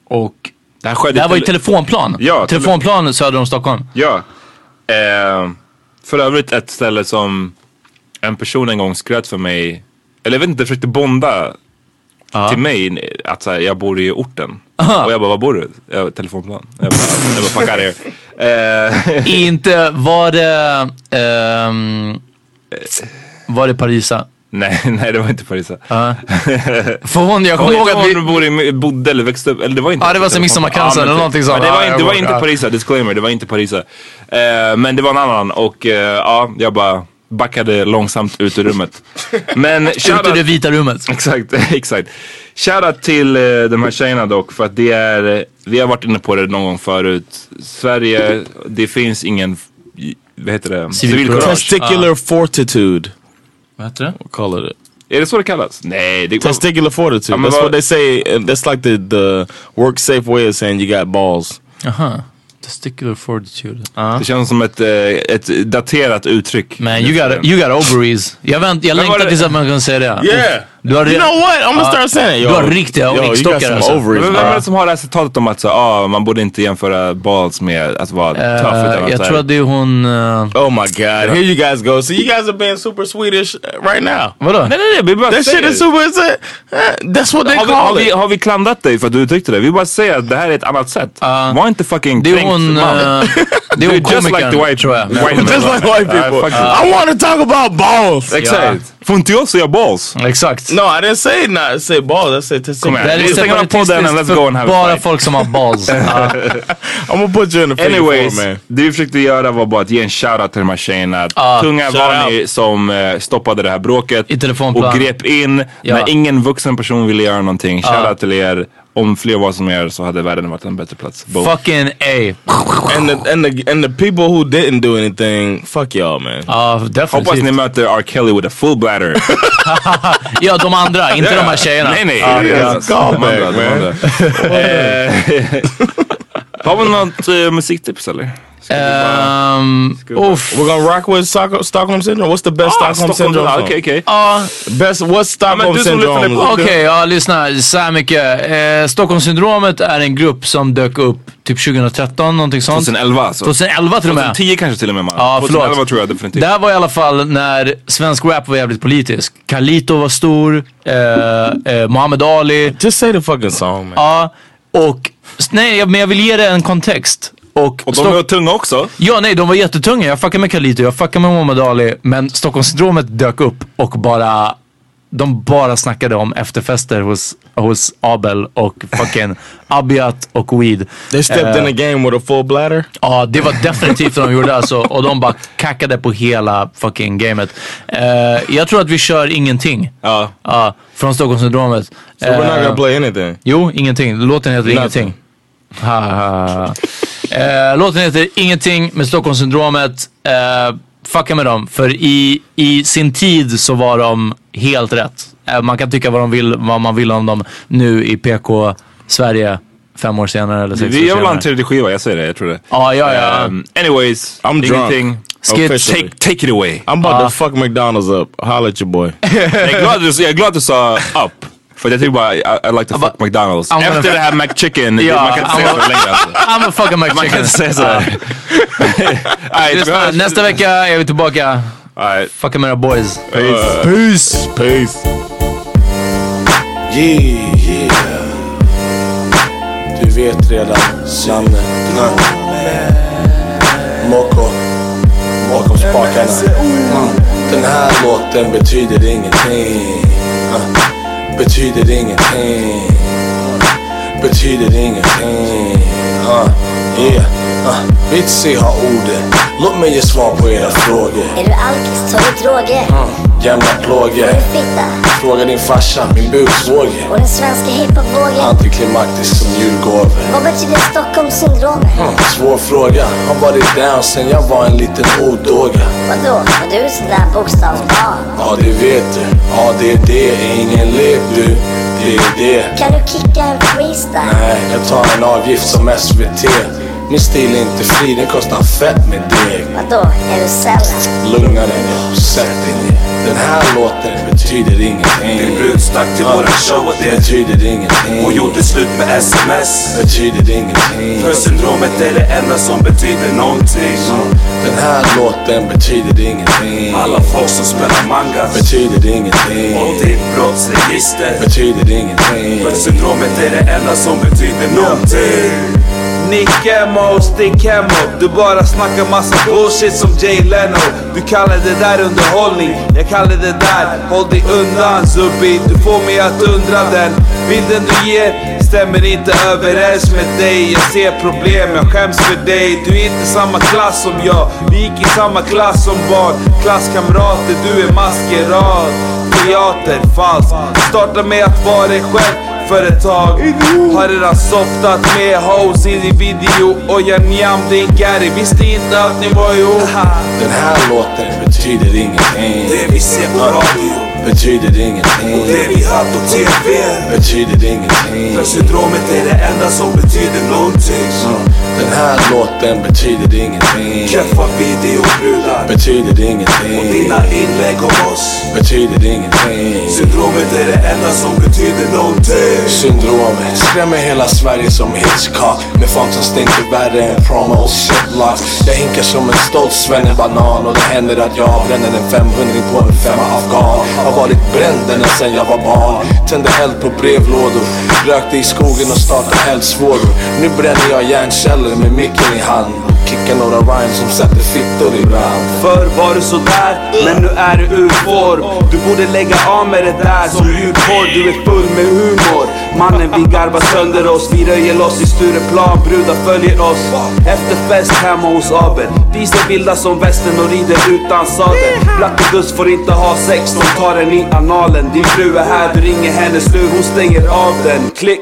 [SPEAKER 6] Och
[SPEAKER 4] Det här skedde
[SPEAKER 6] det här var ju
[SPEAKER 4] tele-
[SPEAKER 6] telefonplan.
[SPEAKER 4] Ja, tele-
[SPEAKER 6] telefonplan söder om Stockholm.
[SPEAKER 4] Ja. Eh, för övrigt ett ställe som en person en gång skröt för mig. Eller jag vet inte, försökte bonda till mig att så här, jag bor i orten. Och jag bara, var bor du? Jag, telefonplan. Jag bara, jag bara fuck out of here. Eh,
[SPEAKER 6] inte var det... ehm, var det Parisa?
[SPEAKER 4] nej, nej det var inte Parisa.
[SPEAKER 6] Ja. För hon, jag kommer ihåg att vi...
[SPEAKER 4] Hon bor i, bodde eller växte upp, eller det var inte
[SPEAKER 6] Ja, det var som midsommarkansen
[SPEAKER 4] Ja, men
[SPEAKER 6] eller
[SPEAKER 4] typ.
[SPEAKER 6] någonting sånt.
[SPEAKER 4] Men det var,
[SPEAKER 6] Ja,
[SPEAKER 4] inte, det var
[SPEAKER 6] jag kommer
[SPEAKER 4] inte
[SPEAKER 6] ihåg, ja.
[SPEAKER 4] Parisa, disclaimer, det var inte Parisa. Eh, men det var en annan och eh, ja, jag bara backade långsamt ut ur rummet. Men
[SPEAKER 6] Ut ur det
[SPEAKER 4] shoutout,
[SPEAKER 6] vita rummet.
[SPEAKER 4] exakt, exakt. Shoutout till eh, de här tjejerna dock för att det är, eh, vi har varit inne på det någon gång förut. Sverige, det finns ingen, vad heter det?
[SPEAKER 6] Civilkurage.
[SPEAKER 5] Testicular fortitude.
[SPEAKER 6] Vad heter det?
[SPEAKER 5] Call it.
[SPEAKER 4] Är det så det kallas? Nej, det
[SPEAKER 5] Testicular fortitude.
[SPEAKER 4] I'm
[SPEAKER 5] That's
[SPEAKER 4] about-
[SPEAKER 5] what they say. and That's like the the work safe way of saying you got balls.
[SPEAKER 6] Aha. Testicular fortitude. Ja.
[SPEAKER 4] Det känns som ett, eh, ett daterat uttryck.
[SPEAKER 6] Man, you got, you got ovaries. Jag, vänt, jag
[SPEAKER 4] Men var
[SPEAKER 6] längtar
[SPEAKER 4] det-
[SPEAKER 6] tills att man kan säga det.
[SPEAKER 5] Yeah.
[SPEAKER 6] Du har
[SPEAKER 5] You
[SPEAKER 6] redan-
[SPEAKER 5] know what? I'm gonna
[SPEAKER 6] Ja.
[SPEAKER 5] start saying it. Yo,
[SPEAKER 6] Du har riktiga
[SPEAKER 5] yo, you got
[SPEAKER 6] riggstockar
[SPEAKER 5] some
[SPEAKER 6] alltså.
[SPEAKER 5] ovaries,
[SPEAKER 4] Men Vem är
[SPEAKER 5] bro.
[SPEAKER 4] det som har det här citatet om att så, ah, man borde inte jämföra balls med att vara
[SPEAKER 6] Eh,
[SPEAKER 4] tough? utan att så
[SPEAKER 6] jag
[SPEAKER 4] här-
[SPEAKER 6] tror att det är hon... eh,
[SPEAKER 5] Oh my god, here you guys go. So you guys are being super Swedish uh, right now.
[SPEAKER 6] Vadå?
[SPEAKER 4] Nej, nej, nej, vi bara
[SPEAKER 5] That
[SPEAKER 4] säger
[SPEAKER 5] shit is
[SPEAKER 4] det.
[SPEAKER 5] super. It's a, eh, that's what they
[SPEAKER 4] har, vi,
[SPEAKER 5] call
[SPEAKER 4] har, vi,
[SPEAKER 5] it.
[SPEAKER 4] har vi klandrat dig för att du uttryckte det? Vi bara säger att det här är ett annat sätt. Var inte fucking
[SPEAKER 6] Det är
[SPEAKER 4] kränkt,
[SPEAKER 6] hon...
[SPEAKER 4] man.
[SPEAKER 6] eh, Det är hon
[SPEAKER 4] You're just like the
[SPEAKER 6] komikern,
[SPEAKER 4] white,
[SPEAKER 6] tror jag.
[SPEAKER 4] white man.
[SPEAKER 5] Just like white
[SPEAKER 4] Ah,
[SPEAKER 5] people.
[SPEAKER 4] fuck you.
[SPEAKER 5] I want to talk about balls.
[SPEAKER 4] Exakt. Får inte jag säga balls?
[SPEAKER 6] Exakt.
[SPEAKER 5] No, I didn't say not say balls. I said
[SPEAKER 4] Come
[SPEAKER 5] testicular.
[SPEAKER 4] here.
[SPEAKER 6] Det här är
[SPEAKER 4] Vi stänger av podden and
[SPEAKER 6] separatistiskt
[SPEAKER 4] let's go and
[SPEAKER 6] för
[SPEAKER 4] have a
[SPEAKER 6] bara
[SPEAKER 4] fight.
[SPEAKER 6] folk som har balls. Ja.
[SPEAKER 5] I'm gonna put you in the figure
[SPEAKER 4] Anyways,
[SPEAKER 5] four, man.
[SPEAKER 4] det vi försökte göra var bara att ge en shoutout till de här tjejerna.
[SPEAKER 6] Ah,
[SPEAKER 4] Tunga var
[SPEAKER 5] shout
[SPEAKER 4] ni som eh, stoppade det här bråket
[SPEAKER 6] I telefonplan.
[SPEAKER 4] och grep in
[SPEAKER 6] Ja. Ah.
[SPEAKER 4] när ingen vuxen person ville göra någonting. Shoutout till er. Om fler var som er så hade världen varit en bättre plats. Both.
[SPEAKER 6] Fucking A.
[SPEAKER 5] And the and the and the people who didn't do anything, fuck y'all, man.
[SPEAKER 6] Ja,
[SPEAKER 4] Hoppas ni
[SPEAKER 6] definitivt.
[SPEAKER 4] möter R. Kelly with a full bladder.
[SPEAKER 6] Ja, de andra. Inte de här tjejerna.
[SPEAKER 4] nej, nej.
[SPEAKER 6] Ja,
[SPEAKER 4] Det är
[SPEAKER 6] ja.
[SPEAKER 4] alltså de
[SPEAKER 5] back,
[SPEAKER 4] andra, de
[SPEAKER 5] man.
[SPEAKER 4] andra. Eh, Har vi något eh, musiktips eller? Ska vi bara-
[SPEAKER 6] Ehm, uff.
[SPEAKER 5] We're gonna rock with Stock- Stockholm syndrome. What's the best
[SPEAKER 4] Ah,
[SPEAKER 5] Oh, Stockholm,
[SPEAKER 4] Stockholm,
[SPEAKER 5] syndrome?
[SPEAKER 4] ah,
[SPEAKER 5] song?
[SPEAKER 4] Okej, okej.
[SPEAKER 6] Ja,
[SPEAKER 5] Best. What's
[SPEAKER 4] men
[SPEAKER 5] Stockholm
[SPEAKER 4] du som lyssnar
[SPEAKER 5] syndrome?
[SPEAKER 4] på-
[SPEAKER 6] Okej, ja lyssna så här mycket. Eh, Stockholmssyndromet är en grupp som dök upp typ 2013, någonting sånt.
[SPEAKER 4] 2011 alltså.
[SPEAKER 6] 2011 till och med.
[SPEAKER 4] 2010 kanske till och med. man.
[SPEAKER 6] Ja, förlåt.
[SPEAKER 4] 2011 tror jag definitivt.
[SPEAKER 6] Det här var i alla fall när svensk rap var jävligt politisk. Carlito var stor, eh, eh, Muhammad Ali.
[SPEAKER 5] Just say the fucking song, man.
[SPEAKER 6] Ja, och... s- Nej, men jag vill ge det en kontext. Och,
[SPEAKER 4] Och de
[SPEAKER 6] Stock-
[SPEAKER 4] var tunga också.
[SPEAKER 6] Ja, nej, de var jättetunga. Jag fuckade med Carlito, jag fuckade med Muhammad Ali. Men Stockholmssyndromet dök upp och bara... De bara snackade om efterfester hos, hos Abel och fucking Abiat och Weed. Eh,
[SPEAKER 5] They stepped in the game with a full bladder.
[SPEAKER 6] Ja, det var definitivt vad de gjorde alltså. Och de bara kackade på hela fucking gamet. Eh, jag tror att vi kör ingenting.
[SPEAKER 4] Ja.
[SPEAKER 6] Ja, från Stockholmssyndromet.
[SPEAKER 5] So we're not
[SPEAKER 6] Eh,
[SPEAKER 5] gonna play anything.
[SPEAKER 6] Jo, ingenting. Låten heter
[SPEAKER 5] Nothing.
[SPEAKER 6] ingenting. Ha, ha, ha. Eh, låten heter Ingenting med Stockholmssyndromet. Eh, fucka med dem, för i, i sin tid så var de helt rätt. Eh, man kan tycka vad, de vill, vad man vill om dem nu i PK-Sverige fem år senare eller sex år
[SPEAKER 4] Vi gör väl en
[SPEAKER 6] senare.
[SPEAKER 4] tredje skiva, jag säger det. Jag tror det.
[SPEAKER 6] Ja, ja, ja.
[SPEAKER 4] Um, anyways,
[SPEAKER 5] I'm drunk.
[SPEAKER 4] ingenting.
[SPEAKER 6] Skit.
[SPEAKER 4] Take, take it away. Uh,
[SPEAKER 5] I'm about to fuck McDonald's up. Holla at your boy.
[SPEAKER 4] jag, är glad du, jag är glad du sa up. För jag tycker bara I, I like to fuck McDonalds.
[SPEAKER 6] I'm gonna-
[SPEAKER 4] Efter det här McChicken,
[SPEAKER 6] Ja,
[SPEAKER 4] man kan inte säga
[SPEAKER 6] I'm
[SPEAKER 4] så längre alltså.
[SPEAKER 6] I'm a fucking
[SPEAKER 4] Man kan
[SPEAKER 6] McChicken.
[SPEAKER 4] inte säga sådär. Alright, vi
[SPEAKER 6] Lyssna,
[SPEAKER 4] hörs.
[SPEAKER 6] Nästa vecka är vi tillbaka.
[SPEAKER 4] Alright.
[SPEAKER 6] Fucka med era boys.
[SPEAKER 4] Peace.
[SPEAKER 5] Peace. Peace.
[SPEAKER 10] Yeah, yeah. Du vet redan namnet. Moko. Bakom spakarna. Den här låten betyder ingenting. Ah, Betyder ingenting. Ah, Betyder ingenting. Ah, Yeah. Ah, Vitsi har orden. Låt mig ge svar på era frågor.
[SPEAKER 2] Är du alkis? Tar du droger?
[SPEAKER 10] Jämna plågor.
[SPEAKER 2] Fitta?
[SPEAKER 10] Fråga din farsa, min buksvåger.
[SPEAKER 2] Och den svenska hiphopvågen?
[SPEAKER 10] Antiklimaktisk som julgåvor.
[SPEAKER 2] Vad betyder Stockholmssyndromet?
[SPEAKER 10] Mm, Svår fråga, har varit down sen jag var en liten odåga.
[SPEAKER 2] Vadå? Var du sådär bokstavsbarn?
[SPEAKER 10] Ja det vet du, ja det är det, ingen lek du. Det är det.
[SPEAKER 2] Kan du kicka en freestyle?
[SPEAKER 10] Nej, jag tar en avgift som SVT. Min stil är inte fri, den kostar fett med deg.
[SPEAKER 2] Vadå? Är du sällad?
[SPEAKER 10] Lugna dig nu, sätt dig ner. Den här låten betyder ingenting. Din brud stack till våran show och det betyder ingenting. Och gjorde slut med sms. Betyder ingenting. För syndromet är det enda som betyder någonting. Den här låten betyder ingenting. Alla folk som spelar manga betyder ingenting. Och ditt brottsregister betyder ingenting. För syndromet är det enda som betyder någonting.
[SPEAKER 11] Nick Emma och Stig Hemmo Du bara snackar massa bullshit som Jay Leno Du kallar det där underhållning Jag kallar det där Håll dig undan Zubby Du får mig att undra den Bilden du ger stämmer inte överens med dig Jag ser problem, jag skäms för dig Du är inte samma klass som jag Vi gick i samma klass som barn Klasskamrater, du är maskerad Teater, falsk Starta med att vara dig själv företag Har redan softat med hoes i din video Och jag njam din Gary Visste inte att ni var ihop
[SPEAKER 10] Den här låten betyder ingenting.
[SPEAKER 11] Det vi ser på radio
[SPEAKER 10] betyder ingenting.
[SPEAKER 11] Och det vi hört på TV
[SPEAKER 10] betyder ingenting.
[SPEAKER 11] För syndromet är det enda som betyder någonting.
[SPEAKER 10] Den här låten betyder ingenting.
[SPEAKER 11] Keffa videobrular
[SPEAKER 10] Betyder
[SPEAKER 11] och
[SPEAKER 10] ingenting.
[SPEAKER 11] dina inlägg om oss.
[SPEAKER 10] Betyder ingenting.
[SPEAKER 11] Syndromet är det enda som betyder någonting.
[SPEAKER 10] Syndromet skrämmer hela Sverige som Hitchcock Med font som stinker värre än promo och shitlocks Jag hinkar som en stolt svennebanan och det händer att jag bränner en 500 på en femma afghan Har varit bränd ända sen jag var barn Tände eld på brevlådor Rökte i skogen och startade eldsvådor Nu bränner jag järnkällor med micken i hand Kickar några rhymes som sätter fittor i brand
[SPEAKER 11] Förr var du sådär, men nu är du ur form. Du borde lägga av med det där som ljudporr. Du är full med humor. Mannen vi garvar sönder oss, vi röjer loss i Stureplan. Brudar följer oss. Efter fest hemma hos Abel. Vi ser vilda som västen och rider utan sadel. Blatteguss får inte ha sex, de tar den i analen. Din fru är här, du ringer hennes nu, hon stänger av den. Klick!